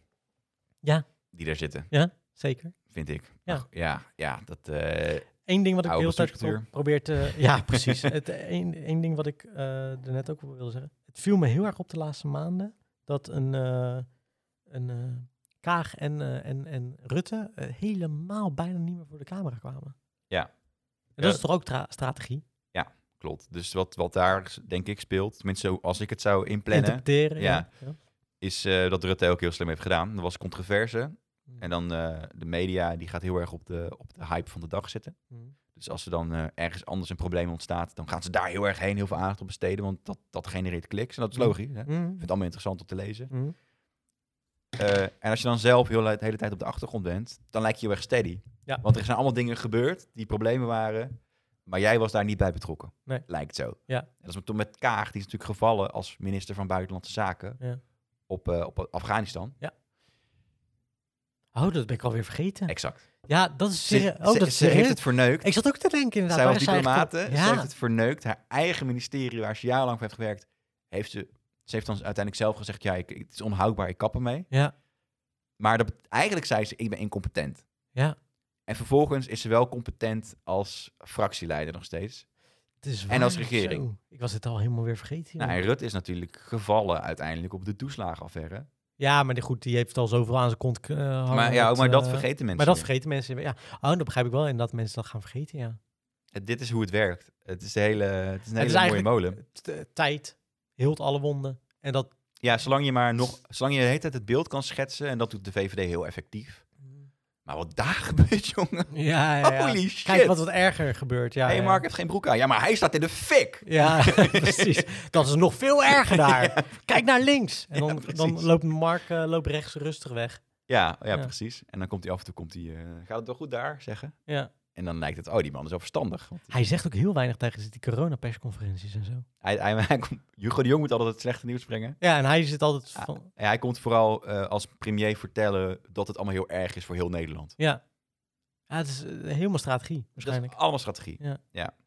S1: Ja.
S2: Die daar zitten,
S1: Ja, zeker.
S2: vind ik.
S1: Ja.
S2: Ach, ja, ja, dat... eh,
S1: Eén ding wat ik de
S2: Oude
S1: hele tijd pro-
S2: bestuurscultuur.
S1: probeer te... Ja, precies. het, één, één ding wat ik eh, er daarnet ook wilde zeggen. Het viel me heel erg op de laatste maanden dat een, eh, een eh, Kaag en, eh, en, en Rutte eh, helemaal bijna niet meer voor de camera kwamen.
S2: Ja.
S1: En dat
S2: Ja.
S1: is toch ook tra- strategie?
S2: klopt. Dus wat, wat daar, denk ik, speelt, tenminste zo- als ik het zou inplannen,
S1: Interpreteren. Ja.
S2: Ja. is eh, dat Rutte ook heel slim heeft gedaan. Er was controverse. En dan eh, de media, die gaat heel erg op de, op de hype van de dag zitten.
S1: Mhm.
S2: Dus als er dan eh, ergens anders een probleem ontstaat, dan gaan ze daar heel erg heen, heel veel aandacht op besteden, want dat, dat genereert kliks. En dat is
S1: Mhm.
S2: logisch. Hè? Ik
S1: Mm.
S2: vind het allemaal interessant om te lezen.
S1: Mhm.
S2: Eh, en als je dan zelf heel, de hele tijd op de achtergrond bent, dan lijkt je heel erg steady.
S1: Ja.
S2: Want er zijn allemaal dingen gebeurd die problemen waren, maar jij was daar niet bij betrokken.
S1: Nee.
S2: Lijkt zo.
S1: Ja.
S2: En dat is met, toen met Kaag, die is natuurlijk gevallen als minister van Buitenlandse Zaken
S1: Ja.
S2: op, eh, op Afghanistan.
S1: Oh, dat ben ik alweer vergeten.
S2: Exact.
S1: ja, dat is...
S2: Ze,
S1: serieus. oh,
S2: ze-
S1: dat is
S2: ze heeft
S1: serieus.
S2: het verneukt.
S1: Ik zat ook te denken inderdaad.
S2: zij was
S1: waar is zij eigenlijk-
S2: diplomaten, ze heeft
S1: Ja,
S2: het verneukt. Haar eigen ministerie, waar ze jarenlang voor heeft gewerkt, heeft ze, ze heeft dan uiteindelijk zelf gezegd, ja, ik, het is onhoudbaar, ik kap ermee.
S1: ja,
S2: Maar dat, bet- eigenlijk zei ze, ik ben incompetent.
S1: ja.
S2: En vervolgens is ze wel competent als fractieleider nog steeds.
S1: Het is
S2: En als
S1: waar,
S2: regering.
S1: zo. Ik was het al helemaal weer vergeten. joh.
S2: Nou, en Rutte is natuurlijk gevallen uiteindelijk op de toeslagenaffaire.
S1: Ja, maar die- goed, die heeft al zoveel aan zijn kont eh, hangen.
S2: Maar, ja, maar dat
S1: eh,
S2: vergeten mensen
S1: Maar dat
S2: nu.
S1: vergeten mensen. Ja. Oh, dat begrijp ik wel. En dat mensen dat gaan vergeten, ja.
S2: Het- Dit is hoe het werkt. Het is, de hele, het is een
S1: Het
S2: hele
S1: is
S2: mooie
S1: eigenlijk-
S2: molen.
S1: T- eh, Tijd hield alle wonden. En dat...
S2: Ja, zolang je maar nog, zolang je de hele tijd het beeld kan schetsen, en dat doet de VVD heel effectief. Maar wat daar gebeurt, jongen.
S1: Ja,
S2: Holy shit.
S1: Kijk wat wat erger gebeurt. Ja,
S2: hey,
S1: ja.
S2: Mark heeft geen broek aan. Ja, maar hij staat in de fik.
S1: Ja, precies. Dat is nog veel erger daar. Kijk naar links. En
S2: Ja,
S1: dan, dan
S2: precies.
S1: loopt Mark eh, loopt rechts rustig weg.
S2: Ja, ja,
S1: Ja.
S2: precies. En dan komt hij af en toe, komt hij, eh, gaat het wel goed daar, zeggen.
S1: Ja.
S2: En dan lijkt het, oh, die man is wel verstandig. Want
S1: Hij zegt ook heel weinig tegen die coronapersconferenties en zo.
S2: hij, hij, hij komt- Hugo de Jong moet altijd het slechte nieuws brengen.
S1: Ja, en hij zit altijd
S2: Ja.
S1: van...
S2: En hij komt vooral eh, als premier vertellen dat het allemaal heel erg is voor heel Nederland.
S1: Ja. ja het is eh, helemaal strategie,
S2: Dat
S1: waarschijnlijk.
S2: is allemaal strategie.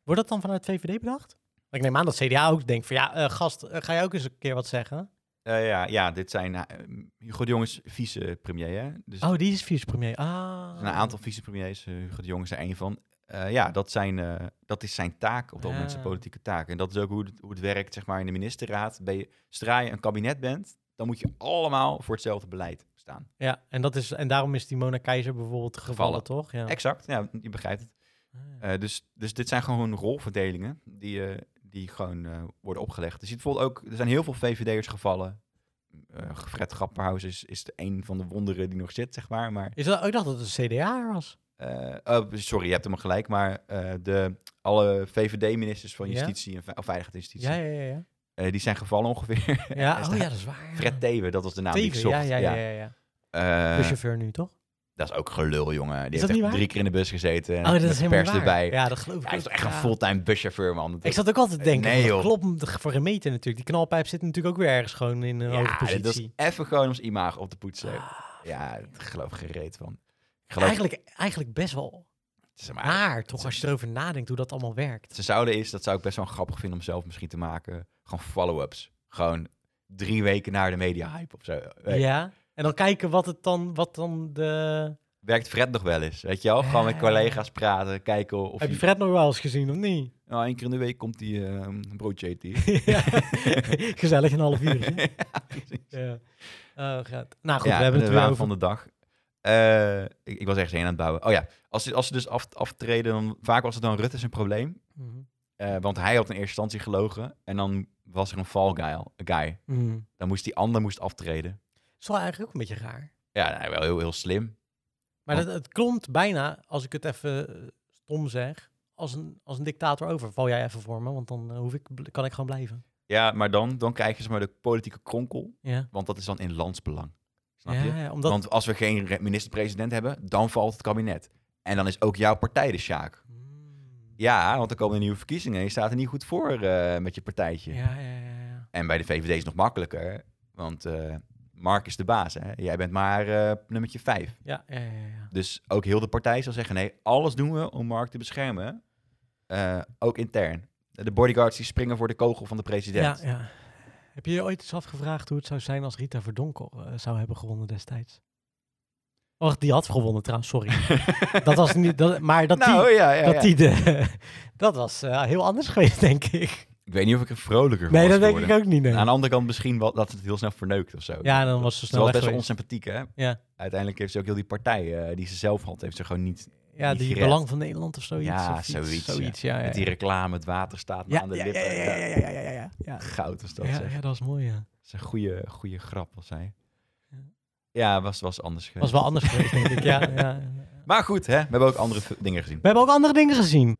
S1: Wordt dat dan vanuit VVD bedacht? Want Ik neem aan dat CDA ook denkt van ja, eh, gast, eh, ga je ook eens een keer wat zeggen?
S2: Eh, ja, ja, dit zijn... eh, Hugo de Jong is vicepremier, hè? Dus
S1: Oh, die is vicepremier. Ah.
S2: Er zijn Een aantal vicepremiers, eh, Hugo de Jong is er één van. Eh, ja, dat, zijn, eh, dat is zijn taak op dat moment, zijn
S1: Ah.
S2: politieke taak. En dat is ook hoe het, hoe het werkt zeg maar, in de ministerraad. Ben je, zodra je een kabinet bent, dan moet je allemaal voor hetzelfde beleid staan.
S1: Ja, en, dat is, en daarom is die Mona Keizer bijvoorbeeld gevallen,
S2: Gevallen.
S1: toch? Ja.
S2: Exact, ja, je begrijpt het.
S1: Ah, ja.
S2: Eh, dus, dus dit zijn gewoon rolverdelingen die, eh, die gewoon eh, worden opgelegd. Dus je ziet bijvoorbeeld ook, er zijn heel veel VVD'ers gevallen. Eh Fred Grapperhaus is, is de een van de wonderen die nog zit, zeg maar. Maar
S1: Is dat, oh, ik dacht dat het een CDA was.
S2: Eh, oh, sorry, je hebt hem gelijk, maar eh, de, alle VVD-ministers van
S1: Ja?
S2: Justitie en ve- of Veiligheid en Justitie,
S1: Ja, ja, ja. ja.
S2: eh, die zijn gevallen ongeveer. Hij
S1: ja
S2: is
S1: oh
S2: daar-
S1: ja, dat is waar.
S2: Fred Teven, dat was de naam die ik
S1: Teven,
S2: zocht.
S1: ja, ja, ja. ja, ja.
S2: Eh,
S1: De chauffeur nu, toch?
S2: dat is ook gelul, jongen. Die
S1: dat
S2: heeft
S1: niet
S2: echt
S1: waar?
S2: drie keer in de bus gezeten. en
S1: oh, dat
S2: met
S1: is helemaal
S2: pers
S1: waar.
S2: erbij. Ja,
S1: Ja, dat geloof ik
S2: hij is
S1: ook,
S2: toch echt
S1: ja.
S2: een fulltime buschauffeur, man. Dat
S1: Ik zat ook altijd te denken,
S2: Nee,
S1: nee,
S2: joh.
S1: klopt de- voor gemeten natuurlijk. Die knalpijp zit natuurlijk ook weer ergens gewoon in een
S2: ja,
S1: hoge
S2: dit was
S1: positie. Ah.
S2: even gewoon om zijn imago op te poetsen. ja, ik geloof ik gereed van. Ik geloof,
S1: Eigenlijk, eigenlijk best wel
S2: zeg maar,
S1: raar, toch? Als je erover nadenkt hoe dat allemaal werkt.
S2: ze zouden is, dat zou ik best wel grappig vinden om zelf misschien te maken. Gewoon follow-ups. Gewoon drie weken naar de media-hype of zo. Weet-
S1: Ja. En dan kijken wat het dan, wat dan de...
S2: Werkt Fred nog wel eens, weet je wel? Gewoon met
S1: Ja.
S2: collega's praten, kijken of
S1: Eh. Heb je
S2: hij...
S1: Fred nog wel eens gezien of niet?
S2: Nou, één keer in de week komt hij eh, een broodje eten hier.
S1: Ja. Gezellig een half uurtje.
S2: ja, precies.
S1: Ja. Oh, gaat. Nou goed,
S2: Ja,
S1: we hebben het weer
S2: de waan
S1: over...
S2: van de dag. Eh, ik, ik was ergens heen aan het bouwen. Oh ja, als ze, als ze dus af, aftreden, dan, vaak was het dan Rutte zijn probleem.
S1: Mhm.
S2: Eh, want hij had in eerste instantie gelogen. En dan was er een fall guy. guy.
S1: Mhm. Het
S2: Dan moest die ander moest aftreden.
S1: is wel eigenlijk ook een beetje raar.
S2: Ja, nou, wel heel, heel slim.
S1: Maar
S2: Want-
S1: dat, het klomt bijna, als ik het even eh, stom zeg, als een, als een dictator over. Val jij even voor me, want dan eh, hoef ik, bl- kan ik gewoon blijven.
S2: Ja, maar dan, dan krijg je zeg maar de politieke kronkel,
S1: Ja.
S2: want dat is dan in landsbelang. Snap Snap
S1: Ja,
S2: je?
S1: ja, omdat-
S2: Want als we geen re- minister-president hebben, dan valt het kabinet. En dan is ook jouw partij de sjaak.
S1: Mm.
S2: Ja, want er komen nieuwe verkiezingen en je staat er niet goed voor eh, met je partijtje.
S1: Ja, ja, ja. ja.
S2: En bij de VVD is het nog makkelijker, want eh, Mark is de baas. Hè? Jij bent maar eh, nummertje vijf.
S1: ja, ja, ja, ja.
S2: Dus ook heel de partij zal zeggen: nee, alles doen we om Mark te beschermen. Eh, ook intern. De bodyguards die springen voor de kogel van de president.
S1: Ja, ja. Heb je je ooit eens afgevraagd hoe het zou zijn als Rita Verdonkel eh, zou hebben gewonnen destijds? Och, die had gewonnen trouwens, sorry. dat was niet, dat, maar dat
S2: nou
S1: die,
S2: ja, ja, ja.
S1: dat, die de, dat was eh, heel anders geweest, denk ik.
S2: Ik weet niet of ik er vrolijker van
S1: Nee,
S2: was
S1: dat denk ik
S2: geworden.
S1: ook niet, nee.
S2: Aan de andere kant misschien wel dat ze het heel snel verneukt of zo.
S1: Ja, dan was ze
S2: Ze
S1: snel
S2: nou, was
S1: weg
S2: best wel
S1: geweest.
S2: onsympathiek, hè?
S1: Ja.
S2: Uiteindelijk heeft ze ook heel die partij eh, die ze zelf had, heeft ze gewoon niet...
S1: Ja,
S2: niet
S1: die
S2: gered.
S1: Belang van Nederland of zoiets.
S2: Ja,
S1: of iets,
S2: zoiets, ja.
S1: ja. ja,
S2: Met die reclame, het water staat me
S1: ja,
S2: aan de
S1: ja,
S2: lippen.
S1: ja, ja, ja, ja, ja, ja, ja, ja.
S2: Goud was eh, dat,
S1: Ja,
S2: zeg.
S1: ja, dat is mooi, ja.
S2: Dat is een goede, goede grap, was hij.
S1: Ja.
S2: Ja, was, was anders
S1: Was
S2: geweest.
S1: wel anders geweest, denk ik, ja, ja.
S2: Maar goed, hè? We hebben ook andere v- dingen gezien.
S1: We hebben ook andere dingen gezien.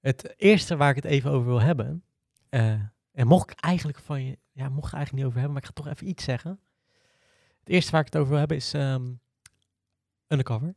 S1: Het eerste waar ik het even over wil hebben. eh, en mocht ik eigenlijk van je. Ja, mocht ik eigenlijk niet over hebben, maar ik ga toch even iets zeggen. Het eerste waar ik het over wil hebben is. ehm, undercover.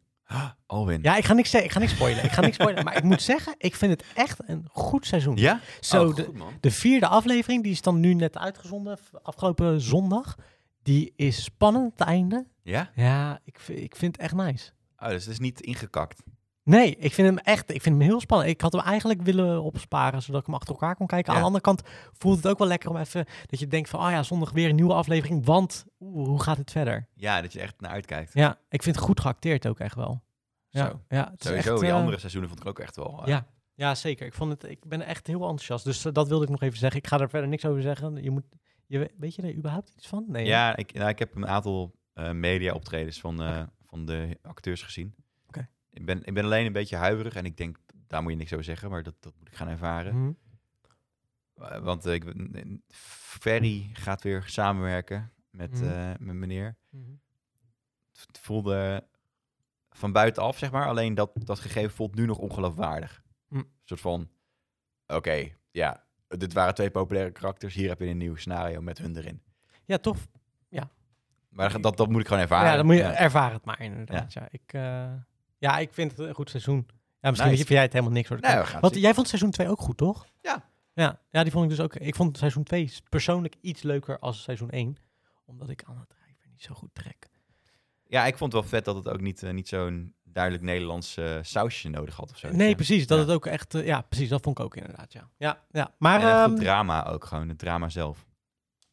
S2: Alwin.
S1: Ja, ik ga niks, zeggen, ik ga niks spoilen. Ik ga niks spoilen. Maar ik moet zeggen, ik vind het echt een goed seizoen.
S2: Ja?
S1: Zo,
S2: Oh,
S1: de,
S2: goed, man.
S1: de vierde aflevering, die is dan nu net uitgezonden. v- Afgelopen zondag. Die is spannend, het einde.
S2: Ja?
S1: Ja, ik, v- ik vind het echt nice.
S2: Oh, dus het is niet ingekakt.
S1: Nee, ik vind hem echt, ik vind hem heel spannend. Ik had hem eigenlijk willen opsparen, zodat ik hem achter elkaar kon kijken. Aan
S2: Ja.
S1: de andere kant voelt het ook wel lekker om even, dat je denkt van, ah ja, zondag weer een nieuwe aflevering, want oeh, hoe gaat het verder?
S2: Ja, dat je echt naar uitkijkt.
S1: Ja, ik vind het goed geacteerd ook echt wel. Ja,
S2: Zo.
S1: ja, het is
S2: Sowieso,
S1: echt,
S2: die
S1: eh,
S2: andere seizoenen vond ik ook echt wel... eh,
S1: Ja. Ja, zeker. Ik, vond het, ik ben echt heel enthousiast, dus eh, dat wilde ik nog even zeggen. Ik ga daar verder niks over zeggen. Je moet, je, we- weet je er überhaupt iets van? Nee. hè?
S2: Ja, ik, nou, ik heb een aantal eh media-optredens van, eh, van de acteurs gezien.
S1: Oké.
S2: Ik, ben, ik ben alleen een beetje huiverig en ik denk, daar moet je niks over zeggen, maar dat, dat moet ik gaan ervaren.
S1: Mhm.
S2: Eh, Want eh, ik, ben- Ferry gaat weer samenwerken met,
S1: Mhm.
S2: eh, met meneer.
S1: Mhm.
S2: Het voelde van buitenaf, zeg maar, alleen dat, dat gegeven voelt nu nog ongeloofwaardig.
S1: Hm.
S2: Een soort van, oké, ja, dit waren twee populaire karakters, hier heb je een nieuw scenario met hun erin.
S1: Ja, tof.
S2: Maar dat, dat moet ik gewoon ervaren.
S1: ja, dan moet je
S2: Ja.
S1: ervaar het maar inderdaad. Ja. ik, eh, ja, ik vind het een goed seizoen. Ja, misschien
S2: Nice.
S1: vind jij het helemaal niks. Hoor.
S2: Nou, we gaan het
S1: Want
S2: zien.
S1: jij vond seizoen 2 ook goed, toch?
S2: Ja.
S1: ja. Ja, die vond ik dus ook. Ik vond seizoen 2 persoonlijk iets leuker als seizoen 1. Omdat ik aan het drijven niet zo goed trek.
S2: Ja, ik vond het wel vet dat het ook niet, eh, niet zo'n duidelijk Nederlands eh, sausje nodig had of zo.
S1: Nee,
S2: Ja.
S1: precies. Dat
S2: Ja.
S1: het ook echt... eh, ja, precies. Dat vond ik ook inderdaad, ja. Ja, ja. Maar
S2: En een goed
S1: ehm,
S2: drama ook, gewoon het drama zelf.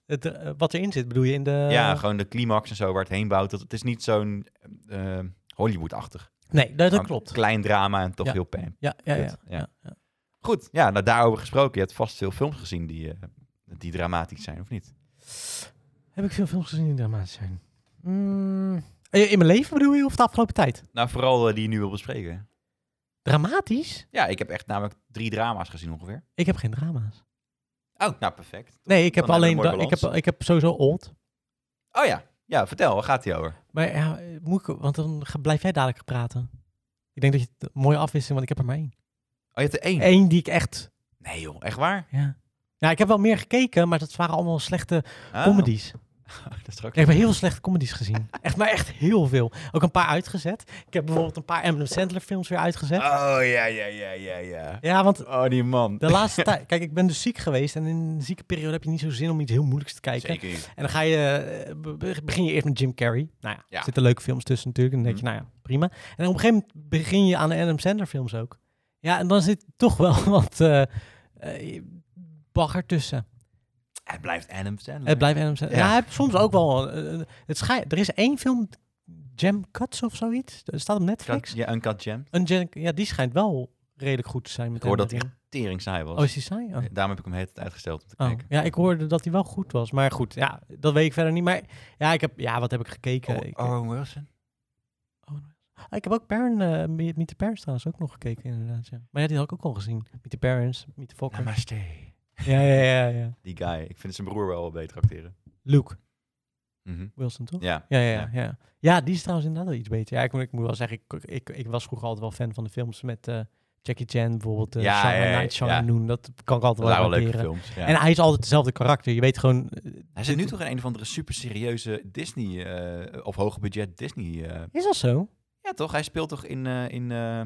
S1: het, eh, wat erin zit, bedoel je in de...
S2: ja, gewoon de climax en zo waar het heen bouwt. Dat, het is niet zo'n eh, Hollywood-achtig.
S1: Nee, dat, dat
S2: Gewoon
S1: klopt.
S2: Klein drama en toch
S1: Ja.
S2: heel pijn.
S1: Ja, ja, ja,
S2: Kut, ja.
S1: ja, ja.
S2: Goed, ja, nou, daarover gesproken. Je hebt vast veel films gezien die, eh, die dramatisch zijn, of niet?
S1: Heb ik veel films gezien die dramatisch zijn? Mm, eh, in mijn leven bedoel je of de afgelopen tijd?
S2: Nou, vooral eh, die je nu wil bespreken.
S1: Dramatisch?
S2: Ja, ik heb echt namelijk drie drama's gezien ongeveer.
S1: Ik heb geen drama's.
S2: Oh, nou perfect.
S1: Nee, ik heb
S2: Dan hebben
S1: alleen.
S2: we een
S1: da-
S2: mooi
S1: ik, heb, ik heb sowieso old.
S2: Oh ja, ja vertel, waar gaat die over? Oh,
S1: Maar ja, eh, moet ik, want dan ga- blijf jij dadelijk praten. Ik denk dat je het mooi afwisselt, want ik heb er maar één.
S2: Oh, je hebt er één.
S1: Eén die ik echt.
S2: Nee joh, echt waar?
S1: Ja. Nou, ik heb wel meer gekeken, maar dat waren allemaal slechte
S2: Ah,
S1: comedies.
S2: Oh, Dat is er ook
S1: Ik heb heel veel slechte comedies gezien. Echt, maar echt heel veel. Ook een paar uitgezet. Ik heb bijvoorbeeld een paar Eminem Sandler films weer uitgezet.
S2: Oh ja, ja, ja, ja, ja.
S1: Ja, want
S2: Oh, die man.
S1: de laatste tijd... Kijk, ik ben dus ziek geweest. En in een zieke periode heb je niet zo zin om iets heel moeilijks te kijken.
S2: Zeker niet.
S1: En dan ga je, eh, be- be- begin je eerst met Jim Carrey. Nou ja,
S2: Ja. Mm.
S1: er zitten leuke films tussen natuurlijk. En dan denk je, nou ja, prima. En op een gegeven moment begin je aan de Adam Sandler films ook. Ja, en dan zit toch wel wat eh eh, bagger tussen.
S2: Het blijft Adam Sandler.
S1: Het blijft Adam Sandler.
S2: Ja.
S1: Ja, hij heeft soms ook wel... eh, het schij- er is één film, Jam Cuts of zoiets. Er staat op Netflix.
S2: Cut, ja, Uncut Jam.
S1: Een Jam- ja, die schijnt wel redelijk goed te zijn. Met
S2: Ik hoor dat hij
S1: Adam
S2: echt tering saai
S1: erin.
S2: was.
S1: Oh, is die saai? Oh.
S2: Eh, Daarom heb ik hem de hele tijd uitgesteld om te
S1: Oh,
S2: kijken.
S1: ja, ik hoorde dat hij wel goed was. Maar goed, ja, dat weet ik verder niet. Maar ja, ik heb, ja wat heb ik gekeken? Ik-
S2: Owen Wilson?
S1: Ah, Ik heb ook Parent, eh, Me- Meet the Parents trouwens ook nog gekeken inderdaad. Ja. Maar ja, die had ik ook al gezien. Meet the Parents, Meet the Fokker.
S2: Namaste.
S1: Ja, ja, ja, ja.
S2: Die guy. Ik vind zijn broer wel wel beter acteren.
S1: Luke
S2: Mhm.
S1: Wilson, toch?
S2: Ja.
S1: Ja, ja, ja. ja. Ja, die is trouwens inderdaad wel iets beter. Ja, ik, moet- ik moet wel zeggen, ik, ik, ik was vroeger altijd wel fan van de films met eh, Jackie Chan bijvoorbeeld, eh
S2: Ja,
S1: Shanghai
S2: ja, ja,
S1: Night, Shanghai
S2: ja.
S1: Noon, dat kan ik altijd
S2: Dat waren
S1: wel
S2: wel leuke
S1: waarderen.
S2: films. Ja.
S1: En hij is altijd hetzelfde karakter. Je weet gewoon, eh,
S2: hij zit nu toch in een of andere super serieuze Disney, eh, of hoge budget Disney. eh,
S1: is dat zo?
S2: ja, toch? Hij speelt toch in, eh, in eh,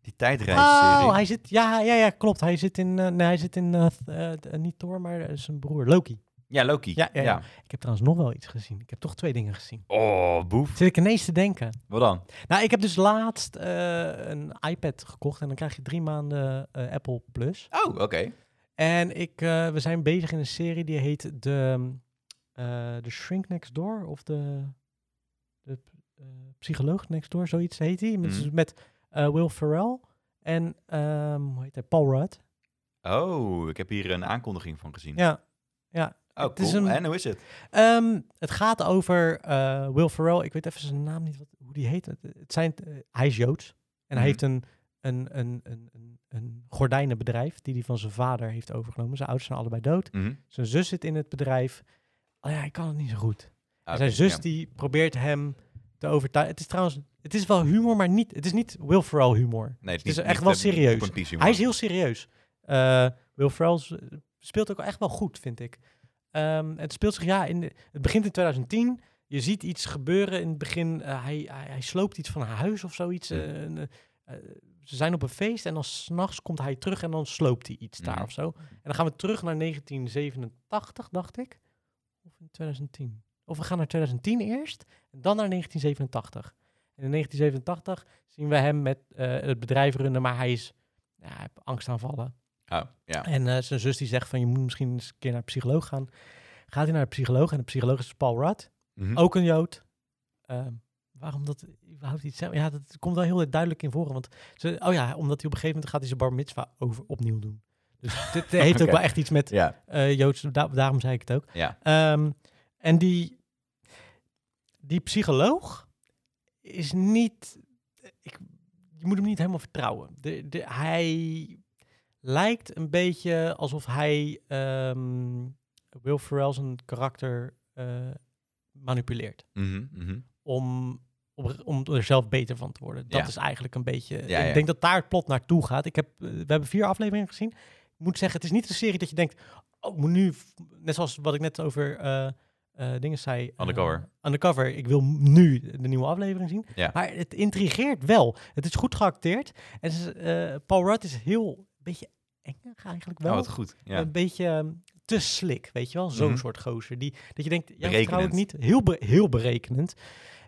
S2: die tijdreis
S1: Oh, hij zit, ja, ja, ja, klopt. Hij zit in, eh, nee, hij zit in, eh, th- eh, eh, niet Thor, maar eh, zijn broer, Loki.
S2: Ja, Loki.
S1: Ja, ja, ja. Ik heb trouwens nog wel iets gezien. Ik heb toch twee dingen gezien.
S2: Oh, boef.
S1: Zit ik ineens te denken.
S2: Wat dan?
S1: Nou, ik heb dus laatst eh, een iPad gekocht en dan krijg je drie maanden eh, Apple Plus.
S2: Oh, oké.
S1: En ik, eh, we zijn bezig in een serie die heet de, eh de Shrink Next Door of de, de eh, Psycholoog Next Door, zoiets heet die. Met,
S2: Mhm.
S1: met eh, Will Ferrell en ehm, hoe heet hij? Paul Rudd.
S2: Oh, ik heb hier een aankondiging van gezien.
S1: Ja.
S2: oh,
S1: het is
S2: cool.
S1: een-
S2: En hoe is het?
S1: Ehm, het gaat over eh, Will Ferrell. Ik weet even zijn naam niet, wat, hoe die heet. Het, het zijn, eh, hij is Joods. En
S2: Mhm.
S1: hij heeft een, een, een, een, een, een gordijnenbedrijf die hij van zijn vader heeft overgenomen. Zijn ouders zijn allebei dood.
S2: Mhm.
S1: Zijn zus zit in het bedrijf. Alleen hij kan het niet zo goed.
S2: Ah,
S1: En zijn
S2: oké,
S1: zus
S2: ja.
S1: die probeert hem te overtuigen. Het is trouwens, het is wel humor, maar niet, het is niet Will Ferrell humor.
S2: Nee,
S1: het is
S2: niet-
S1: echt
S2: niet,
S1: wel
S2: eh,
S1: serieus.
S2: op een piece humor.
S1: Hij is heel serieus. Eh, Will Ferrell s- speelt ook echt wel goed, vind ik. Ehm, het speelt zich, ja, in de- het begint in 2010. Je ziet iets gebeuren in het begin. eh, hij, hij, hij sloopt iets van haar huis of zoiets.
S2: Hmm.
S1: eh, en, eh, eh, ze zijn op een feest en dan s'nachts komt hij terug en dan sloopt hij iets daar
S2: Mhm.
S1: of zo. En dan gaan we terug naar 1987, dacht ik. Of in 2010. Of we gaan naar 2010 eerst en dan naar 1987. En in 1987 zien we hem met eh, het bedrijf runnen, maar hij is ja, hij heeft angst aanvallen.
S2: Oh, ja.
S1: En eh, zijn zus die zegt van je moet misschien eens een keer naar de psycholoog gaan. Gaat hij naar de psycholoog en de psycholoog is Paul Rudd,
S2: Mhm.
S1: ook een Jood. Ehm, waarom dat überhaupt iets zijn? Ja, dat komt wel heel duidelijk in voren. Want ze, oh ja, omdat hij op een gegeven moment gaat hij zijn bar mitzwa over, opnieuw doen. Dus dit heeft ook
S2: Oké.
S1: wel echt iets met
S2: Ja,
S1: eh Joods, da- daarom zei ik het ook.
S2: ja.
S1: Ehm, en die, die psycholoog is niet. Ik, je moet hem niet helemaal vertrouwen. De, de, hij lijkt een beetje alsof hij ehm Will Ferrell zijn karakter eh, manipuleert.
S2: Mhm, mhm.
S1: Om, om, om er zelf beter van te worden. Dat
S2: Ja.
S1: is eigenlijk een beetje.
S2: Ja, ja.
S1: Ik denk dat daar het plot naartoe gaat. Ik heb, eh, we hebben vier afleveringen gezien. Ik moet zeggen, het is niet een serie dat je denkt. Oh, ik moet nu. f- Net zoals wat ik net over eh, eh, dingen zei. eh,
S2: Undercover.
S1: undercover. Ik wil m- nu de nieuwe aflevering zien.
S2: Ja.
S1: Maar het intrigeert wel. Het is goed geacteerd. En ze- eh, Paul Rudd is heel. Een beetje eng eigenlijk
S2: Oh,
S1: wel.
S2: wat goed. Ja.
S1: Een beetje ehm, te slik, weet je wel? Zo'n
S2: Mhm.
S1: soort gozer. Die, dat je denkt, ja, vertrouw ik
S2: Berekenend.
S1: niet. Heel, be- heel berekenend.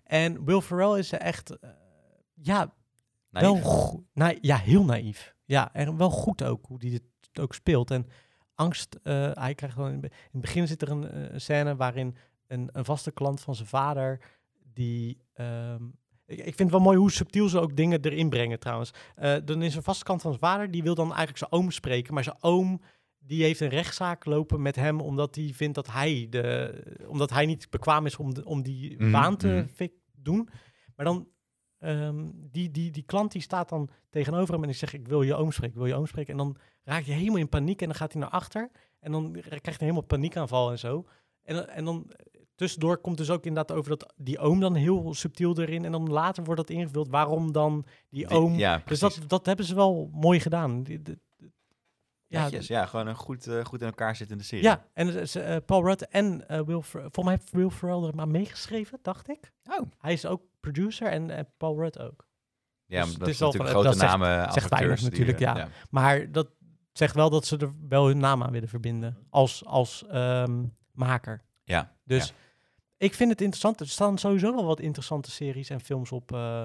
S1: En Will Ferrell is echt, eh, ja,
S2: Naïef.
S1: wel goed. ja, heel naïef. Ja, en wel goed ook, hoe die het ook speelt. En angst, eh, hij krijgt dan... In, be- in het begin zit er een eh, scène waarin een, een vaste klant van zijn vader, die... ehm, ik, ik vind het wel mooi hoe subtiel ze ook dingen erin brengen trouwens. Eh, dan is een vaste klant van zijn vader, die wil dan eigenlijk zijn oom spreken. Maar zijn oom, die heeft een rechtszaak lopen met hem, omdat hij vindt dat hij, de, omdat hij niet bekwaam is om, de- om die
S2: Mhm,
S1: baan te
S2: mhm.
S1: fik- doen. Maar dan, ehm, die, die, die klant die staat dan tegenover hem en die zegt, ik wil je oom spreken, ik wil je oom spreken. En dan raakt hij helemaal in paniek en dan gaat hij naar achter. En dan krijgt hij helemaal paniekaanval en zo. En, dan- en dan tussendoor komt dus ook inderdaad over dat die oom dan heel subtiel erin. En dan later wordt dat ingevuld waarom dan die
S2: Die-
S1: oom.
S2: Ja,
S1: dus
S2: precies.
S1: dat, dat hebben ze wel mooi gedaan. Die- de- de-
S2: Ja,
S1: d-
S2: ja, gewoon een goed, eh, goed in elkaar zittende serie.
S1: dus- ja, en eh, ze- eh, Paul Rudd en eh Will Ferrell. Volgens mij heeft Will Ferrell er maar meegeschreven, dacht ik.
S2: Oh.
S1: Hij is ook producer en eh, Paul Rudd ook.
S2: Ja,
S1: Dus
S2: maar dat
S1: het is
S2: is
S1: wel
S2: natuurlijk
S1: van-
S2: grote
S1: dat zegt-
S2: namen als
S1: zegt
S2: acteurs
S1: weinig
S2: die, eh,
S1: natuurlijk, Maar dat zegt wel dat ze er wel hun naam aan willen verbinden. Als, als ehm, maker.
S2: Ja,
S1: Dus
S2: ja.
S1: ik vind het interessant. Er staan sowieso wel wat interessante series en films op eh,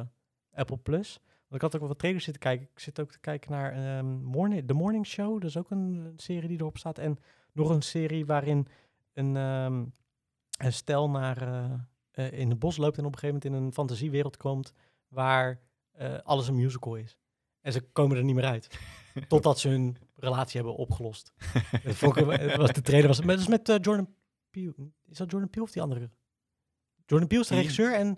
S1: Apple Plus. Want ik had ook wel wat trailers zitten kijken. Ik zit ook te kijken naar ehm, morning, The Morning Show. Dat is ook een serie die erop staat. En nog een serie waarin een, ehm, een stel naar, eh, eh, in het bos loopt en op een gegeven moment in een fantasiewereld komt waar eh, alles een musical is. En ze komen er niet meer uit. Totdat ze hun relatie hebben opgelost. Dat vond ik- het was, de trailer was... Maar dat is met eh, Jordan Peele. Is dat Jordan Peele of die andere? Jordan Peele is de
S2: Die-
S1: regisseur en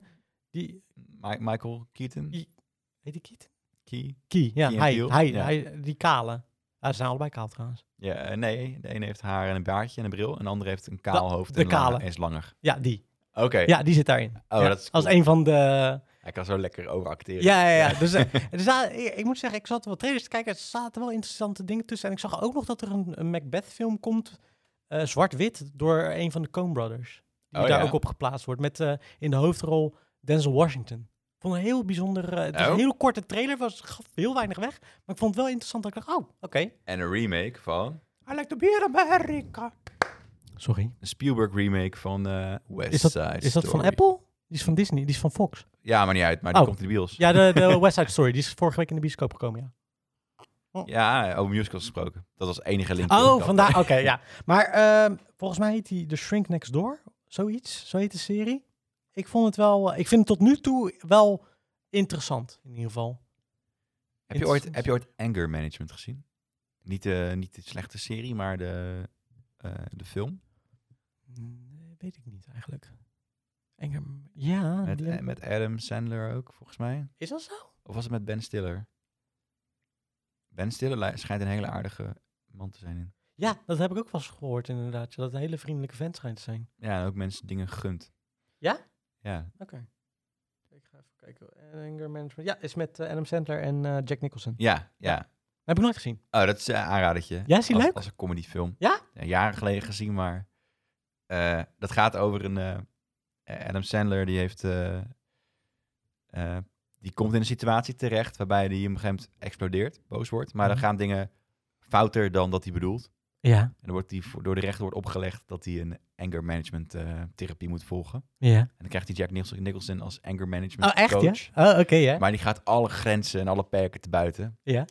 S1: die...
S2: Mi- Michael Keaton.
S1: Die- Heet die Keaton?
S2: Key.
S1: Kie, ja.
S2: Key en
S1: hij,
S2: Peele,
S1: hij,
S2: ja.
S1: hij- die kale. Ja, ze zijn allebei kaal trouwens.
S2: Ja, eh, nee, de ene heeft haar en een baardje en een bril. En de andere heeft een kaal hoofd
S1: de
S2: en lang-
S1: kale.
S2: en is langer.
S1: Ja, die.
S2: Oké,
S1: Ja, die zit daarin.
S2: Oh,
S1: Ja,
S2: dat is
S1: Als
S2: cool.
S1: een van de...
S2: hij Hij kan zo lekker overacteren.
S1: Ja, ja, ja. Dus, eh, er za- ik, ik moet zeggen, ik zat wel trailers te kijken. Er zaten wel interessante dingen tussen. En ik zag ook nog dat er een, een Macbeth-film komt. eh, Zwart-wit door een van de Coen Brothers. Die
S2: Oh,
S1: daar
S2: ja?
S1: ook op geplaatst wordt. Met eh, in de hoofdrol Denzel Washington. Ik vond een heel bijzonder. eh, het was
S2: Oh.
S1: een heel korte trailer. Was, gaf heel weinig weg. Maar ik vond het wel interessant. Dat ik dacht, oh, oké.
S2: En een remake van...
S1: I like to be in America. Sorry.
S2: Een Spielberg remake van eh West
S1: Is dat,
S2: Side
S1: is dat van
S2: Story.
S1: Apple? Die is van Disney. Die is van Fox.
S2: Ja, maar niet uit. Maar die
S1: Oh.
S2: komt in de bios.
S1: Ja, de, de West Side Story. Die is vorige week in de bioscoop gekomen, ja.
S2: Ja, over musicals gesproken. Dat was het enige link.
S1: Oh, vandaar. Oké, ja. Maar ehm, volgens mij heet die The Shrink Next Door. Zoiets. Zo heet de serie. Ik vond het wel. eh, Ik vind het tot nu toe wel interessant. In ieder geval.
S2: Heb je, ooit, heb je ooit Anger Management gezien? Niet de, niet de slechte serie, maar de, eh, de film.
S1: Nee, Mm, weet ik niet eigenlijk. Engem. Ja.
S2: Met,
S1: die-
S2: eh, met Adam Sandler ook, volgens mij.
S1: Is dat zo?
S2: Of was het met Ben Stiller? Ben Stiller li- schijnt een hele aardige man te zijn in.
S1: Ja, dat heb ik ook wel eens gehoord inderdaad. Dat het een hele vriendelijke vent schijnt te zijn.
S2: Ja, en ook mensen dingen gunt.
S1: Ja?
S2: Ja,
S1: Oké. Ik ga even kijken. Anger Management. Ja, is met eh, Adam Sandler en eh, Jack Nicholson.
S2: ja, ja.
S1: Heb ik nooit gezien.
S2: Oh, dat is een aanradertje.
S1: Ja, is die
S2: als,
S1: leuk?
S2: Als een comedyfilm.
S1: Ja?
S2: Jaren geleden gezien, maar... eh, dat gaat over een... eh, Adam Sandler, die heeft... eh, eh, die komt in een situatie terecht waarbij hij op een gegeven moment explodeert, boos wordt. Maar
S1: Mhm.
S2: dan gaan dingen fouter dan dat hij bedoelt.
S1: Ja.
S2: En dan wordt die voor- door de rechter wordt opgelegd dat hij een anger management eh, therapie moet volgen.
S1: Ja.
S2: En dan krijgt hij Jack Nichol- Nicholson als anger management
S1: Oh, echt
S2: coach.
S1: ja? Oh, oké ja.
S2: Maar die gaat alle grenzen en alle perken te buiten.
S1: Ja.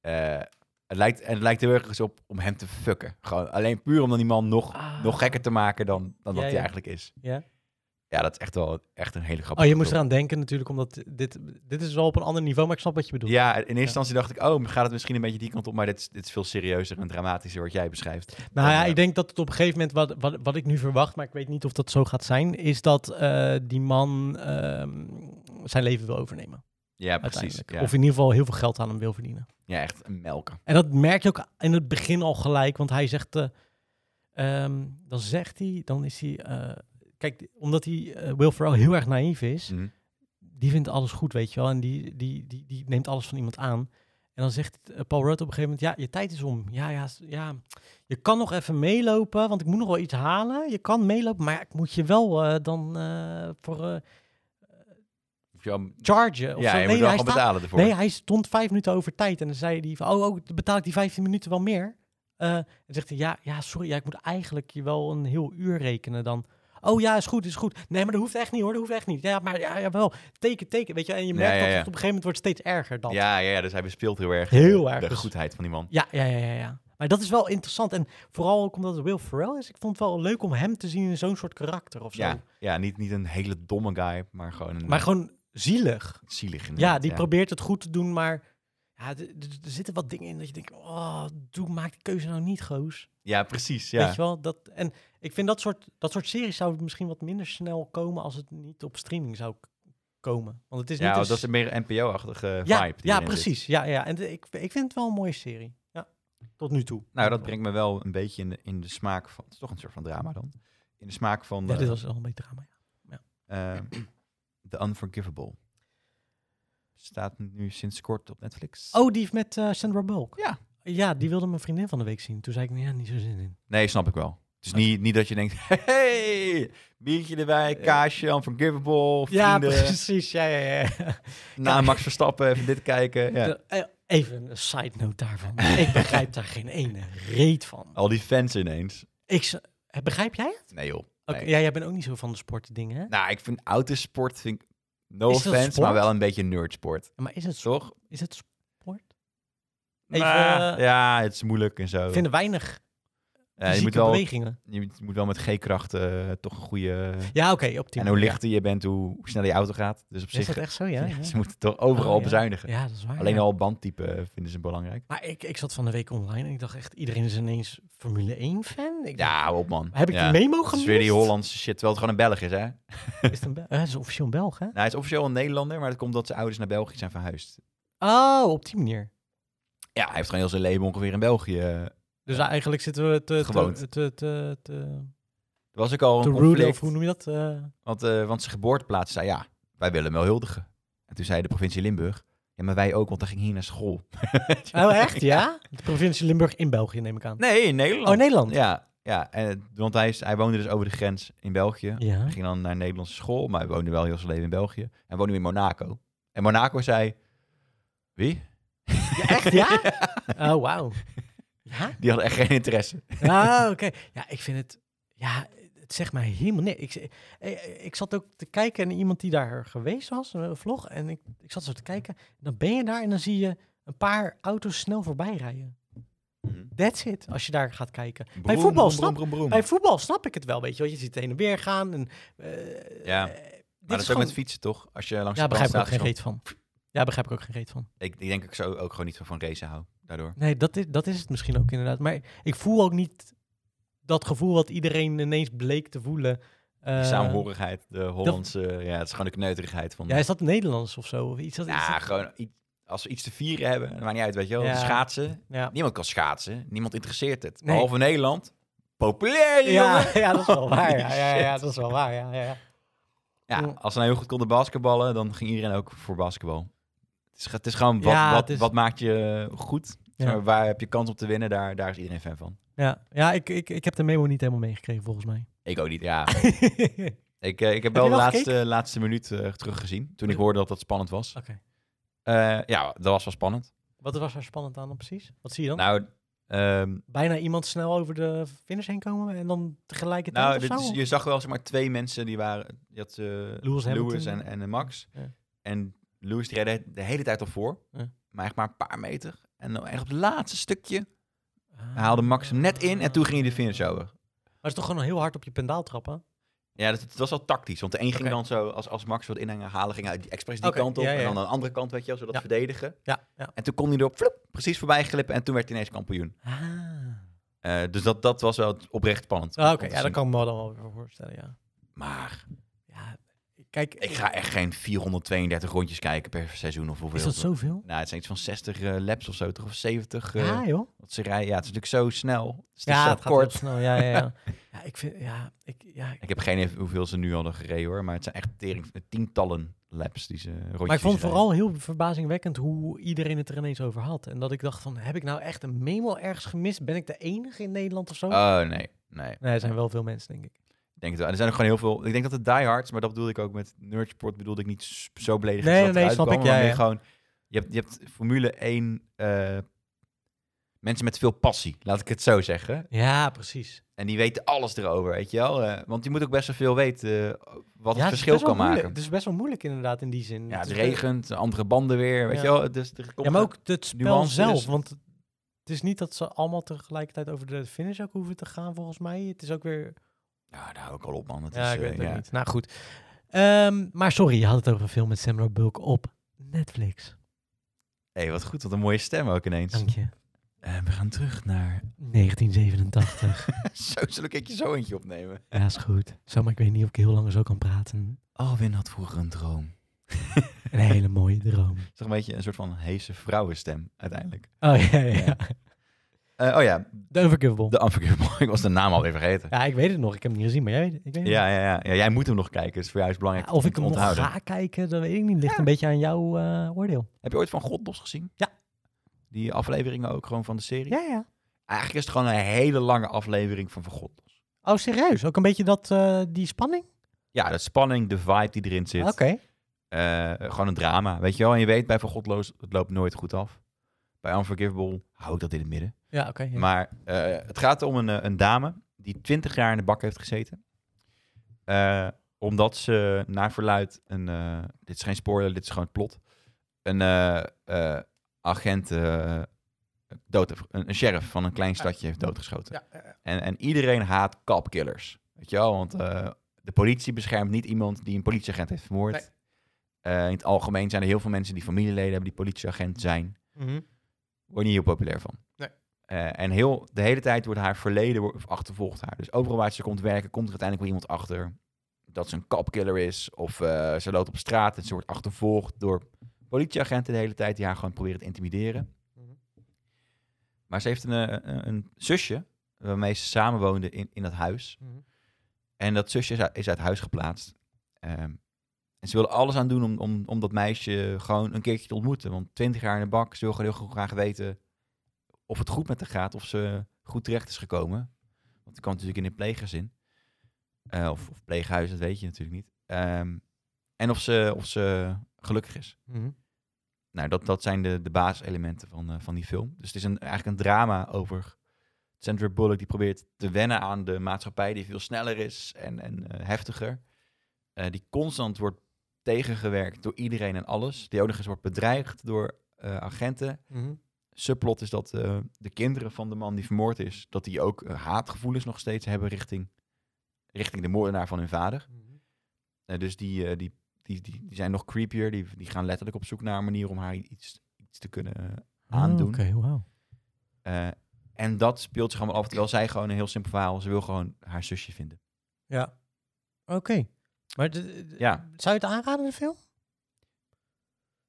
S2: Eh, het, lijkt, en het lijkt heel erg eens op om hem te fucken. Gewoon alleen puur om dan die man nog,
S1: Ah.
S2: nog gekker te maken dan, dan
S1: Ja,
S2: dat hij
S1: ja.
S2: eigenlijk is.
S1: Ja.
S2: Ja, dat is echt wel echt een hele
S1: Oh,
S2: grappige
S1: je moest
S2: film.
S1: eraan denken natuurlijk, omdat dit, dit is wel op een ander niveau, maar ik snap wat je bedoelt.
S2: Ja, in eerste instantie dacht ik, oh, gaat het misschien een beetje die kant op, maar dit, is- dit is veel serieuzer en dramatischer wat jij beschrijft.
S1: nou
S2: En,
S1: ja,
S2: eh,
S1: ik denk dat het op een gegeven moment, wat, wat, wat ik nu verwacht, maar ik weet niet of dat zo gaat zijn, is dat eh, die man ehm, zijn leven wil overnemen.
S2: Ja, precies.
S1: Uiteindelijk.
S2: Ja.
S1: Of in ieder geval heel veel geld aan hem wil verdienen.
S2: ja, echt een melken.
S1: En dat merk je ook in het begin al gelijk, want hij zegt, eh, ehm, dan zegt hij, dan is hij, eh, kijk, omdat hij eh, Will Ferrell heel erg naïef is,
S2: Mhm.
S1: die vindt alles goed, weet je wel. En die, die, die, die neemt alles van iemand aan. En dan zegt eh, Paul Rudd op een gegeven moment, ja, je tijd is om. Ja, ja, s- ja, je kan nog even meelopen, want ik moet nog wel iets halen. Je kan meelopen, maar ik moet je wel eh, dan eh, voor eh
S2: Of je al-
S1: chargen. Of
S2: ja,
S1: zo.
S2: je
S1: Nee,
S2: moet wel
S1: hij
S2: gaan
S1: staat-
S2: betalen ervoor.
S1: Nee, hij stond vijf minuten over tijd. En dan zei hij van, oh, oh betaal ik die 15 minuten wel meer? Eh, en zegt hij, ja, ja sorry, ja, ik moet eigenlijk je wel een heel uur rekenen dan. Oh ja, is goed, is goed. Nee, maar dat hoeft echt niet hoor, dat hoeft echt niet. Ja, maar ja, wel, teken, teken, weet je. En je
S2: Ja,
S1: merkt
S2: ja,
S1: dat
S2: ja.
S1: het op een gegeven moment wordt steeds erger dan.
S2: Ja, ja, ja, dus hij bespeelt heel erg
S1: Heel
S2: de,
S1: erg.
S2: de
S1: Dus-
S2: goedheid van die man.
S1: Ja, ja, ja, ja, ja. Maar dat is wel interessant. En vooral ook omdat het Will Ferrell is. Ik vond het wel leuk om hem te zien in zo'n soort karakter of zo.
S2: Ja, ja niet, niet een hele domme guy, maar gewoon een
S1: Maar gewoon zielig.
S2: zielig.
S1: Ja,
S2: inderdaad,
S1: die probeert het goed te doen, maar ja, d- d- er zitten wat dingen in dat je denkt, oh, doe, maak die keuze nou niet, goos.
S2: Ja, precies. Ja.
S1: Weet je wel? Dat, en ik vind dat soort, dat soort series zou misschien wat minder snel komen als het niet op streaming zou k- komen. Want het is
S2: ja,
S1: dus niet
S2: dat
S1: een
S2: is
S1: s-
S2: een meer NPO-achtige
S1: ja,
S2: vibe. die
S1: Ja,
S2: erin zit.
S1: precies. Ja, ja. En d- ik, ik vind het wel een mooie serie. Ja, tot nu toe.
S2: Nou, dat brengt me wel een beetje in de, in de smaak van... Het is toch een soort van drama dan. In de smaak van
S1: Ja,
S2: eh,
S1: dit was wel een beetje drama. ja.
S2: eh, The Unforgivable. Staat nu sinds kort op Netflix.
S1: Oh, die met eh, Sandra Bullock.
S2: Ja.
S1: Ja, die wilde mijn vriendin van de week zien. Toen zei ik, ja, niet zo zin in.
S2: Nee, snap ik wel. Het is niet, niet dat je denkt, hey, biertje erbij, kaasje, Unforgivable,
S1: Eh. Ja,
S2: vrienden,
S1: precies. Ja, ja, ja.
S2: na Max Verstappen, even dit kijken. Ja.
S1: De- eh, Even een side note daarvan. ik begrijp daar geen ene reet van.
S2: Al die fans ineens.
S1: Ik, z- eh, begrijp jij het?
S2: Nee joh.
S1: Oké,
S2: Nee.
S1: ja, jij bent ook niet zo van de sportdingen, hè?
S2: Nou, ik vind autosport, vind ik, no
S1: Is dat
S2: offense,
S1: sport?
S2: maar wel een beetje nerdsport.
S1: Maar is het, zo-
S2: Toch?
S1: is het sport? Even,
S2: Nou,
S1: eh,
S2: ja, het is moeilijk en zo.
S1: Ik vind er weinig
S2: Eh, Ja, je,
S1: fysieke
S2: moet wel,
S1: bewegingen.
S2: je moet- je moet wel met G-krachten toch een goede...
S1: Ja, oké, op die
S2: en hoe
S1: manier,
S2: lichter je bent, hoe hoe sneller je auto gaat. Dus op
S1: ja. Is
S2: zich,
S1: dat echt zo, ja? ja.
S2: ze moeten toch overal
S1: Oh, ja.
S2: bezuinigen.
S1: Ja, dat is waar.
S2: Alleen
S1: ja.
S2: al bandtype vinden ze belangrijk.
S1: Maar ik, ik zat van de week online en ik dacht echt, iedereen is ineens Formule 1-fan? Ik
S2: Ja, hou op man.
S1: dacht, Heb ik
S2: ja.
S1: die memo
S2: Het is
S1: gemist?
S2: weer die Hollandse shit, terwijl het gewoon een Belg is, hè?
S1: Is het een Bel- eh, het is officieel een Belg, hè?
S2: Nou, hij is officieel een Nederlander, maar dat komt omdat zijn ouders naar België zijn verhuisd.
S1: Oh, op die manier.
S2: Ja, hij heeft gewoon heel zijn leven ongeveer in België. eh, Er
S1: Dus eigenlijk zitten we te...
S2: Gewoond.
S1: Te, te, te, te,
S2: was ook al
S1: te
S2: een
S1: roelen,
S2: conflict.
S1: of hoe noem je dat? eh?
S2: Want, eh, want zijn geboorteplaats zei ja. wij willen hem wel huldigen. En toen zei de provincie Limburg, ja, maar wij ook, want hij ging hier naar school.
S1: Oh, echt? Ja? De provincie Limburg in België, neem ik aan.
S2: Nee, in Nederland.
S1: Oh, Nederland.
S2: Ja, ja en, want hij, is, hij woonde dus over de grens in België.
S1: Ja.
S2: Hij ging dan naar een Nederlandse school, maar hij woonde wel heel zijn leven in België. En woonde nu in Monaco. En Monaco zei, wie?
S1: Echt, ja? Oh, wauw. Ja?
S2: Die had echt geen interesse.
S1: Ah, oké. Ja, ik vind het... Ja, het zegt mij helemaal niks. Ik, z- eh, ik zat ook te kijken en iemand die daar geweest was, een vlog, en ik, ik zat zo te kijken. Dan ben je daar en dan zie je een paar auto's snel voorbij rijden. That's it, als je daar gaat kijken. bij,
S2: Mhm. Broem,
S1: voetbal
S2: broem,
S1: snap,
S2: broem, broem, broem.
S1: bij voetbal snap ik het wel, weet je wel. Je ziet heen en weer gaan. En, eh,
S2: Ja,
S1: eh, dit
S2: Maar dat is ook
S1: gewoon-
S2: met fietsen, toch? Als je langs
S1: Ja,
S2: de
S1: begrijp ik ook geen
S2: brandstationskom-
S1: reet van. Ja, begrijp ik ook geen reet van.
S2: Ik, ik denk ik zo ook gewoon niet van, van racen hou, daardoor.
S1: Nee, dat is, dat is het misschien ook inderdaad. Maar ik voel ook niet dat gevoel wat iedereen ineens bleek te voelen.
S2: Die
S1: Eh,
S2: saamhorigheid, de Hollandse... Ja, het is gewoon de kneuterigheid van...
S1: Ja, is dat Nederlands of zo? Of iets, dat, is
S2: Ja,
S1: dat-
S2: gewoon i- als we iets te vieren hebben, dat maakt niet uit, weet je wel.
S1: Ja.
S2: Schaatsen,
S1: ja.
S2: niemand kan schaatsen, niemand interesseert het.
S1: Nee.
S2: Behalve Nederland, populair,
S1: Ja,
S2: jongen.
S1: ja, dat is wel waar. Ja,
S2: Holy
S1: ja, ja,
S2: shit.
S1: dat is wel waar. Ja, ja, ja.
S2: Ja,
S1: Mm.
S2: als ze nou heel goed konden basketballen, dan ging iedereen ook voor basketbal. Het is, ge- het is gewoon, wat,
S1: Ja,
S2: wat,
S1: het is-
S2: wat maakt je goed?
S1: Ja.
S2: Zeg maar, Waar heb je kans op te winnen? Daar, daar is iedereen fan van.
S1: ja. ja ik, ik, ik heb de memo niet helemaal meegekregen, volgens mij.
S2: Ik ook niet, ja. ik, eh,
S1: je
S2: ik heb wel de
S1: wel
S2: laatste, laatste minuut eh, teruggezien, toen ik hoorde dat dat spannend was.
S1: Oké.
S2: Eh, ja, dat was wel spannend.
S1: Wat was er spannend aan dan precies? Wat zie je dan?
S2: Nou, ehm,
S1: Bijna iemand snel over de finish heen komen en dan tegelijkertijd
S2: Nou,
S1: of
S2: dit
S1: zo?
S2: is- je zag wel zeg maar twee mensen die waren. Je had eh, Lewis,
S1: Hamilton.
S2: en, en eh, Max.
S1: Ja.
S2: En Lewis die redde de hele tijd al voor,
S1: Ja.
S2: maar echt maar een paar meter. En dan echt op het laatste stukje
S1: Ah.
S2: haalde Max hem net in en toen ging hij de finish
S1: Maar
S2: over.
S1: het is toch gewoon heel hard op je pendaal trappen?
S2: Ja, dat, dat was wel tactisch. Want de een ging
S1: Oké.
S2: dan zo, als, als Max wilde inhangen, halen, ging hij die- expres die
S1: Oké,
S2: kant op.
S1: ja, ja,
S2: En
S1: ja.
S2: dan aan de andere kant, weet je wel, zodat
S1: Ja.
S2: verdedigen.
S1: Ja, ja.
S2: En toen kon hij er vloep, precies voorbij glippen en toen werd hij ineens kampioen.
S1: Ah.
S2: Eh, dus dat, dat was wel oprecht spannend.
S1: Ah, Oké,
S2: om te
S1: ja, dat
S2: zien.
S1: kan ik me dan wel weer voorstellen, ja.
S2: Maar
S1: ja kijk, eh,
S2: ik ga echt geen 432 rondjes kijken per seizoen of hoeveel.
S1: is dat zoveel?
S2: Nou, het zijn iets van 60 eh, laps of zo, toch? Of 70. eh,
S1: Ja, joh.
S2: wat ze rijden. Ja, het is natuurlijk zo snel. Het is
S1: Ja,
S2: zo
S1: het gaat heel
S2: kort.
S1: snel. Ja, ja, ja. ja, ik vind, ja, ik, ja.
S2: Ik heb geen idee hoeveel ze nu hadden gereden hoor. Maar het zijn echt tering, tientallen laps die ze rondjes
S1: Maar ik vond
S2: die
S1: het
S2: ze
S1: vooral heel verbazingwekkend hoe iedereen het er ineens over had. En dat ik dacht van, heb ik nou echt een memo ergens gemist? Ben ik de enige in Nederland of zo?
S2: rijden. Oh, nee. Nee,
S1: nee, er zijn wel veel mensen, denk ik.
S2: ik denk het wel. En er zijn ook gewoon heel veel... Ik denk dat het diehards, maar dat bedoelde ik ook met nerdsport, bedoelde ik niet s- zo beledigend.
S1: Nee,
S2: als dat
S1: nee,
S2: eruit
S1: snap
S2: kwam,
S1: ik,
S2: maar
S1: ja,
S2: meer
S1: ja.
S2: Gewoon, je, hebt, je hebt Formule 1... eh, mensen met veel passie, laat ik het zo zeggen.
S1: Ja, precies.
S2: En die weten alles erover, weet je wel. Eh, want je moet ook best wel veel weten eh, wat
S1: Ja,
S2: het
S1: is
S2: verschil
S1: best wel
S2: kan maken.
S1: moeilijk. Het is best wel moeilijk inderdaad in die zin.
S2: Ja, het
S1: is-
S2: regent, andere banden weer, weet
S1: Ja.
S2: je wel. Dus er komt
S1: Ja, maar ook het spel
S2: nuance,
S1: zelf.
S2: dus-
S1: Want het is niet dat ze allemaal tegelijkertijd over de finish ook hoeven te gaan, volgens mij. Het is ook weer...
S2: Ja, daar hou ik al op, man. Het
S1: Ja,
S2: is,
S1: ik weet
S2: eh,
S1: het ook
S2: ja.
S1: niet. Nou, goed. Ehm, maar sorry, je had het over een film met Samuel Bulk op Netflix.
S2: hey, wat goed. Wat een mooie stem ook ineens.
S1: Dank je.
S2: Eh, we gaan terug naar...
S1: 1987.
S2: zo, zal ik je zo eentje opnemen?
S1: ja, is goed. Zo, maar ik weet niet of ik heel lang zo kan praten.
S2: Alwin had vroeger een droom.
S1: Een hele mooie droom.
S2: Het is toch een beetje een soort van heese vrouwenstem, uiteindelijk.
S1: Oh ja, ja, ja.
S2: Eh, oh ja,
S1: The Unforgivable.
S2: de Unforgivable. ik was de naam alweer vergeten.
S1: Ja, ik weet het nog. Ik heb hem niet gezien, maar jij weet het. Ik weet het
S2: Ja, ja, ja. ja jij moet hem nog kijken. Dus voor jou is het
S1: nog.
S2: belangrijk
S1: Ja, of
S2: om
S1: ik
S2: te
S1: hem nog
S2: onthouden.
S1: ga kijken, dat weet ik niet. Ligt een beetje aan jouw eh, oordeel.
S2: Heb je ooit van Godlos gezien?
S1: Ja.
S2: Die afleveringen ook gewoon van de serie?
S1: Ja, ja.
S2: Eigenlijk is het gewoon een hele lange aflevering van Van Godlos.
S1: Oh, serieus? Ook een beetje dat, eh, die spanning?
S2: Ja, de spanning, de vibe die erin zit.
S1: Oké.
S2: Eh, gewoon een drama, weet je wel. En je weet bij Van Godloos, het loopt nooit goed af. Bij Unforgivable hou ik dat in het midden.
S1: Ja, oké. ja.
S2: Maar eh, het gaat om een, eh, een dame die 20 jaar in de bak heeft gezeten. Eh, omdat ze naar verluid een. eh, dit is geen spoiler, dit is gewoon het plot. Een eh, eh, agent. eh, dood, heeft- een, een sheriff van een klein stadje heeft doodgeschoten.
S1: Ja, ja,
S2: En, en iedereen haat kapkillers. Weet je wel? Want eh, de politie beschermt niet iemand die een politieagent heeft vermoord.
S1: Nee.
S2: Eh, in het algemeen zijn er heel veel mensen die familieleden hebben die politieagent zijn
S1: Mhm.
S2: word je niet heel populair van.
S1: Nee.
S2: Eh, en heel, de hele tijd wordt haar verleden wo- of achtervolgt haar. Dus overal waar ze komt werken, komt er uiteindelijk wel iemand achter. Dat ze een kapkiller is. Of eh, ze loopt op straat en ze wordt achtervolgd door politieagenten de hele tijd. Die haar gewoon proberen te intimideren.
S1: Mhm.
S2: Maar ze heeft een, eh, een, een zusje waarmee ze samen woonde in, in dat huis.
S1: Mhm.
S2: En dat zusje is uit, is uit huis geplaatst. Ehm, En ze willen alles aan doen om, om, om dat meisje gewoon een keertje te ontmoeten. Want twintig jaar in de bak, ze wil gewoon heel graag weten of het goed met haar gaat. Of ze goed terecht is gekomen. Want die kwam natuurlijk in een pleeggezin. Eh, of, of pleeghuis, dat weet je natuurlijk niet. Ehm, en of ze, of ze gelukkig is.
S1: Mhm.
S2: Nou, dat, dat zijn de, de basiselementen van, eh, van die film. Dus het is een, eigenlijk een drama over Sandra Bullock die probeert te wennen aan de maatschappij die veel sneller is en, en eh, heftiger. Eh, die constant wordt tegengewerkt door iedereen en alles. Die ook nog eens wordt bedreigd door eh, agenten.
S1: Mhm.
S2: Subplot is dat eh, de kinderen van de man die vermoord is, dat die ook eh, haatgevoelens nog steeds hebben richting, richting de moordenaar van hun vader. Eh, dus die, eh, die, die, die, die zijn nog creepier. Die, die gaan letterlijk op zoek naar een manier om haar iets, iets te kunnen eh, aandoen.
S1: Ah, Oké, wauw.
S2: Eh, en dat speelt zich allemaal af, terwijl zij gewoon een heel simpel verhaal, ze wil gewoon haar zusje vinden.
S1: Ja. Oké. Maar d- d-
S2: Ja.
S1: zou je het aanraden, de film?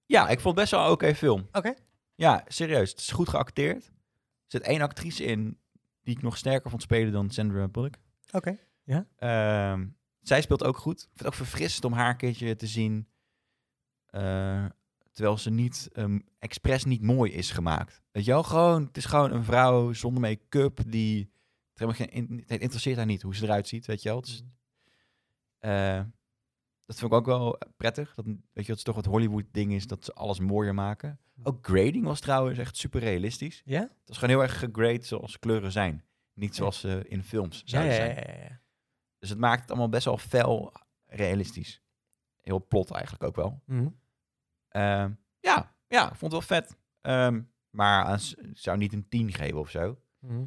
S2: Ja, ik vond het best wel een oké film.
S1: Oké.
S2: Ja, serieus. Het is goed geacteerd. Er zit één actrice in die ik nog sterker vond spelen dan Sandra Bullock.
S1: Oké.
S2: Ehm, zij speelt ook goed. Ik vind het ook verfrissend om haar een keertje te zien. eh, terwijl ze niet ehm, expres niet mooi is gemaakt. Weet je wel? Gewoon, het is gewoon een vrouw zonder make-up die... Het, helemaal geen, in- het interesseert haar niet hoe ze eruit ziet, weet je wel? Het is- eh, dat vind ik ook wel prettig. Dat, weet je, dat is toch het Hollywood-ding is dat ze alles mooier maken. Ook grading was trouwens echt super realistisch.
S1: Ja?
S2: Het was gewoon heel erg gegrade zoals kleuren zijn. Niet zoals ze in films
S1: Ja,
S2: zouden
S1: ja,
S2: zijn.
S1: ja, ja, ja.
S2: Dus het maakt het allemaal best wel fel realistisch. Heel plot eigenlijk ook wel.
S1: Mhm.
S2: Ehm, ja, ja, ik vond het wel vet. Ehm, maar aan s- ik zou niet een 10 geven of zo.
S1: Mhm.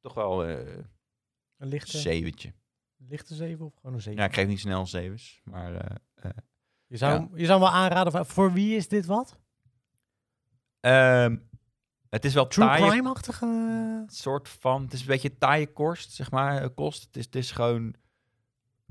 S2: Toch wel eh,
S1: Een
S2: een
S1: lichte,
S2: zeventje.
S1: lichte zeven of gewoon een zeven?
S2: Ja, ik geef niet snel zevens. Maar eh, eh,
S1: Je, zou,
S2: ja.
S1: hem- je zou hem wel aanraden, van, voor wie is dit wat?
S2: ehm, het is wel
S1: True
S2: taaie-
S1: crime-achtige...
S2: soort van. Het is een beetje taaie kost, zeg maar. eh, Kost. Het is, het is gewoon.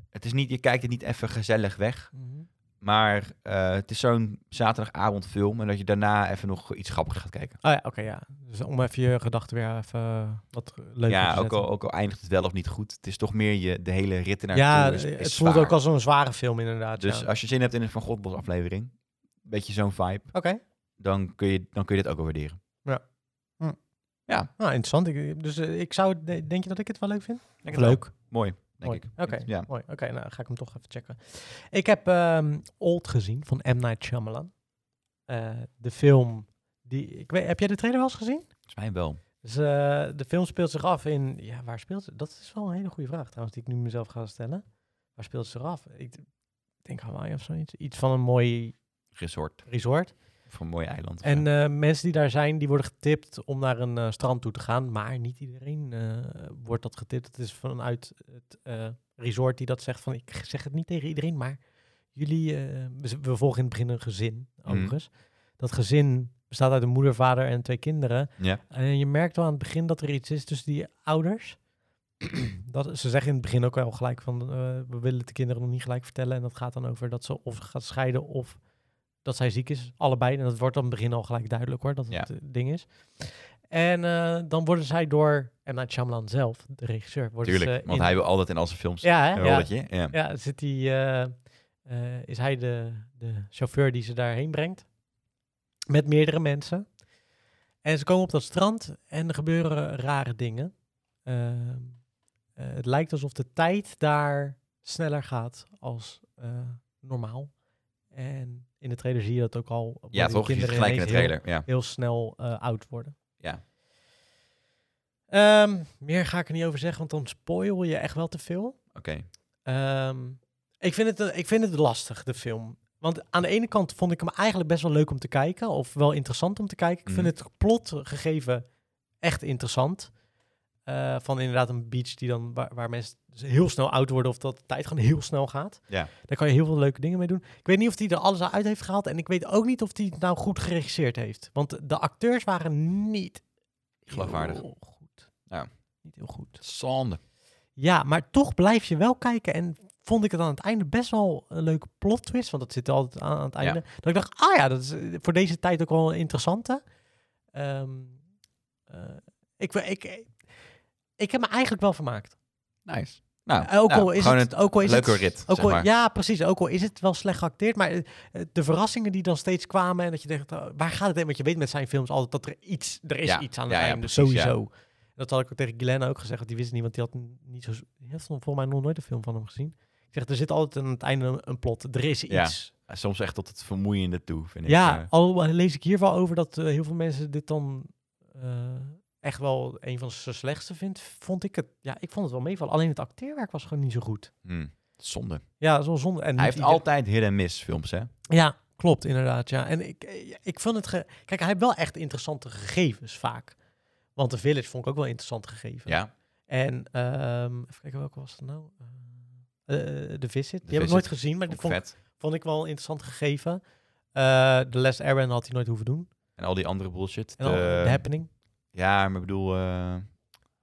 S2: Het is niet, je kijkt het niet even gezellig weg.
S1: Mhm.
S2: Maar eh, het is zo'n zaterdagavondfilm. En dat je daarna even nog iets grappigs gaat kijken.
S1: Oh ja, oké, ja. Dus om even je gedachten weer even eh, wat leuker
S2: ja,
S1: te zetten.
S2: ook al, ook al eindigt het wel of niet goed. Het is toch meer je, de hele rit naar
S1: ja,
S2: toe is-
S1: eh,
S2: is
S1: het voelt
S2: zwaar.
S1: ook als een zware film inderdaad.
S2: Dus
S1: ja.
S2: als je zin hebt in een Van Godbos aflevering, een beetje zo'n vibe,
S1: Oké,
S2: dan kun, je, dan kun je dit ook wel waarderen.
S1: nou interessant. Ik, dus eh, ik zou, het- denk je dat ik het wel leuk vind?
S2: Denk
S1: Of
S2: het wel.
S1: leuk.
S2: Mooi, denk
S1: Mooi.
S2: ik.
S1: Oké,
S2: Ja.
S1: mooi. Oké, nou dan ga ik hem toch even checken. Ik heb ehm, Old gezien van M. Night Shyamalan. Eh, de film die... Ik weet, heb jij de trailer wel eens gezien?
S2: Volgens mij wel.
S1: Dus, eh, de film speelt zich af in... Ja, waar speelt ze? Dat is wel een hele goede vraag trouwens, die ik nu mezelf ga stellen. Waar speelt ze zich af? Ik d- denk Hawaii of zoiets. Iets van een mooi
S2: Resort
S1: resort.
S2: van een mooi eiland.
S1: En eh, mensen die daar zijn, die worden getipt om naar een eh, strand toe te gaan. Maar niet iedereen eh, wordt dat getipt. Het is vanuit het eh, resort die dat zegt van... Ik zeg het niet tegen iedereen, maar jullie... eh, we, we volgen in het begin een gezin,
S2: Mhm.
S1: overigens. Dat gezin bestaat uit een moeder, vader en twee kinderen.
S2: ja.
S1: En Eh, je merkt wel aan het begin dat er iets is tussen die ouders. dat, ze zeggen in het begin ook wel gelijk van eh, we willen het de kinderen nog niet gelijk vertellen. En dat gaat dan over dat ze of gaat scheiden of dat zij ziek is. Allebei. En dat wordt dan in het begin al gelijk duidelijk hoor, dat het
S2: Ja.
S1: eh, ding is. En eh, dan worden zij door M. Night Shyamalan zelf, de regisseur. Worden
S2: Tuurlijk,
S1: ze
S2: want
S1: dus, eh, in-
S2: hij Oh, wil altijd in al zijn films
S1: Ja, hè?
S2: een
S1: ja,
S2: rolletje. Ja.
S1: ja, zit die, eh, eh, is hij de, de chauffeur die ze daarheen brengt. Met meerdere mensen. En ze komen op dat strand en er gebeuren rare dingen. Ehm, eh, het lijkt alsof de tijd daar sneller gaat als eh, normaal. En in de trailer zie je dat ook al. worden
S2: Ja,
S1: die
S2: toch? Je zit
S1: kinderen
S2: gelijk in de
S1: ineens heel-
S2: trailer. Ja.
S1: heel snel eh, oud worden.
S2: Ja.
S1: Ehm, meer ga ik er niet over zeggen, want dan spoil je echt wel te veel.
S2: Oké.
S1: Ehm, ik, vind het, ik vind het lastig, de film. Want aan de ene kant vond ik hem eigenlijk best wel leuk om te kijken. Of wel interessant om te kijken. Ik vind
S2: Mhm.
S1: het plot gegeven echt interessant. Eh, van inderdaad een beach die dan, waar, waar mensen dus heel snel oud worden. Of dat de tijd gewoon heel snel gaat.
S2: Ja.
S1: Daar kan je heel veel leuke dingen mee doen. Ik weet niet of hij er alles uit heeft gehaald. En ik weet ook niet of hij het nou goed geregisseerd heeft. Want de acteurs waren niet
S2: Geloofwaardig.
S1: heel goed.
S2: Ja.
S1: Niet heel goed.
S2: Zonde.
S1: Ja, maar toch blijf je wel kijken. En vond ik het aan het einde best wel een leuke plot twist. Want dat zit er altijd aan, aan het
S2: Ja.
S1: einde. Dat ik dacht, ah ja, dat is eh, voor deze tijd ook wel een interessante. Ehm, eh, ik, we- ik, ik heb me eigenlijk wel vermaakt.
S2: Nice. Nou,
S1: Ook al
S2: nou,
S1: is
S2: gewoon
S1: het,
S2: een
S1: ook al is
S2: leuke
S1: het,
S2: rit,
S1: ook
S2: zeg
S1: al-
S2: maar.
S1: Ja, precies. Ook al is het wel slecht geacteerd, maar eh, eh, de verrassingen die dan steeds kwamen en dat je denkt, oh, waar gaat het heen? Want je weet met zijn films altijd dat er iets, er is
S2: Ja,
S1: iets aan het
S2: ja, ja,
S1: einde,
S2: precies, ja.
S1: sowieso. Dat had ik ook tegen Glenn ook gezegd, want die wist niet, want die had n- niet zo, die heeft volgens mij nog nooit een film van hem gezien. Ik zeg, er zit altijd aan het einde een, een plot, er is
S2: Ja,
S1: iets.
S2: Soms echt tot het vermoeiende toe, vind ik.
S1: Ja,
S2: eh.
S1: al lees ik hier wel over dat eh, heel veel mensen dit dan eh, echt wel een van zijn slechtste vindt, vond ik het, ja, ik vond het wel meevallen. Alleen het acteerwerk was gewoon niet zo goed.
S2: Hmm, Zonde.
S1: Ja, dat is wel zonde. En niet
S2: Hij heeft
S1: ieder-
S2: altijd hit en miss films, hè?
S1: Ja, klopt, inderdaad. Ja. En ik, eh, ik vond het. ge- Kijk, hij heeft wel echt interessante gegevens vaak. Want The Village vond ik ook wel interessant gegeven.
S2: Ja.
S1: En ehm, even kijken welke was het nou? Eh The Visit. Die heb
S2: Visit.
S1: ik nooit gezien, maar die
S2: Ook
S1: vond, ik-
S2: vet.
S1: vond ik wel een interessant gegeven. Eh The Last Airbender had hij nooit hoeven doen.
S2: En al die andere bullshit.
S1: En dan
S2: eh,
S1: The Happening.
S2: ja, maar ik bedoel... eh,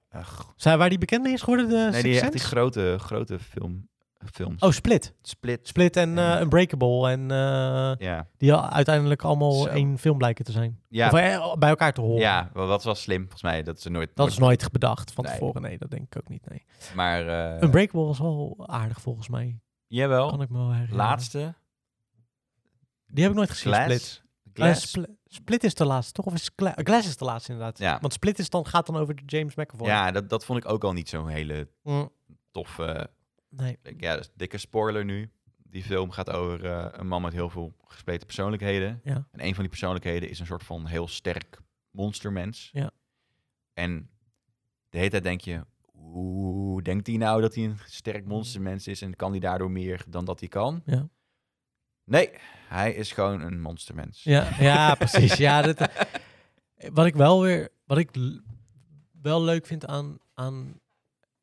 S2: ach,
S1: Zijn waar die bekende is geworden? De
S2: nee,
S1: Sixth
S2: die, echt die
S1: Sense?
S2: grote, grote film, films.
S1: Oh, Split.
S2: Split.
S1: Split en
S2: Ja.
S1: eh, Unbreakable. En eh,
S2: Ja.
S1: die al- uiteindelijk allemaal
S2: Zo.
S1: één film blijken te zijn.
S2: Ja,
S1: Of eh, bij elkaar te horen.
S2: ja, wel, dat was slim, volgens mij. Dat ze nooit...
S1: Dat is nooit bedacht van
S2: Nee.
S1: tevoren. Nee, dat denk ik ook niet. Nee.
S2: Maar, eh, Oh,
S1: Unbreakable was wel aardig volgens mij. Kan
S2: jawel.
S1: ik me wel herinneren.
S2: Laatste.
S1: Die Oh, heb ik nooit gezien.
S2: Glass.
S1: Split.
S2: Glass.
S1: Eh, Spl- Split is de laatste, toch? Of is Gla- Glass is de laatste inderdaad.
S2: Ja.
S1: Want Split is dan, gaat dan over de James McAvoy.
S2: Ja, dat, dat vond ik ook al niet zo'n hele
S1: Mm,
S2: toffe... eh,
S1: nee.
S2: ik- ja, dat is een dikke spoiler nu. Die film gaat over eh, een man met heel veel gespleten persoonlijkheden.
S1: Ja.
S2: En een van die persoonlijkheden is een soort van heel sterk monstermens.
S1: Ja.
S2: En de hele tijd denk je, oeh, denkt hij nou dat hij een sterk monstermens is en kan hij daardoor meer dan dat hij kan?
S1: Ja.
S2: Nee, hij is gewoon een monstermens.
S1: Ja, ja precies. Ja, dat, wat ik wel weer, wat ik l- wel leuk vind aan, aan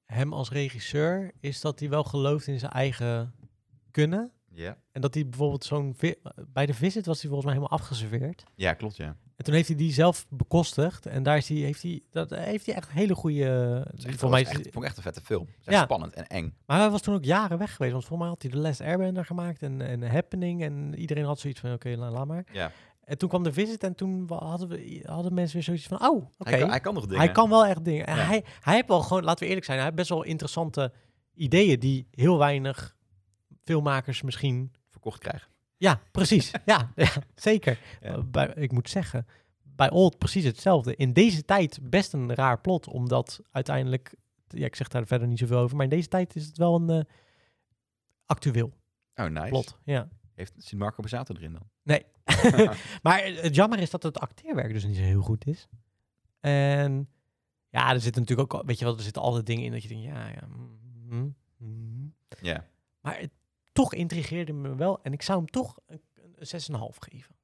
S1: hem als regisseur, is dat hij wel gelooft in zijn eigen kunnen.
S2: Ja,
S1: En dat hij bijvoorbeeld zo'n... vi- Bij de Visit was hij volgens mij helemaal afgeserveerd.
S2: ja klopt ja.
S1: En toen heeft hij die zelf bekostigd. En daar is hij, heeft, hij, dat, heeft hij echt hele goede...
S2: Het is echt-
S1: Voor mij,
S2: was echt,
S1: is-
S2: vond ik echt een vette film. Het is echt
S1: Ja.
S2: spannend en eng.
S1: maar hij was toen ook jaren weg geweest. Want voor mij had hij de Last Airbender gemaakt en, en Happening. En iedereen had zoiets van, oké, la- laat maar.
S2: Ja.
S1: En toen kwam de visit en toen wa- hadden, we, hadden mensen weer zoiets van, oh, oké.
S2: Hij, kan,
S1: Hij,
S2: hij kan nog dingen.
S1: kan wel echt dingen. En
S2: Ja.
S1: hij, hij heeft wel gewoon, laten we eerlijk zijn, hij heeft best wel interessante ideeën die heel weinig filmmakers misschien
S2: verkocht krijgen.
S1: Ja, precies. ja, ja, zeker.
S2: Ja.
S1: Uh, Bij, ik moet zeggen, bij Old precies hetzelfde. In deze tijd best een raar plot, omdat uiteindelijk... Ja, ik zeg daar verder niet zoveel over, maar in deze tijd is het wel een eh, actueel
S2: Oh, nice.
S1: plot. Ja.
S2: Heeft, zit Marco Bezato erin dan?
S1: Nee. maar het jammer is dat het acteerwerk dus niet zo heel goed is. En ja, er zitten natuurlijk ook... al- Weet je wel, er zitten altijd dingen in dat je denkt, ja, ja... mm, mm.
S2: Ja.
S1: Maar het, toch intrigeerde me wel en ik zou hem toch een, een 6,5 geven.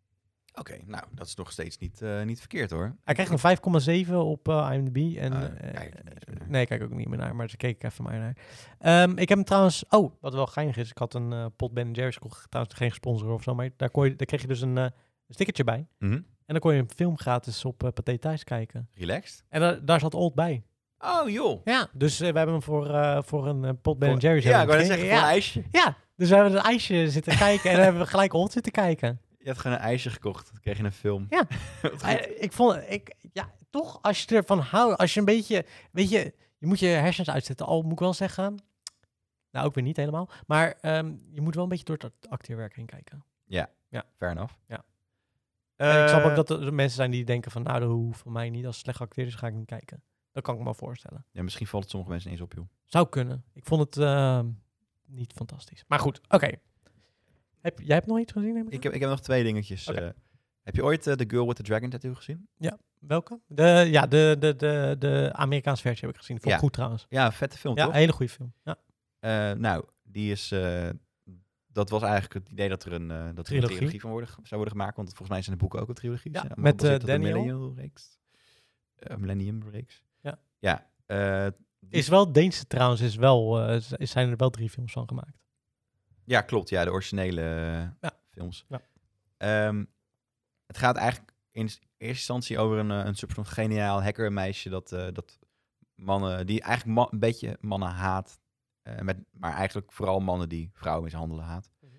S2: Oké, nou, dat is nog steeds niet, eh, niet verkeerd hoor.
S1: Hij krijgt een 5,7 op eh, IMDb. En,
S2: Ah,
S1: eh,
S2: kijk ik niet meer naar.
S1: nee, ik kijk ook niet meer naar, maar ze keek ik even maar naar. Ehm, ik heb hem trouwens... Oh, wat wel geinig is. Ik had een eh, pot Ben Jerry's gekocht. Trouwens geen sponsor of zo, maar daar, kon je, daar kreeg je dus een eh, een stickertje bij.
S2: Mhm.
S1: En dan kon je een film gratis op eh Pathé Thuis kijken.
S2: Relaxed.
S1: En daar- daar zat Old bij.
S2: Oh joh.
S1: Ja. Dus eh, we hebben hem voor, eh, voor een eh, pot Ben
S2: Voor-
S1: Jerry's...
S2: Ja, ik
S1: hebben
S2: wou
S1: we
S2: net
S1: hem
S2: zeggen,
S1: gekregen.
S2: voor een ijsje.
S1: ja. ja, dus we hebben een ijsje zitten kijken en dan hebben we gelijk Old zitten kijken.
S2: Je hebt gewoon een ijsje gekocht. Dan kreeg je een film.
S1: Ja.
S2: Wat
S1: Ah,
S2: goed.
S1: ik vond, ik, ja, toch als je ervan houdt, als je een beetje, weet je, je moet je hersens uitzetten. Al moet ik wel zeggen, nou ook weer niet helemaal, maar ehm, je moet wel een beetje door het act- acteerwerk heen kijken.
S2: Fair enough.
S1: Ja.
S2: Eh,
S1: En ik snap ook dat er mensen zijn die denken van, nou, dat hoeft voor mij niet. Als het slecht acteerd is, ga ik niet kijken. Dat kan ik me wel voorstellen.
S2: Ja, misschien valt het sommige mensen niet eens op, joh.
S1: Zou kunnen. Ik vond het ehm, niet fantastisch. Maar goed, oké. Heb, jij hebt nog iets gezien? neem ik
S2: Ik
S1: aan?
S2: heb, ik heb nog twee dingetjes.
S1: Oké.
S2: eh. heb je ooit eh, The Girl with the Dragon Tattoo gezien?
S1: Welke? De, ja, de, de, de, de Amerikaanse versie heb ik gezien. Vond ik
S2: Ja.
S1: goed trouwens.
S2: Ja, een vette film,
S1: Ja,
S2: toch?
S1: een hele goede film. Ja.
S2: Eh, nou, die is... eh, dat was eigenlijk het idee dat er een, eh, dat er een
S1: Trilogie.
S2: trilogie van worden, ge- zou worden gemaakt. Want volgens mij zijn de boeken ook een trilogie.
S1: Ja, met, eh, Daniel.
S2: Millennium Reeks. Eh, Millennium Reeks.
S1: Ja.
S2: Ja. eh,
S1: Is wel Deense trouwens, is wel, eh, z- zijn er wel drie films van gemaakt.
S2: Ja, klopt. Ja, de originele eh,
S1: Ja.
S2: films.
S1: Ja.
S2: Ehm, het gaat eigenlijk in s- eerste instantie over een, eh, een soort van geniaal hackermeisje dat, eh, dat mannen, die eigenlijk ma- een beetje mannen haat, eh, met, maar eigenlijk vooral mannen die vrouwen mishandelen haat.
S1: Mhm.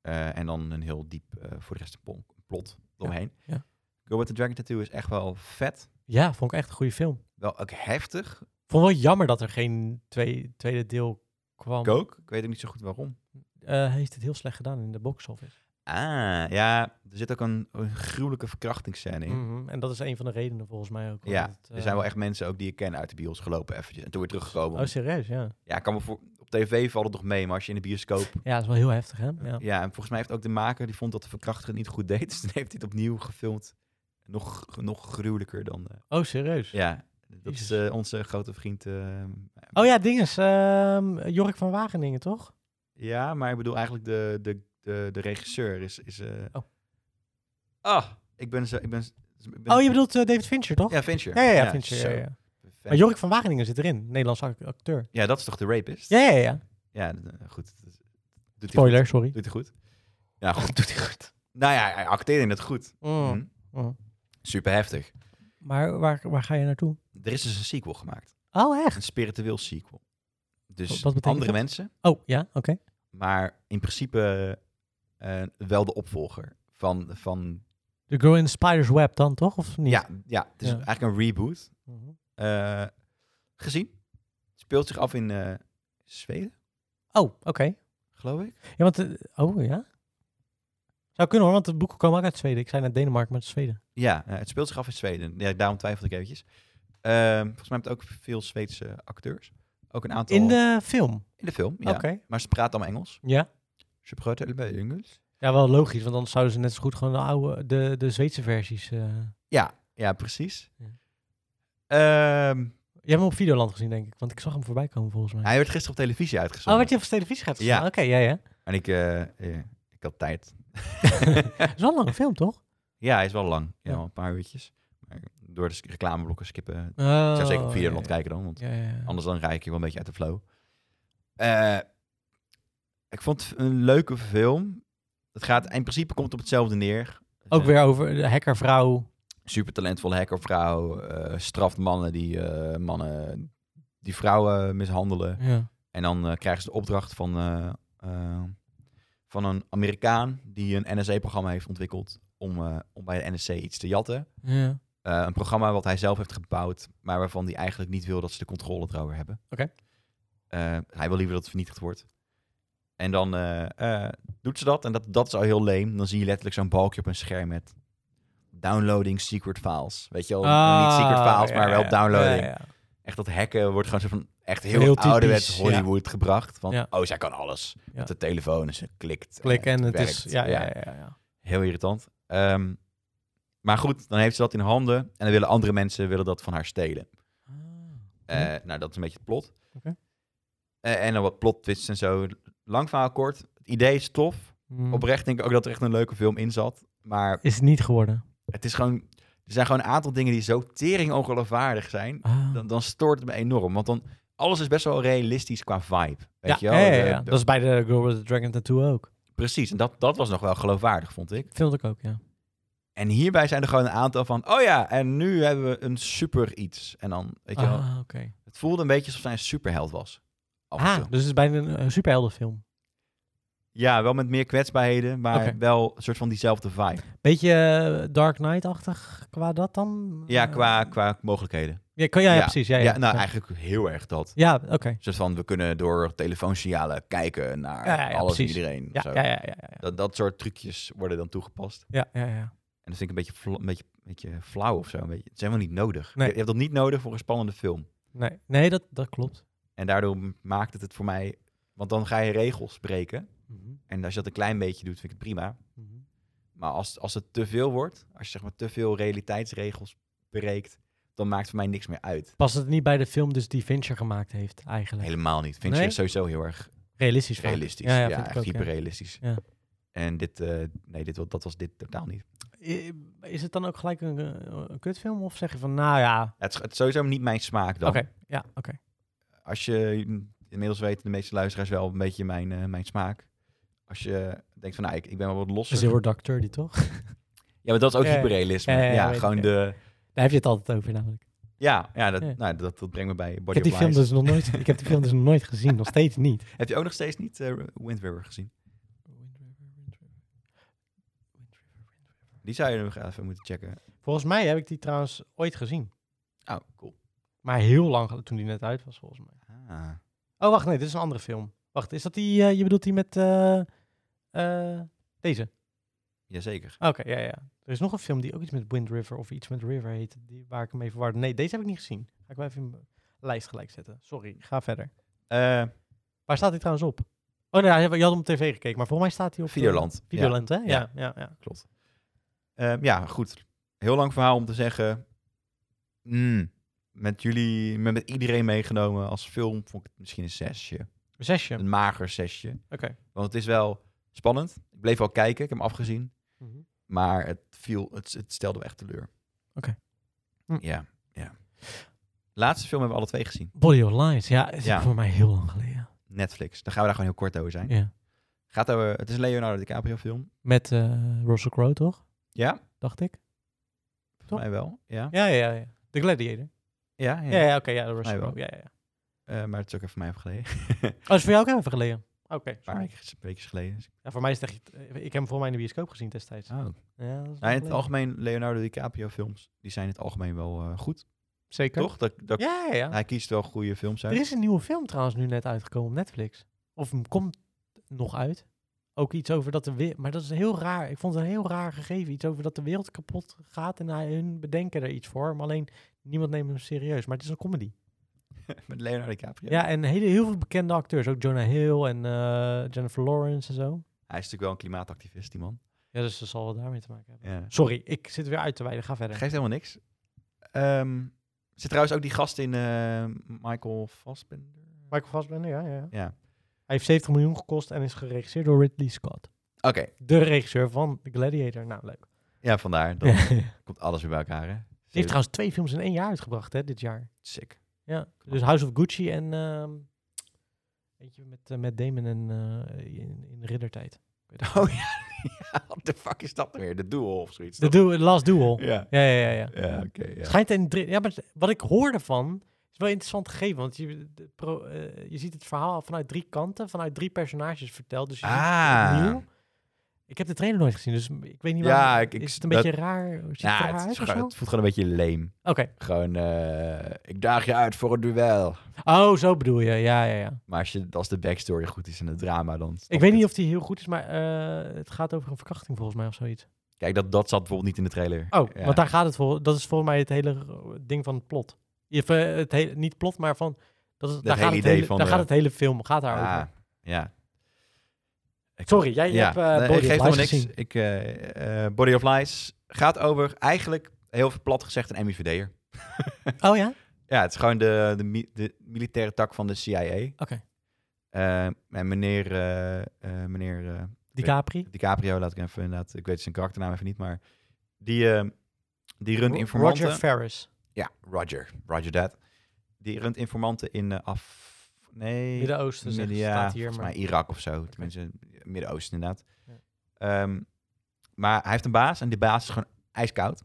S2: Eh, en dan een heel diep, eh, voor de rest een pon- plot omheen.
S1: ja.
S2: Go with the Dragon Tattoo is echt wel vet.
S1: Ja, vond ik echt een goede film.
S2: Wel ook heftig.
S1: Vond wel jammer dat er geen twee, tweede deel kwam,
S2: Ik ook. Ik weet ook niet zo goed waarom.
S1: eh, heeft het heel slecht gedaan in de box office.
S2: Ah, ja, er zit ook een, een gruwelijke verkrachtingsscène in.
S1: Mhm, En dat is een van de redenen volgens mij ook.
S2: Ja,
S1: omdat het,
S2: er zijn wel
S1: eh,
S2: echt mensen ook die je kent uit de bios gelopen eventjes. En toen weer teruggekomen.
S1: Oh, serieus, ja.
S2: ja, ik kan me voor, op tv valt het nog mee, maar als je in de bioscoop...
S1: Ja, dat is wel heel heftig, hè? Ja.
S2: Ja. en volgens mij heeft ook de maker, die vond dat de verkrachter het niet goed deed. Dus dan heeft hij het opnieuw gefilmd. Nog, nog gruwelijker dan... eh,
S1: Oh, serieus.
S2: ja, dat
S1: Jezus.
S2: is eh, onze grote vriend... eh,
S1: Oh ja, dinges. ehm Jork van Wageningen, toch?
S2: Ja, maar ik bedoel eigenlijk de, de, de, de regisseur is... is eh,
S1: Oh.
S2: Ah, ik ben zo... Ik ben, ik ben-
S1: Oh, je bedoelt eh, David Fincher, toch?
S2: Ja, Fincher.
S1: ja, ja, ja, Fincher.
S2: zo
S1: ja, ja.
S2: perfect.
S1: Maar Jork van Wageningen zit erin, Nederlands ac- acteur.
S2: Ja, dat is toch de rapist?
S1: Ja, ja, ja.
S2: Ja, dat- eh, goed. dat- dat- Doet hij
S1: Spoiler,
S2: goed.
S1: sorry.
S2: Doet hij goed? Ja, goed. Doet hij goed. Nou ja, hij acteerde in het goed.
S1: Mm.
S2: Hm. Super heftig.
S1: Maar waar, waar ga je naartoe?
S2: Er is dus een sequel gemaakt.
S1: Oh, echt?
S2: Een spiritueel sequel. Dus
S1: Wat betekent
S2: andere
S1: dat?
S2: mensen,
S1: Oh, ja, oké.
S2: maar in principe eh, wel de opvolger van... van
S1: The Girl in the Spider's Web dan, toch? Of niet?
S2: ja, ja, het is
S1: Ja.
S2: eigenlijk een reboot.
S1: Mhm.
S2: Eh, gezien. Het speelt zich af in eh, Zweden,
S1: Oh, oké.
S2: geloof ik.
S1: Ja, want... eh, oh, ja? Zou kunnen hoor, want de boeken komen ook uit Zweden. Ik zei naar Denemarken, maar het is Zweden.
S2: Ja, eh, het speelt zich af in Zweden. Ja, daarom twijfelde ik eventjes. Ehm, volgens mij hebben het ook veel Zweedse acteurs. Ook een aantal...
S1: In de Oh, film?
S2: in de film, ja.
S1: Oké.
S2: Maar ze praten allemaal Engels.
S1: Ja?
S2: Ze praten allemaal Engels.
S1: Ja, wel logisch, want anders zouden ze net zo goed gewoon de oude, de, de Zweedse versies... eh.
S2: Ja, ja, precies.
S1: Ja.
S2: Ehm,
S1: Je hebt hem op Videoland gezien, denk ik, want ik zag hem voorbij komen volgens mij.
S2: hij werd gisteren op televisie
S1: Oh,
S2: uitgezonden.
S1: werd je op de televisie gaat
S2: Ja.
S1: Oké, ja, ja.
S2: En ik, eh, eh, ik had tijd.
S1: Het is wel een lange film, toch?
S2: ja, hij is wel lang. Ja,
S1: Ja.
S2: wel een paar uurtjes. Maar door de sk- reclameblokken skippen. Ik
S1: Oh,
S2: zou zeker op
S1: ja,
S2: Videoland
S1: ja.
S2: kijken dan, want
S1: Ja, ja, ja.
S2: anders dan raak ik hier wel een beetje uit de flow. Eh, ik vond het een leuke film. Het gaat, in principe komt het op hetzelfde neer.
S1: Ook
S2: Eh,
S1: weer over de hackervrouw.
S2: super talentvolle hackervrouw, eh, straft mannen die eh, mannen die vrouwen mishandelen.
S1: Ja.
S2: En dan eh, krijgen ze de opdracht van, eh, eh, van een Amerikaan die een NSA-programma heeft ontwikkeld om, eh, om bij de NSA iets te jatten.
S1: ja.
S2: Eh, een programma wat hij zelf heeft gebouwd, maar waarvan hij eigenlijk niet wil dat ze de controle erover hebben.
S1: Oké.
S2: Eh, hij wil liever dat het vernietigd wordt. En dan eh, eh, doet ze dat en dat, dat is al heel leem. Dan zie je letterlijk zo'n balkje op een scherm met downloading secret files. Weet je wel,
S1: Ah,
S2: niet secret files, maar wel downloading. Echt dat hacken wordt gewoon zo van echt heel,
S1: Heel
S2: ouderwets
S1: typisch,
S2: Hollywood gebracht. Van,
S1: Ja.
S2: oh, zij kan alles.
S1: Ja.
S2: Met de telefoon en ze klikt.
S1: Klik en het
S2: werkt.
S1: is... Ja, ja, ja. ja, ja.
S2: Heel irritant. Ehm, maar goed, dan heeft ze dat in handen. En dan willen andere mensen willen dat van haar stelen.
S1: Ah.
S2: Eh, Nou, dat is een beetje het plot.
S1: Mhm. Oké.
S2: Eh, en dan wat plot twists en zo. Lang verhaal kort. Het idee is tof.
S1: Hmm.
S2: Oprecht denk ik ook dat er echt een leuke film in zat. Maar
S1: Is het niet geworden.
S2: het is gewoon... Er zijn gewoon een aantal dingen die zo tering ongeloofwaardig zijn.
S1: Ah.
S2: Dan, dan stoort het me enorm. Want dan... Alles is best wel realistisch qua vibe. Weet
S1: ja,
S2: je wel?
S1: ja, ja,
S2: De-
S1: ja.
S2: de-
S1: Dat is bij de Girl with the Dragon Tattoo ook.
S2: Precies. En dat, dat was nog wel geloofwaardig, vond ik.
S1: Vind ik ook, ja.
S2: En hierbij zijn er gewoon een aantal van, oh ja, en nu hebben we een super iets. En dan, weet je wel,
S1: Ah, oké.
S2: het voelde een beetje alsof zij een superheld was. Af en
S1: Ah,
S2: toe.
S1: dus het is bijna een, eh, superheldenfilm.
S2: Ja, wel met meer kwetsbaarheden, maar
S1: Oké.
S2: wel een soort van diezelfde vibe.
S1: Beetje eh, Dark Knight-achtig qua dat dan?
S2: Ja,
S1: Eh,
S2: qua, qua mogelijkheden.
S1: Ja, kan, ja, ja,
S2: Ja.
S1: precies. Ja,
S2: Ja,
S1: ja,
S2: nou eigenlijk heel erg dat.
S1: Ja, oké.
S2: Een soort van, we kunnen door telefoonsignalen kijken naar
S1: Ja, ja, ja,
S2: alles en
S1: precies.
S2: iedereen.
S1: Ja,
S2: zo.
S1: ja, ja, ja, ja, ja.
S2: Dat, dat soort trucjes worden dan toegepast.
S1: Ja, ja, ja.
S2: En dat vind ik een beetje, fla- een beetje, een beetje flauw of zo. Een beetje. Het is helemaal niet nodig.
S1: Nee.
S2: Je, je hebt dat niet nodig voor een spannende film.
S1: Nee, nee dat, dat klopt.
S2: En daardoor m- maakt het het voor mij... Want dan ga je regels breken.
S1: Mhm,
S2: En als je dat een klein beetje doet, vind ik het prima.
S1: mhm.
S2: Maar als, als het te veel wordt, als je zeg maar te veel realiteitsregels breekt... dan maakt het voor mij niks meer uit.
S1: Past het niet bij de film dus die Fincher gemaakt heeft, eigenlijk?
S2: Helemaal niet. Vind je
S1: Nee?
S2: het sowieso heel erg
S1: Realistisch. vaak.
S2: realistisch.
S1: Ja,
S2: Ja,
S1: ja, vind ik
S2: echt
S1: ook, ja.
S2: hyperrealistisch.
S1: Ja.
S2: En dit, eh, nee, dit, wa- dat was dit totaal niet.
S1: I- Is het dan ook gelijk een, eh, een kutfilm? Of zeg je van, nou ja,
S2: Ja, het, is, het is sowieso niet mijn smaak
S1: oké.
S2: dan.
S1: ja, oké.
S2: Als je, mm, inmiddels weten de meeste luisteraars wel een beetje mijn, eh, mijn smaak. Als je denkt van, nou, ik, ik ben wel wat losser.
S1: Zero Dark Thirty, toch?
S2: Ja, maar dat is ook
S1: Dus Ja, ja.
S2: hyperrealisme.
S1: Ja, ja, ja,
S2: ja,
S1: weet ik,
S2: gewoon
S1: ja.
S2: de...
S1: Daar heb je het altijd over namelijk.
S2: Ja, ja, dat,
S1: Ja.
S2: Nou, dat, dat brengt me bij
S1: Ik
S2: Body
S1: heb, die
S2: of
S1: film
S2: Lies.
S1: dus nog nooit, ik heb die film dus nog nooit gezien, nog steeds niet.
S2: Heb je ook nog steeds niet eh, Wind River gezien? Die zou je nog even moeten checken.
S1: Volgens mij heb ik die trouwens ooit gezien.
S2: Oh, cool.
S1: Maar heel lang geleden, toen die net uit was, volgens mij.
S2: Ah.
S1: Oh, wacht, nee, dit is een andere film. Wacht, is dat die, eh, je bedoelt die met eh, eh, deze?
S2: Jazeker.
S1: Oké, ja, ja. Er is nog een film die ook iets met Wind River of iets met River heet, die, waar ik hem even verwarde. Nee, deze heb ik niet gezien. Ga ik wel even in mijn lijst gelijk zetten. Sorry, ga verder.
S2: Eh
S1: Waar staat hij trouwens op? Oh, nee, je had hem op tv gekeken, maar volgens mij staat hij op... eh,
S2: Videoland.
S1: Videoland, hè?
S2: Ja.
S1: Ja, ja, ja.
S2: Klopt. Ehm, ja, goed. Heel lang verhaal om te zeggen. mm, met jullie, met, met iedereen meegenomen als film, vond ik het misschien een zesje.
S1: Zesje,
S2: Een mager zesje.
S1: oké.
S2: Want het is wel spannend. Ik bleef wel kijken, ik heb hem afgezien.
S1: Mhm.
S2: Maar het, viel, het, het stelde me echt teleur.
S1: Oké. Hm.
S2: Ja, ja. Laatste film hebben we alle twee gezien.
S1: Body of Lies, ja, is
S2: Ja.
S1: voor mij heel lang geleden.
S2: Netflix. Daar gaan we daar gewoon heel kort over zijn.
S1: Ja.
S2: Gaat over, het is een Leonardo DiCaprio film.
S1: Met eh, Russell Crowe, toch?
S2: Ja,
S1: Dacht ik. Toch?
S2: volgens mij wel. Ja,
S1: Ja, ja, ja. The Gladiator.
S2: ja, ja.
S1: Ja, ja, oké, ja, Russell
S2: Mij wel.
S1: Crowe. Ja, ja, ja.
S2: Eh, maar het is ook even voor mij even geleden.
S1: Oh, dat is voor jou ook even geleden? Oké.
S2: Een paar
S1: sorry.
S2: weken- weken geleden. Dus-
S1: Ja, voor mij is het echt... eh, Ik heb hem voor mij in de bioscoop gezien destijds.
S2: Oh.
S1: Ja, dat is
S2: Nou, in het
S1: wel
S2: algemeen, Leonardo DiCaprio films, die zijn in het algemeen wel eh, goed.
S1: geleden. Zeker.
S2: Toch? Dat, dat,
S1: Ja, ja, ja.
S2: Hij kiest wel goede films
S1: Er
S2: uit.
S1: is een nieuwe film trouwens nu net uitgekomen op Netflix. Of hem komt nog uit. Ook iets over dat de wereld... Maar dat is heel raar. Ik vond het een heel raar gegeven. Iets over dat de wereld kapot gaat en hij- hun bedenken er iets voor. Maar alleen niemand neemt hem serieus. Maar het is een comedy.
S2: Met Leonardo DiCaprio.
S1: Ja, en hele, heel veel bekende acteurs. Ook Jonah Hill en eh, Jennifer Lawrence en zo.
S2: Hij is natuurlijk wel een klimaatactivist, die man.
S1: Ja, dus dat zal wel daarmee te maken hebben.
S2: Ja.
S1: Sorry, ik zit weer uit te wijden. Ga verder.
S2: Geeft helemaal niks. Ehm, er zit trouwens ook die gast in eh, Michael Fassbender.
S1: Michael Fassbender, ja, ja. ja.
S2: Ja.
S1: Hij heeft 70 miljoen gekost en is geregisseerd door Ridley Scott.
S2: Oké,
S1: De regisseur van The Gladiator. Nou, leuk.
S2: ja, vandaar. Dan
S1: Ja. Hij
S2: komt alles weer bij elkaar, hè?
S1: heeft trouwens twee films in één jaar uitgebracht, hè, dit jaar.
S2: Sick.
S1: Ja, dus House of Gucci en ehm eentje met, eh, met Damon en, eh, in, in riddertijd. Ik weet het
S2: Oh ja, ja what the fuck is dat nou weer? De duel of zoiets.
S1: niet. The
S2: toch?
S1: du Last Duel.
S2: Ja,
S1: Ja, ja, ja. ja.
S2: ja oké. ja.
S1: Schijnt in drie- ja, maar wat ik hoorde van is wel interessant gegeven, want je, de pro- eh, je ziet het verhaal vanuit drie kanten, vanuit drie personages verteld. Dus je ziet het
S2: Ah.
S1: opnieuw. Ik heb de trailer nooit gezien, dus ik weet niet
S2: Ja,
S1: waar.
S2: ik- ik-
S1: is het een
S2: dat-
S1: beetje raar? Ziet
S2: Ja,
S1: het er raar
S2: het, is
S1: uit of
S2: gewoon-
S1: zo?
S2: het voelt gewoon een beetje leem.
S1: Oké.
S2: Gewoon, eh, ik daag je uit voor een duel.
S1: Oh, zo bedoel je. Ja, ja, ja.
S2: Maar als, je, als de backstory goed is en het drama, dan... snap
S1: Ik weet
S2: het.
S1: niet of die heel goed is, maar eh, het gaat over een verkrachting volgens mij of zoiets.
S2: Kijk, dat, dat zat bijvoorbeeld niet in de trailer.
S1: Oh,
S2: Ja.
S1: want daar gaat het voor. Dat is volgens mij het hele eh, ding van het plot. Of, eh, het hele, niet plot, maar van... Dat is, daar
S2: hele
S1: gaat het
S2: idee
S1: hele,
S2: van
S1: daar
S2: de-
S1: gaat het hele film gaat daarover.
S2: Ah, ja. Ik-
S1: Sorry, jij
S2: ja.
S1: hebt eh,
S2: Nee,
S1: Body
S2: ik geef
S1: of Lies
S2: helemaal niks.
S1: gezien.
S2: Ik, eh, eh, Body of Lies gaat over, eigenlijk heel veel plat gezegd, een MIVD'er.
S1: Oh ja?
S2: Ja, het is gewoon de, de, mi- de militaire tak van de CIA.
S1: Oké.
S2: Eh, en meneer, eh, eh, meneer eh,
S1: DiCapri.
S2: DiCaprio, laat ik even inderdaad, ik weet zijn karakternaam even niet, maar die, eh, die runt
S1: Ro-
S2: informanten.
S1: Roger Ferris.
S2: Ja, Roger. Roger that. Die runt informanten in eh, af... Nee.
S1: Midden-Oosten zegt-
S2: Midden- ja,
S1: staat hier.
S2: volgens
S1: Maar.
S2: mij Irak of zo. Tenminste, Midden-Oosten inderdaad.
S1: Ja.
S2: Ehm, maar hij heeft een baas en die baas is gewoon ijskoud.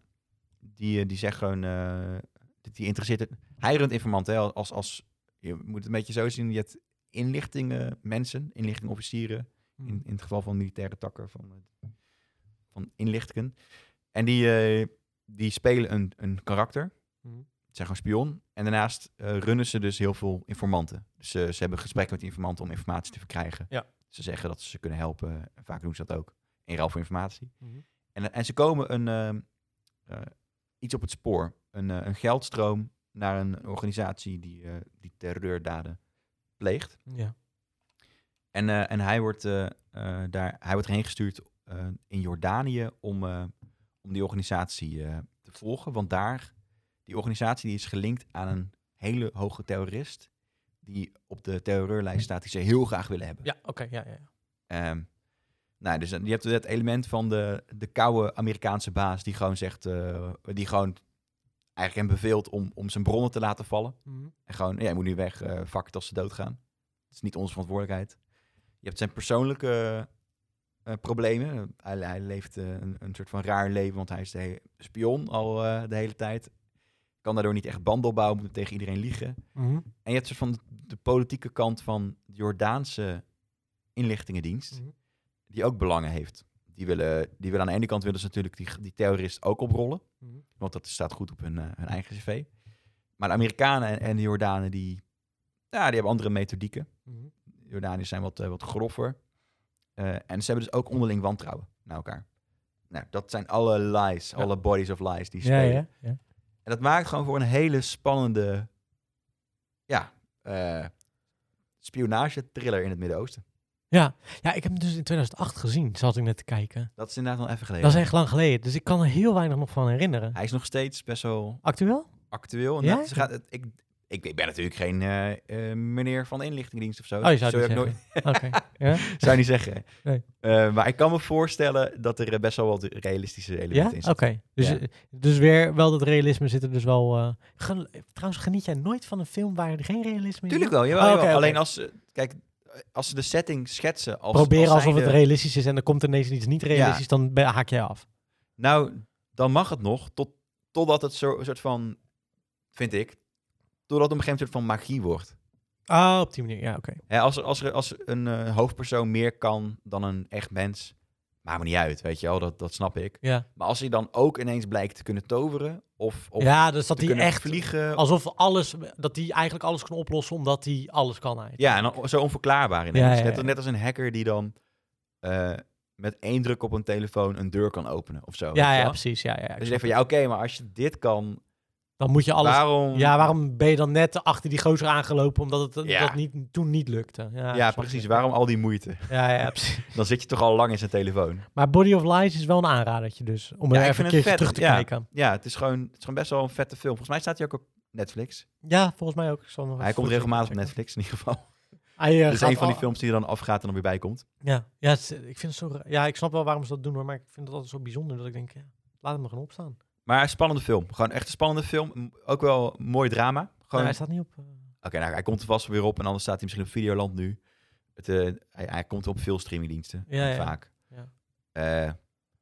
S2: Die, eh, die zegt gewoon... eh, die, die interesseert het. Hij runt informanten hè, als, als... Je moet het een beetje zo zien. Je hebt inlichtingen mensen, inlichtingofficieren.
S1: Hmm.
S2: In,
S1: Mm.
S2: in het geval van militaire takken van, eh, van inlichtingen. En die, eh, die spelen een, een karakter.
S1: Mhm.
S2: Het zijn gewoon spion. En daarnaast eh, runnen ze dus heel veel informanten. Dus eh, ze hebben gesprekken met informanten om informatie te verkrijgen.
S1: Ja.
S2: Ze zeggen dat ze ze kunnen helpen. En vaak doen ze dat ook. In ruil voor informatie.
S1: Mhm.
S2: En, en ze komen een, eh, eh, iets op het spoor. Een, eh, een geldstroom naar een organisatie die, eh, die terreurdaden pleegt.
S1: Ja.
S2: En, eh, en hij wordt eh, eh, daar, hij wordt heen gestuurd eh, in Jordanië om, eh, om die organisatie eh, te volgen. Want daar, die organisatie die is gelinkt aan een hele hoge terrorist. Die op de terreurlijst staat, die ze heel graag willen hebben.
S1: Ja, oké. ja, ja, ja.
S2: Ehm, nou, dus dan- je hebt het element van de, de koude Amerikaanse baas die gewoon zegt, eh, die gewoon eigenlijk hem beveelt om, om zijn bronnen te laten vallen.
S1: Mhm.
S2: En gewoon, ja, je moet nu weg, eh fuck it als ze doodgaan. Het is niet onze verantwoordelijkheid. Je hebt zijn persoonlijke eh, eh, problemen. Hij, hij leeft eh, een, een soort van raar leven, want hij is de he- spion al eh, de hele tijd. Kan daardoor niet echt banden opbouwen, moet tegen iedereen liegen.
S1: Mhm.
S2: En je hebt soort van de politieke kant van de Jordaanse inlichtingendienst,
S1: Mhm.
S2: die ook belangen heeft. Die willen, die willen aan de ene kant willen ze natuurlijk die, die terrorist ook oprollen,
S1: Mhm.
S2: want dat staat goed op hun, eh, hun eigen cv. Maar de Amerikanen en, en de Jordanen, die, Ja, die hebben andere methodieken.
S1: Mhm.
S2: Jordaniërs zijn wat, eh, wat groffer. Eh, en ze hebben dus ook onderling wantrouwen naar elkaar. Nou, dat zijn alle lies, alle bodies of lies die
S1: Ja,
S2: spelen.
S1: ja, ja.
S2: En dat maakt gewoon voor een hele spannende ja, eh spionage-thriller in het Midden-Oosten.
S1: ja, ik heb hem dus in 2008 gezien, zat ik net te kijken.
S2: Dat is inderdaad al even geleden.
S1: Dat is echt lang geleden, dus ik kan er heel weinig nog van herinneren.
S2: Hij Oh, is nog steeds best wel
S1: Actueel?
S2: actueel. En
S1: Ja?
S2: dat- ze gaat, het- ik, ik, ik ben natuurlijk geen eh, eh, meneer van de inlichtingendienst of zo.
S1: Oh, je zou
S2: Zul
S1: het
S2: je
S1: niet
S2: ook
S1: zeggen. Oké. ja?
S2: Zou je niet zeggen.
S1: Nee.
S2: Eh, maar ik kan me voorstellen dat er eh, best wel wat realistische elementen
S1: Ja?
S2: in
S1: Oké.
S2: zitten.
S1: Dus,
S2: Ja.
S1: eh, dus weer wel dat realisme zit er dus wel... eh, gel- trouwens, geniet jij nooit van een film waar er geen realisme in zit?
S2: Tuurlijk wel, jawel,
S1: Oh,
S2: jawel.
S1: oké, oké.
S2: Alleen als ze, kijk, eh, als ze de setting schetsen. Als,
S1: Probeer
S2: als
S1: alsof het
S2: zijnde-
S1: realistisch is en er komt ineens iets niet realistisch, dan ben- haak je af.
S2: Nou, dan mag het nog, tot, totdat het zo, een soort van, vind ik, totdat het op een gegeven moment een soort van magie wordt.
S1: Ah, op die manier. Ja, oké.
S2: Hè, als, er- als, er, als een eh, hoofdpersoon meer kan dan een echt mens, maakt me niet uit, weet je wel, dat, dat snap ik.
S1: Ja.
S2: Maar als hij dan ook ineens blijkt te kunnen toveren, of, of
S1: ja, dus dat
S2: te
S1: hij
S2: kunnen
S1: echt...
S2: vliegen.
S1: Alsof alles... Dat hij eigenlijk alles kan oplossen omdat hij alles kan eigenlijk.
S2: Ja, en dan zo onverklaarbaar ineens.
S1: Ja, ja, ja.
S2: Net, net als een hacker die dan eh, met één druk op een telefoon een deur kan openen of zo. weet je
S1: Ja, ja,
S2: wel.
S1: precies. Ja, ja, ja, ik
S2: Dus je
S1: snap
S2: denkt van, ja, oké, maar als je dit kan,
S1: het. Dan moet je alles...
S2: waarom...
S1: Ja, waarom ben je dan net achter die gozer aangelopen omdat het eh,
S2: Ja.
S1: dat niet, toen niet lukte? Ja,
S2: Ja,
S1: snap
S2: precies.
S1: ik.
S2: Waarom al die moeite?
S1: Ja, ja, precies.
S2: Dan zit je toch al lang in zijn telefoon.
S1: Maar Body of Lies is wel een aanradertje dus. Om
S2: Ja,
S1: er
S2: ik
S1: even
S2: vind
S1: een
S2: het
S1: keertje
S2: vet,
S1: terug te
S2: ja.
S1: kijken.
S2: Ja, het is, gewoon, het is gewoon best wel een vette film. Volgens mij staat hij ook op Netflix.
S1: Ja, volgens mij ook. Ik zal nog
S2: Hij
S1: even
S2: komt
S1: goed
S2: regelmatig op
S1: checken.
S2: Netflix in ieder geval.
S1: Hij, eh,
S2: Dus
S1: gaat
S2: een van die
S1: al-
S2: films die er dan afgaat en dan weer bij komt.
S1: Ja, ja, het is- ik vind het zo ra- ja, ik snap wel waarom ze dat doen hoor, maar ik vind het altijd zo bijzonder dat ik denk, ja, laat hem er gewoon op staan.
S2: Maar een spannende film. Gewoon echt een spannende film. M- Ook wel een mooi drama.
S1: Ja,
S2: Gewoon...
S1: hij staat niet op. eh,
S2: Oké, nou, hij komt er vast weer op en anders staat hij misschien op Videoland nu. Het, eh, hij, hij komt op veel streamingdiensten.
S1: Ja, ja.
S2: Vaak.
S1: Ja.
S2: Eh,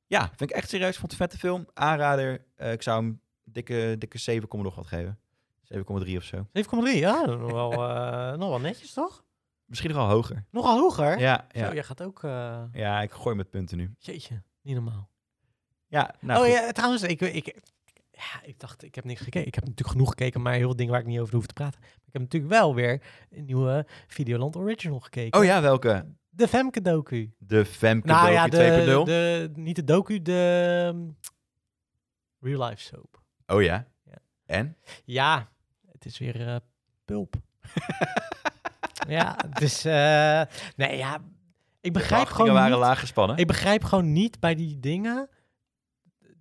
S2: ja, vind ik echt serieus. Vond het een vette film. Aanrader. Eh, ik zou hem dikke, dikke 7, nog wat geven. 7,3 of zo.
S1: 7,3, ja, dat is nog wel, eh, nog wel netjes toch?
S2: Misschien nogal hoger.
S1: Nogal hoger.
S2: Ja,
S1: Zo,
S2: ja.
S1: jij gaat ook, eh,
S2: ja, ik gooi met punten nu.
S1: jeetje, niet normaal.
S2: Ja, nou
S1: oh
S2: goed.
S1: ja, trouwens, ik, ik, ja, ik dacht, ik heb niks gekeken. Ik heb natuurlijk genoeg gekeken, maar heel veel dingen waar ik niet over hoef te praten. Ik heb natuurlijk wel weer een nieuwe Videoland Original gekeken.
S2: Oh ja, welke?
S1: De Femke docu.
S2: De Femke
S1: Nou
S2: Doki
S1: ja, de,
S2: 2.0.
S1: de, niet de docu, de ehm, real life soap.
S2: Oh ja.
S1: Ja.
S2: En?
S1: Ja, het is weer eh, pulp. ja, dus, eh, nee ja, ik begrijp
S2: De
S1: gewoon
S2: waren
S1: niet-
S2: laag gespannen.
S1: ik begrijp gewoon niet bij die dingen,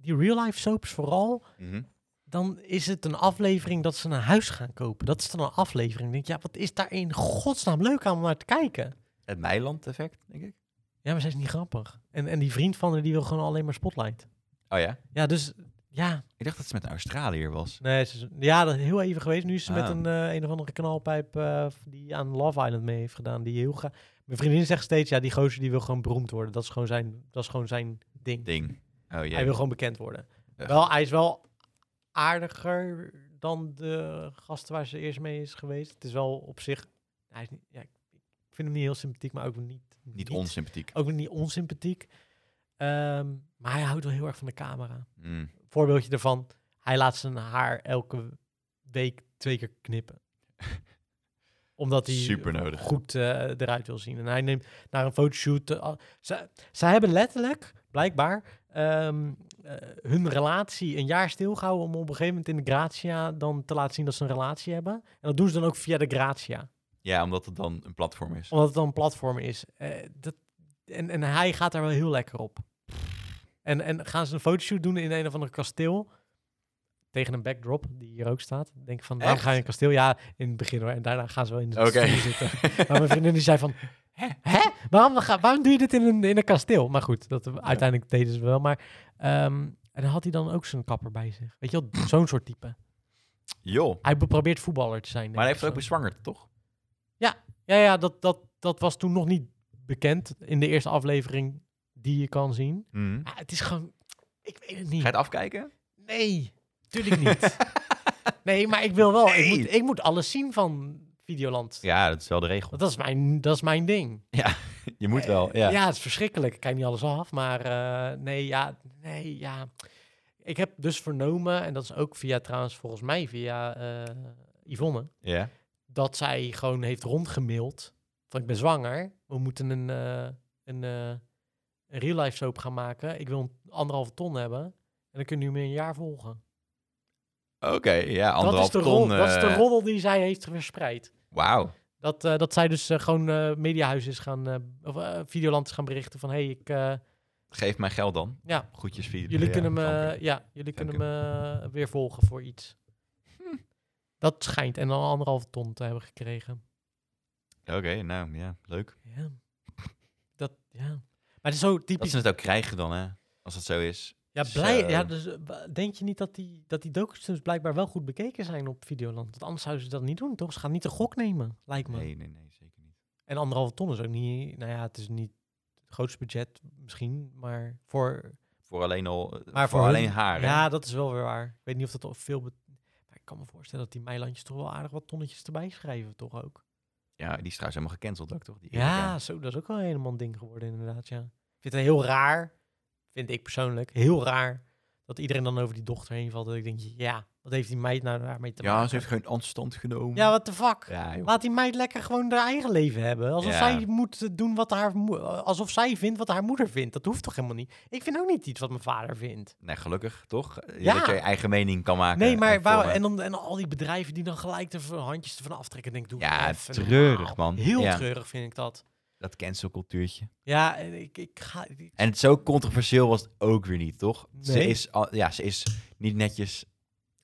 S1: die real life soaps vooral,
S2: Mhm.
S1: dan is het een aflevering dat ze een huis gaan kopen. Dat is dan een aflevering. Ik denk, ja, wat is daar in godsnaam leuk aan om naar te kijken?
S2: Het Meiland-effect, denk ik.
S1: Ja, maar zij is niet grappig. En, en die vriend van haar, die wil gewoon alleen maar spotlight.
S2: Oh ja.
S1: Ja, dus, ja.
S2: Ik dacht dat ze met een Australiër was.
S1: Nee, ze is- ja, dat is heel even geweest. Nu is ze met
S2: Ah.
S1: een, eh, een of andere knalpijp eh, die aan Love Island mee heeft gedaan. Die heel graag... Mijn vriendin zegt steeds, ja, die gozer die wil gewoon beroemd worden. Dat is gewoon zijn, dat is gewoon zijn ding.
S2: Ding. Oh ja.
S1: Hij wil gewoon bekend worden.
S2: Echt.
S1: Wel, hij is wel aardiger dan de gasten waar ze eerst mee is geweest. Het is wel op zich. Hij is niet, ja, ik ik vind hem niet heel sympathiek, maar ook niet, Oh.
S2: Niet onsympathiek.
S1: Ook niet onsympathiek. Ehm, maar hij houdt wel heel erg van de camera.
S2: Mm.
S1: Voorbeeldje daarvan: hij laat zijn haar elke week twee keer knippen. Omdat hij
S2: Super nodig.
S1: goed eh, eruit wil zien. En hij neemt naar een fotoshoot. eh, al- ze, ze hebben letterlijk, blijkbaar, ehm, eh, hun relatie een jaar stilgehouden om op een gegeven moment in de Gratia dan te laten zien dat ze een relatie hebben. En dat doen ze dan ook via de Gratia,
S2: Ja, omdat het dan een platform is.
S1: omdat het dan een platform is. Eh, dat, en, en hij gaat daar wel heel lekker op. En, en gaan ze een fotoshoot doen in een of ander kasteel. Tegen een backdrop die hier ook staat. Denk ik van, waarom
S2: Echt?
S1: ga je in een kasteel? Ja, in het begin hoor. En daarna gaan ze wel in de
S2: Oké.
S1: studio zitten. Maar mijn vriendin die zei van, hè? hè? Waarom, ga- waarom doe je dit in een, in een kasteel? Maar goed, dat, uiteindelijk deden ze wel. Maar, ehm, en dan had hij dan ook zijn kapper bij zich. Weet je wel, zo'n soort type.
S2: Joh.
S1: Hij be- probeert voetballer te zijn. denk
S2: Maar hij
S1: ik
S2: heeft ook
S1: zo.
S2: bezwangerd, toch?
S1: Ja, ja dat, dat, dat was toen nog niet bekend in de eerste aflevering die je kan zien. Ah, het is gewoon... Ik weet het
S2: Ga
S1: niet.
S2: je het afkijken?
S1: Nee, tuurlijk niet. nee, maar ik wil wel... Ik,
S2: Nee.
S1: moet, ik moet alles zien van Videoland.
S2: Ja, dat is wel de regel.
S1: Want dat is mijn, dat is mijn ding.
S2: Je moet wel, ja.
S1: Ja. het is verschrikkelijk. Ik kijk niet alles af, maar eh, nee, ja, nee, ja. Ik heb dus vernomen, en dat is ook via trouwens volgens mij via eh, Yvonne,
S2: Ja.
S1: dat zij gewoon heeft rondgemaild van ik ben zwanger, we moeten een, eh, een, eh, een real life soap gaan maken. Ik wil een anderhalve ton hebben en dan kunnen jullie me een jaar volgen.
S2: Oké, ja, anderhalf
S1: dat is de
S2: ton.
S1: rol- dat is de
S2: eh,
S1: roddel die zij heeft verspreid.
S2: Wauw.
S1: Dat, eh, dat zij dus eh, gewoon eh, mediahuis is gaan, eh, of eh, Videoland is gaan berichten van hé, hey, ik, eh,
S2: Geef mij geld dan.
S1: ja,
S2: Goedjes via
S1: jullie
S2: ja,
S1: kunnen me, eh,
S2: Famke.
S1: ja, jullie kunnen
S2: Dank
S1: me eh, weer volgen voor iets. Dat schijnt. En dan anderhalve ton te hebben gekregen.
S2: Oké, nou ja, leuk.
S1: Ja. Dat, ja. Maar het is zo
S2: Dat
S1: typisch.
S2: ze het ook krijgen dan, hè? Als dat zo is.
S1: Ja, blij,
S2: Zo.
S1: ja dus, eh, wa- denk je niet dat die, dat die docu's dus blijkbaar wel goed bekeken zijn op Videoland? Want anders zouden ze dat niet doen, toch? Ze gaan niet een gok nemen, lijkt me.
S2: Nee, nee, nee, zeker niet.
S1: En anderhalve ton is ook niet... Nou ja, het is niet het grootste budget misschien, maar voor...
S2: Voor alleen al. eh,
S1: Maar
S2: voor,
S1: hun-
S2: alleen haar. hè?
S1: Ja, dat is wel weer waar. Ik weet niet of dat al veel... bet- Maar ik kan me voorstellen dat die Meilandjes toch wel aardig wat tonnetjes erbij schrijven, toch ook?
S2: ja, die is trouwens helemaal gecanceld ook, toch? Die Erika.
S1: Ja, zo, dat is ook wel helemaal een ding geworden, inderdaad. Ja. Ik vind het heel raar, vind ik persoonlijk, heel raar dat iedereen dan over die dochter heen valt. Dat ik denk, ja, wat heeft die meid nou daarmee te
S2: Ja,
S1: maken?
S2: ze heeft geen afstand genomen.
S1: Ja, what the fuck?
S2: Ja, joh.
S1: Laat die meid lekker gewoon haar eigen leven hebben. Alsof
S2: Ja.
S1: zij moet eh, doen wat haar moe- alsof zij vindt wat haar moeder vindt. Dat hoeft toch helemaal niet. Ik vind ook niet iets wat mijn vader vindt.
S2: Nee, gelukkig, toch? Eh,
S1: Ja.
S2: Dat je je eigen mening kan maken.
S1: nee, maar
S2: en
S1: waar,
S2: vormen.
S1: en, dan, en al die bedrijven die dan gelijk de v- handjes ervan aftrekken, denk ik, doe
S2: Ja,
S1: even
S2: treurig,
S1: normaal.
S2: man.
S1: Heel
S2: Ja.
S1: treurig vind ik dat.
S2: Dat cancelcultuurtje.
S1: Ja, en ik, ik ga. ik-
S2: En het zo controversieel was het ook weer niet, toch? Ze
S1: Nee.
S2: is, al- ja, ze is niet netjes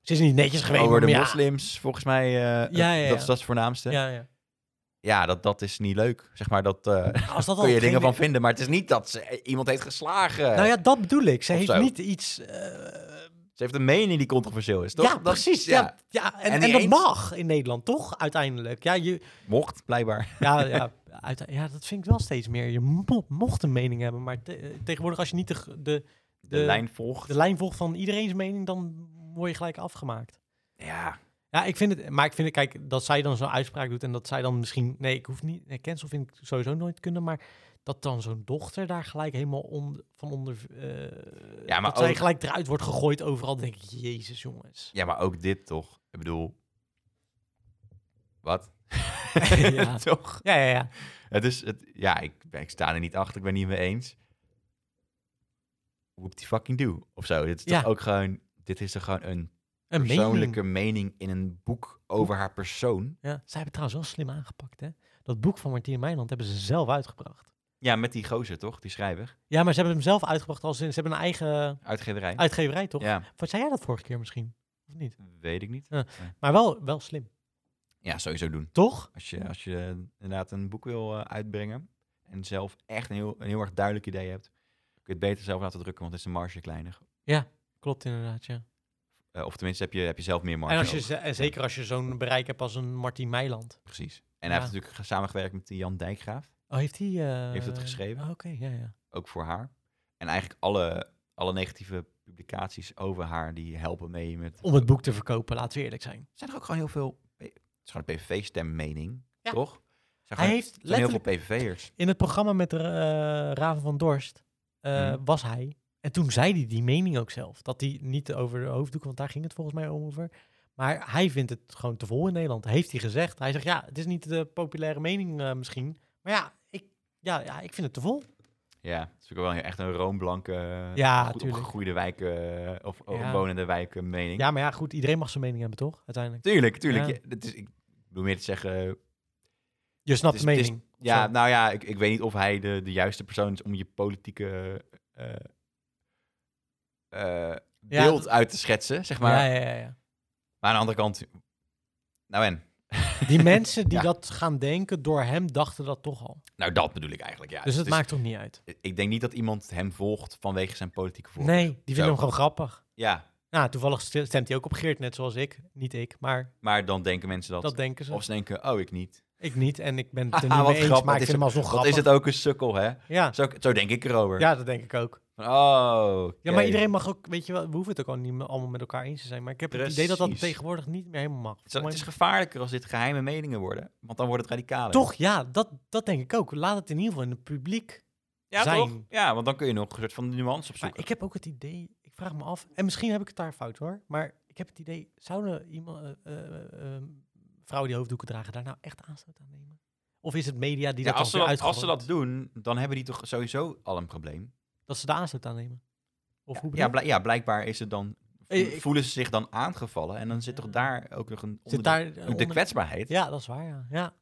S1: Ze is niet netjes geweest.
S2: over de
S1: maar ja.
S2: moslims, volgens mij. eh,
S1: Ja, ja,
S2: Dat
S1: ja.
S2: is dat is het voornaamste. Ja,
S1: Ja, ja.
S2: dat, dat is niet leuk. Zeg maar, dat eh,
S1: Als dat al
S2: kun je
S1: geen-
S2: dingen van vinden. eh, Maar het is niet dat ze eh, iemand heeft geslagen.
S1: Nou ja, dat bedoel ik. Ze
S2: Of
S1: heeft
S2: zo.
S1: niet iets. eh,
S2: Ze heeft een mening die controversieel is, toch?
S1: ja,
S2: Dat-
S1: precies. Ja. Ja, En,
S2: En
S1: en,
S2: niet
S1: dat
S2: eens.
S1: mag in Nederland toch uiteindelijk. Ja, je,
S2: Mocht, blijkbaar.
S1: ja, ja, uite- ja, dat vind ik wel steeds meer. Je mo- mocht een mening hebben, maar te- eh, tegenwoordig als je niet de, g- de,
S2: De, lijn volgt.
S1: de lijn volgt van iedereen's mening, dan word je gelijk afgemaakt.
S2: Ja,
S1: Ja, ik vind het, maar ik vind het, kijk, dat zij dan zo'n uitspraak doet en dat zij dan misschien, nee, ik hoef niet, nee, cancel vind ik sowieso nooit kunnen, maar dat dan zo'n dochter daar gelijk helemaal on- van onder, eh,
S2: Ja, maar
S1: dat zij
S2: ook-
S1: gelijk eruit wordt gegooid overal, dan denk ik, jezus jongens.
S2: ja, maar ook dit toch? Ik bedoel... Wat?
S1: Ja.
S2: toch?
S1: Ja, ja, ja.
S2: Het is, het, ja, ik, ben- ik sta er niet achter. Ik ben niet mee eens. Whoop die fucking do. Of zo. Dit is
S1: Ja.
S2: toch ook gewoon... Dit is toch gewoon een
S1: Een
S2: persoonlijke
S1: mening.
S2: mening. in een boek over haar persoon.
S1: Ja. Zij hebben het trouwens wel slim aangepakt, hè. Dat boek van Martien Meiland hebben ze zelf uitgebracht.
S2: Ja, met die gozer, toch? Die schrijver.
S1: Ja, maar ze hebben hem zelf uitgebracht als in, ze hebben een eigen
S2: Uitgeverij.
S1: uitgeverij, Ah, toch?
S2: Ja,
S1: Wat zei jij dat vorige keer misschien? Of niet?
S2: weet ik niet.
S1: Maar wel, wel slim.
S2: Ja, sowieso doen.
S1: Toch?
S2: Als je, als je eh, inderdaad een boek wil eh, uitbrengen en zelf echt een heel, een heel erg duidelijk idee hebt, kun je het beter zelf laten drukken, want dan is de marge kleiner.
S1: Klopt inderdaad, ja.
S2: Eh, of tenminste, heb je, heb je zelf meer marge.
S1: En, als je,
S2: over.
S1: ze- en zeker als je zo'n bereik hebt als een Martien Meiland.
S2: Precies. En hij
S1: Ja.
S2: heeft natuurlijk ge- samengewerkt met die Jan Dijkgraaf,
S1: Oh, heeft hij... Oh,
S2: Heeft het geschreven?
S1: Oké, ja, ja.
S2: ook voor haar. En eigenlijk alle, alle negatieve publicaties over haar, die helpen mee met...
S1: Om het boek te verkopen, laten we eerlijk zijn.
S2: Zijn er ook gewoon heel veel... Het is gewoon een PVV-stemmening,
S1: Ja.
S2: toch? Er Zijn
S1: Hij
S2: gewoon-
S1: heeft
S2: er zijn heel veel
S1: letterlijk...
S2: PVV'ers.
S1: In het programma met eh, Raven van Dorst eh,
S2: Hmm.
S1: was hij. En toen zei hij die mening ook zelf. Dat hij niet over de hoofddoeken, want daar ging het volgens mij over. Maar hij vindt het gewoon te vol in Nederland. Heeft hij gezegd. Hij zegt, ja, het is niet de populaire mening eh, misschien. Maar ja ik, ja, ja, ik vind het te vol.
S2: Ja, het is natuurlijk wel echt een roomblanke,
S1: Ja,
S2: goed
S1: tuurlijk.
S2: opgegroeide wijken of of
S1: Ja.
S2: wonende wijken mening.
S1: Ja, maar ja, goed. Iedereen mag zijn mening hebben, toch? Uiteindelijk.
S2: Tuurlijk, tuurlijk.
S1: Ja.
S2: Ja, dat is, ik bedoel meer te zeggen... het
S1: Je snapt
S2: is-
S1: de
S2: het is-
S1: mening.
S2: ja,
S1: Zo.
S2: nou ja, ik, ik weet niet of hij de, de juiste persoon is om je politieke eh, eh,
S1: Ja,
S2: beeld
S1: dat-
S2: uit te schetsen, zeg maar.
S1: ja, ja, ja, ja.
S2: Maar aan de andere kant... Nou en?
S1: Die mensen die
S2: Ja.
S1: dat gaan denken door hem, dachten dat toch al.
S2: Nou, dat bedoel ik eigenlijk, ja.
S1: dus het
S2: Het is-
S1: maakt toch niet uit?
S2: Ik denk niet dat iemand hem volgt vanwege zijn politieke voorkeur.
S1: Nee, die vinden
S2: Zo.
S1: hem gewoon grappig.
S2: Ja,
S1: Nou, toevallig st- stemt hij ook op Geert, net zoals ik. Niet ik, maar
S2: maar dan denken mensen dat...
S1: dat, denken ze.
S2: of ze denken, oh, ik niet.
S1: Ik niet en ik ben het er
S2: Haha,
S1: niet
S2: wat
S1: mee eens,
S2: grappig.
S1: maar ik
S2: Het
S1: vind
S2: is
S1: hem alsnog
S2: Wat
S1: grappig.
S2: is het ook een sukkel, hè?
S1: Ja.
S2: Zo, zo denk ik erover.
S1: ja, dat denk ik ook.
S2: Oh.
S1: Ja, maar iedereen mag ook, weet je wel, we hoeven het ook al niet me- allemaal met elkaar eens te zijn. Maar ik heb het idee dat dat
S2: Precies.
S1: tegenwoordig niet meer helemaal mag.
S2: Het is, het is
S1: Volgens mij-
S2: gevaarlijker als dit geheime meningen worden, want dan wordt het radicaler.
S1: Toch, ja, dat, dat denk ik ook. Laat het in ieder geval in het publiek
S2: Ja,
S1: zijn.
S2: toch? Ja, want dan kun je nog een soort van nuance
S1: Maar
S2: opzoeken.
S1: ik heb ook het idee, ik vraag me af, en misschien heb ik het daar fout hoor, maar ik heb het idee, zouden iemand, eh, eh, eh, vrouwen die hoofddoeken dragen daar nou echt aanstoot aan nemen? Of is het media die
S2: Ja,
S1: dat
S2: als, ze
S1: dan weer
S2: dat, als ze
S1: uitgooit?
S2: dat doen, dan hebben die toch sowieso al een probleem.
S1: Dat ze de aanstoot aannemen? Of hoe
S2: Ja,
S1: bedoel je?
S2: blijk- ja, blijkbaar is het dan,
S1: Eh, ik-
S2: voelen ze zich dan aangevallen. En dan zit toch daar ook nog een onder
S1: Zit
S2: de-
S1: daar, eh,
S2: de,
S1: onder-
S2: kwetsbaarheid.
S1: Ja, dat is waar, ja. ja.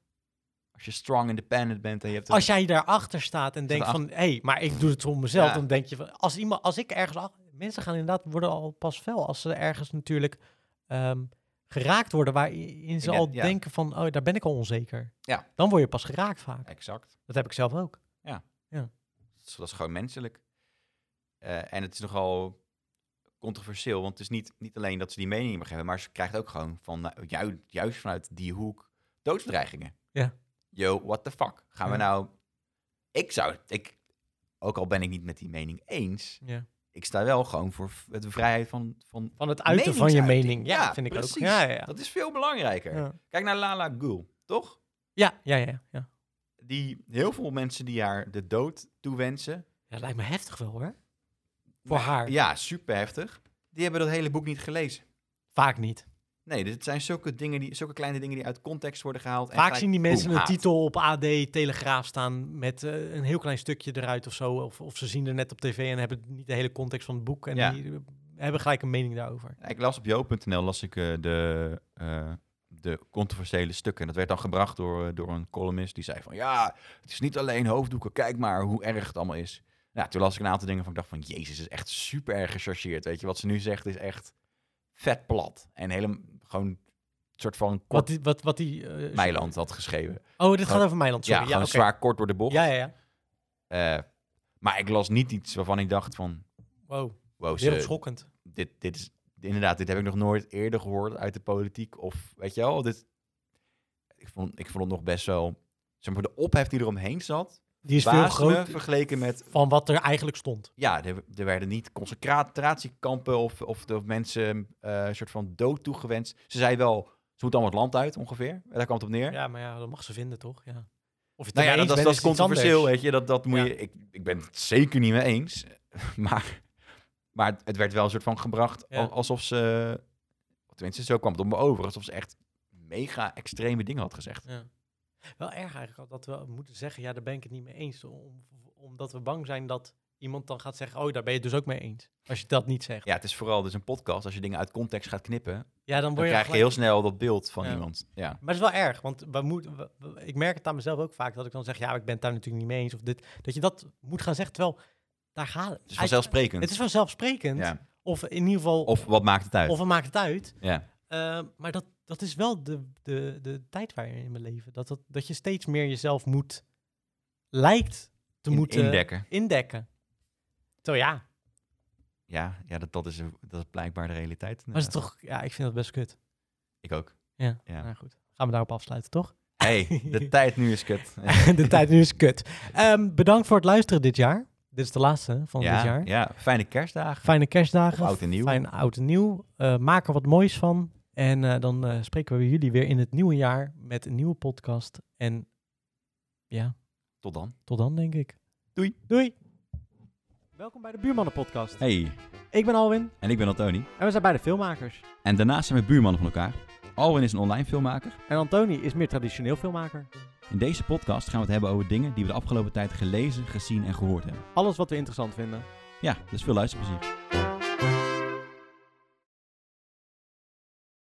S2: Als je strong independent bent en je hebt... een-
S1: Als jij daarachter staat en denkt
S2: Staat
S1: van... hé, hey, maar ik doe het voor mezelf.
S2: Ja.
S1: Dan denk je van... Als, iemand, als ik ergens... ach- mensen gaan inderdaad worden al pas fel... als ze ergens natuurlijk ehm, geraakt worden... waarin ze
S2: Ident-
S1: al
S2: ja.
S1: denken van... oh, daar ben ik al onzeker.
S2: Ja.
S1: Dan word je pas geraakt vaak.
S2: Exact.
S1: Dat heb ik zelf ook.
S2: Dat is, dat is gewoon menselijk. Eh, en het is nogal controversieel, want het is niet, niet alleen dat ze die mening niet meer geven, maar ze krijgt ook gewoon van, nou, ju- juist vanuit die hoek doodsbedreigingen.
S1: Ja.
S2: Yo, what the fuck? Gaan we
S1: Ja.
S2: nou... Ik zou... Ik, ook al ben ik niet met die mening eens,
S1: Ja.
S2: ik sta wel gewoon voor v- de vrijheid van... van
S1: Van het uiten van je
S2: meningsuiting.
S1: mening. Ja, vind ik
S2: precies.
S1: ook. Ja, ja, ja.
S2: Dat is veel belangrijker.
S1: Ja.
S2: Kijk naar Lala Gul, toch?
S1: Ja, ja, ja, ja.
S2: Die, heel veel mensen die haar de dood toewensen.
S1: Ja, lijkt me heftig wel, hoor. Voor
S2: Maar-
S1: haar.
S2: Ja, super heftig. Die hebben dat hele boek niet gelezen.
S1: Vaak niet.
S2: Nee, dit zijn zulke, dingen die, zulke kleine dingen die uit context worden gehaald. en
S1: Vaak
S2: gelijk,
S1: zien die
S2: boem,
S1: mensen een
S2: haat.
S1: titel op AD, Telegraaf staan met eh, een heel klein stukje eruit of zo. Of, of ze zien er net op tv en hebben niet de hele context van het boek. En
S2: Ja.
S1: die eh, hebben gelijk een mening daarover.
S2: Ik las op jo.nl las ik, eh, de, eh, de controversiële stukken. En dat werd dan gebracht door, eh, door een columnist die zei van... Ja, het is niet alleen hoofddoeken. Kijk maar hoe erg het allemaal is. Nou, toen las ik een aantal dingen van ik dacht van... Jezus, het is echt super erg gechargeerd. Weet je, wat ze nu zegt is echt vet plat. En helemaal gewoon een soort van kort
S1: Wat die... Wat, wat die eh,
S2: Meiland had geschreven.
S1: Oh, dit gaat
S2: Gewoon-
S1: over Meiland,
S2: ja,
S1: sorry.
S2: gewoon
S1: oké.
S2: zwaar kort door de bocht.
S1: Ja, ja, ja.
S2: Eh, maar ik las niet iets waarvan ik dacht van...
S1: Wow,
S2: Wow, Oh, ze-
S1: wereldschokkend.
S2: dit, dit is inderdaad, dit heb ik nog nooit eerder gehoord uit de politiek. Of weet je wel, dit, ik, vond, ik vond het nog best wel. Zeg maar, de ophef die eromheen zat,
S1: Die is veel
S2: verbaasde me
S1: groter
S2: vergeleken met.
S1: van wat er eigenlijk stond.
S2: Ja, er, er werden niet concentratiekampen of, of de mensen eh, een soort van dood toegewenst. Ze zei wel, ze moet dan het land uit ongeveer. Daar kwam het op neer.
S1: Ja, maar ja, dat mag ze vinden, toch? Ja. Of je het
S2: nou ja,
S1: ermee
S2: dat, dat,
S1: eens
S2: dat
S1: bent,
S2: is
S1: iets anders.
S2: controversieel, weet je. Dat, dat moet
S1: Ja.
S2: je ik, ik ben het zeker niet mee eens. Maar, maar het- het werd wel een soort van gebracht
S1: Ja.
S2: al- alsof ze... Tenminste, zo kwam het op me over. Alsof ze echt mega extreme dingen had gezegd.
S1: Ja. Wel erg eigenlijk dat we moeten zeggen, ja, daar ben ik het niet mee eens. Om, omdat we bang zijn dat iemand dan gaat zeggen, oh, daar ben je het dus ook mee eens. Als je dat niet zegt. Ja,
S2: Ja, het is vooral dus een podcast. Als je dingen uit context gaat knippen, dan,
S1: dan word je,
S2: krijg je heel
S1: gelijk-
S2: snel dat beeld van
S1: Ja.
S2: iemand. Ja.
S1: Maar het is wel erg, want we moeten, we- we- ik merk het aan mezelf ook vaak, dat ik dan zeg, ja, ik ben het daar natuurlijk niet mee eens. Of dit, dat je dat moet gaan zeggen, terwijl daar gaat
S2: Het is vanzelfsprekend.
S1: Het is vanzelfsprekend.
S2: Ja.
S1: Of in ieder geval, of,
S2: Of wat maakt het uit?
S1: we maakt het uit.
S2: ja.
S1: Eh, maar dat, dat is wel de, de, de tijd waarin we leven. Dat, dat, dat je steeds meer jezelf moet, lijkt te
S2: In-
S1: moeten
S2: indekken.
S1: indekken. Zo ja, maar
S2: Ja, ja dat, dat, is, dat is blijkbaar de realiteit.
S1: is het toch, ja, ik vind dat best kut.
S2: Ik ook.
S1: Ja,
S2: Ja.
S1: Nou goed. Gaan we daarop afsluiten, toch?
S2: hey, de tijd nu is kut.
S1: de tijd nu is kut. Ehm, bedankt voor het luisteren dit jaar. Dit is de laatste van
S2: ja,
S1: dit jaar.
S2: ja, fijne kerstdagen.
S1: Fijne kerstdagen.
S2: Of oud en nieuw.
S1: Fijn oud en nieuw. Eh, maak er wat moois van. En eh, dan eh, spreken we jullie weer in het nieuwe jaar met een nieuwe podcast. En ja,
S2: Tot dan.
S1: Tot dan, denk ik.
S2: Doei.
S1: Doei. Welkom bij de Buurmannen-podcast.
S2: Hey,
S1: Ik ben Alwin
S2: en ik ben Antoni.
S1: en we zijn beide filmmakers.
S2: En daarnaast zijn we buurmannen van elkaar. Alwin is een online filmmaker.
S1: En Antoni is meer traditioneel filmmaker.
S2: In deze podcast gaan we het hebben over dingen die we de afgelopen tijd gelezen, gezien en gehoord hebben.
S1: Alles wat we interessant vinden.
S2: Ja, dus veel luisterplezier.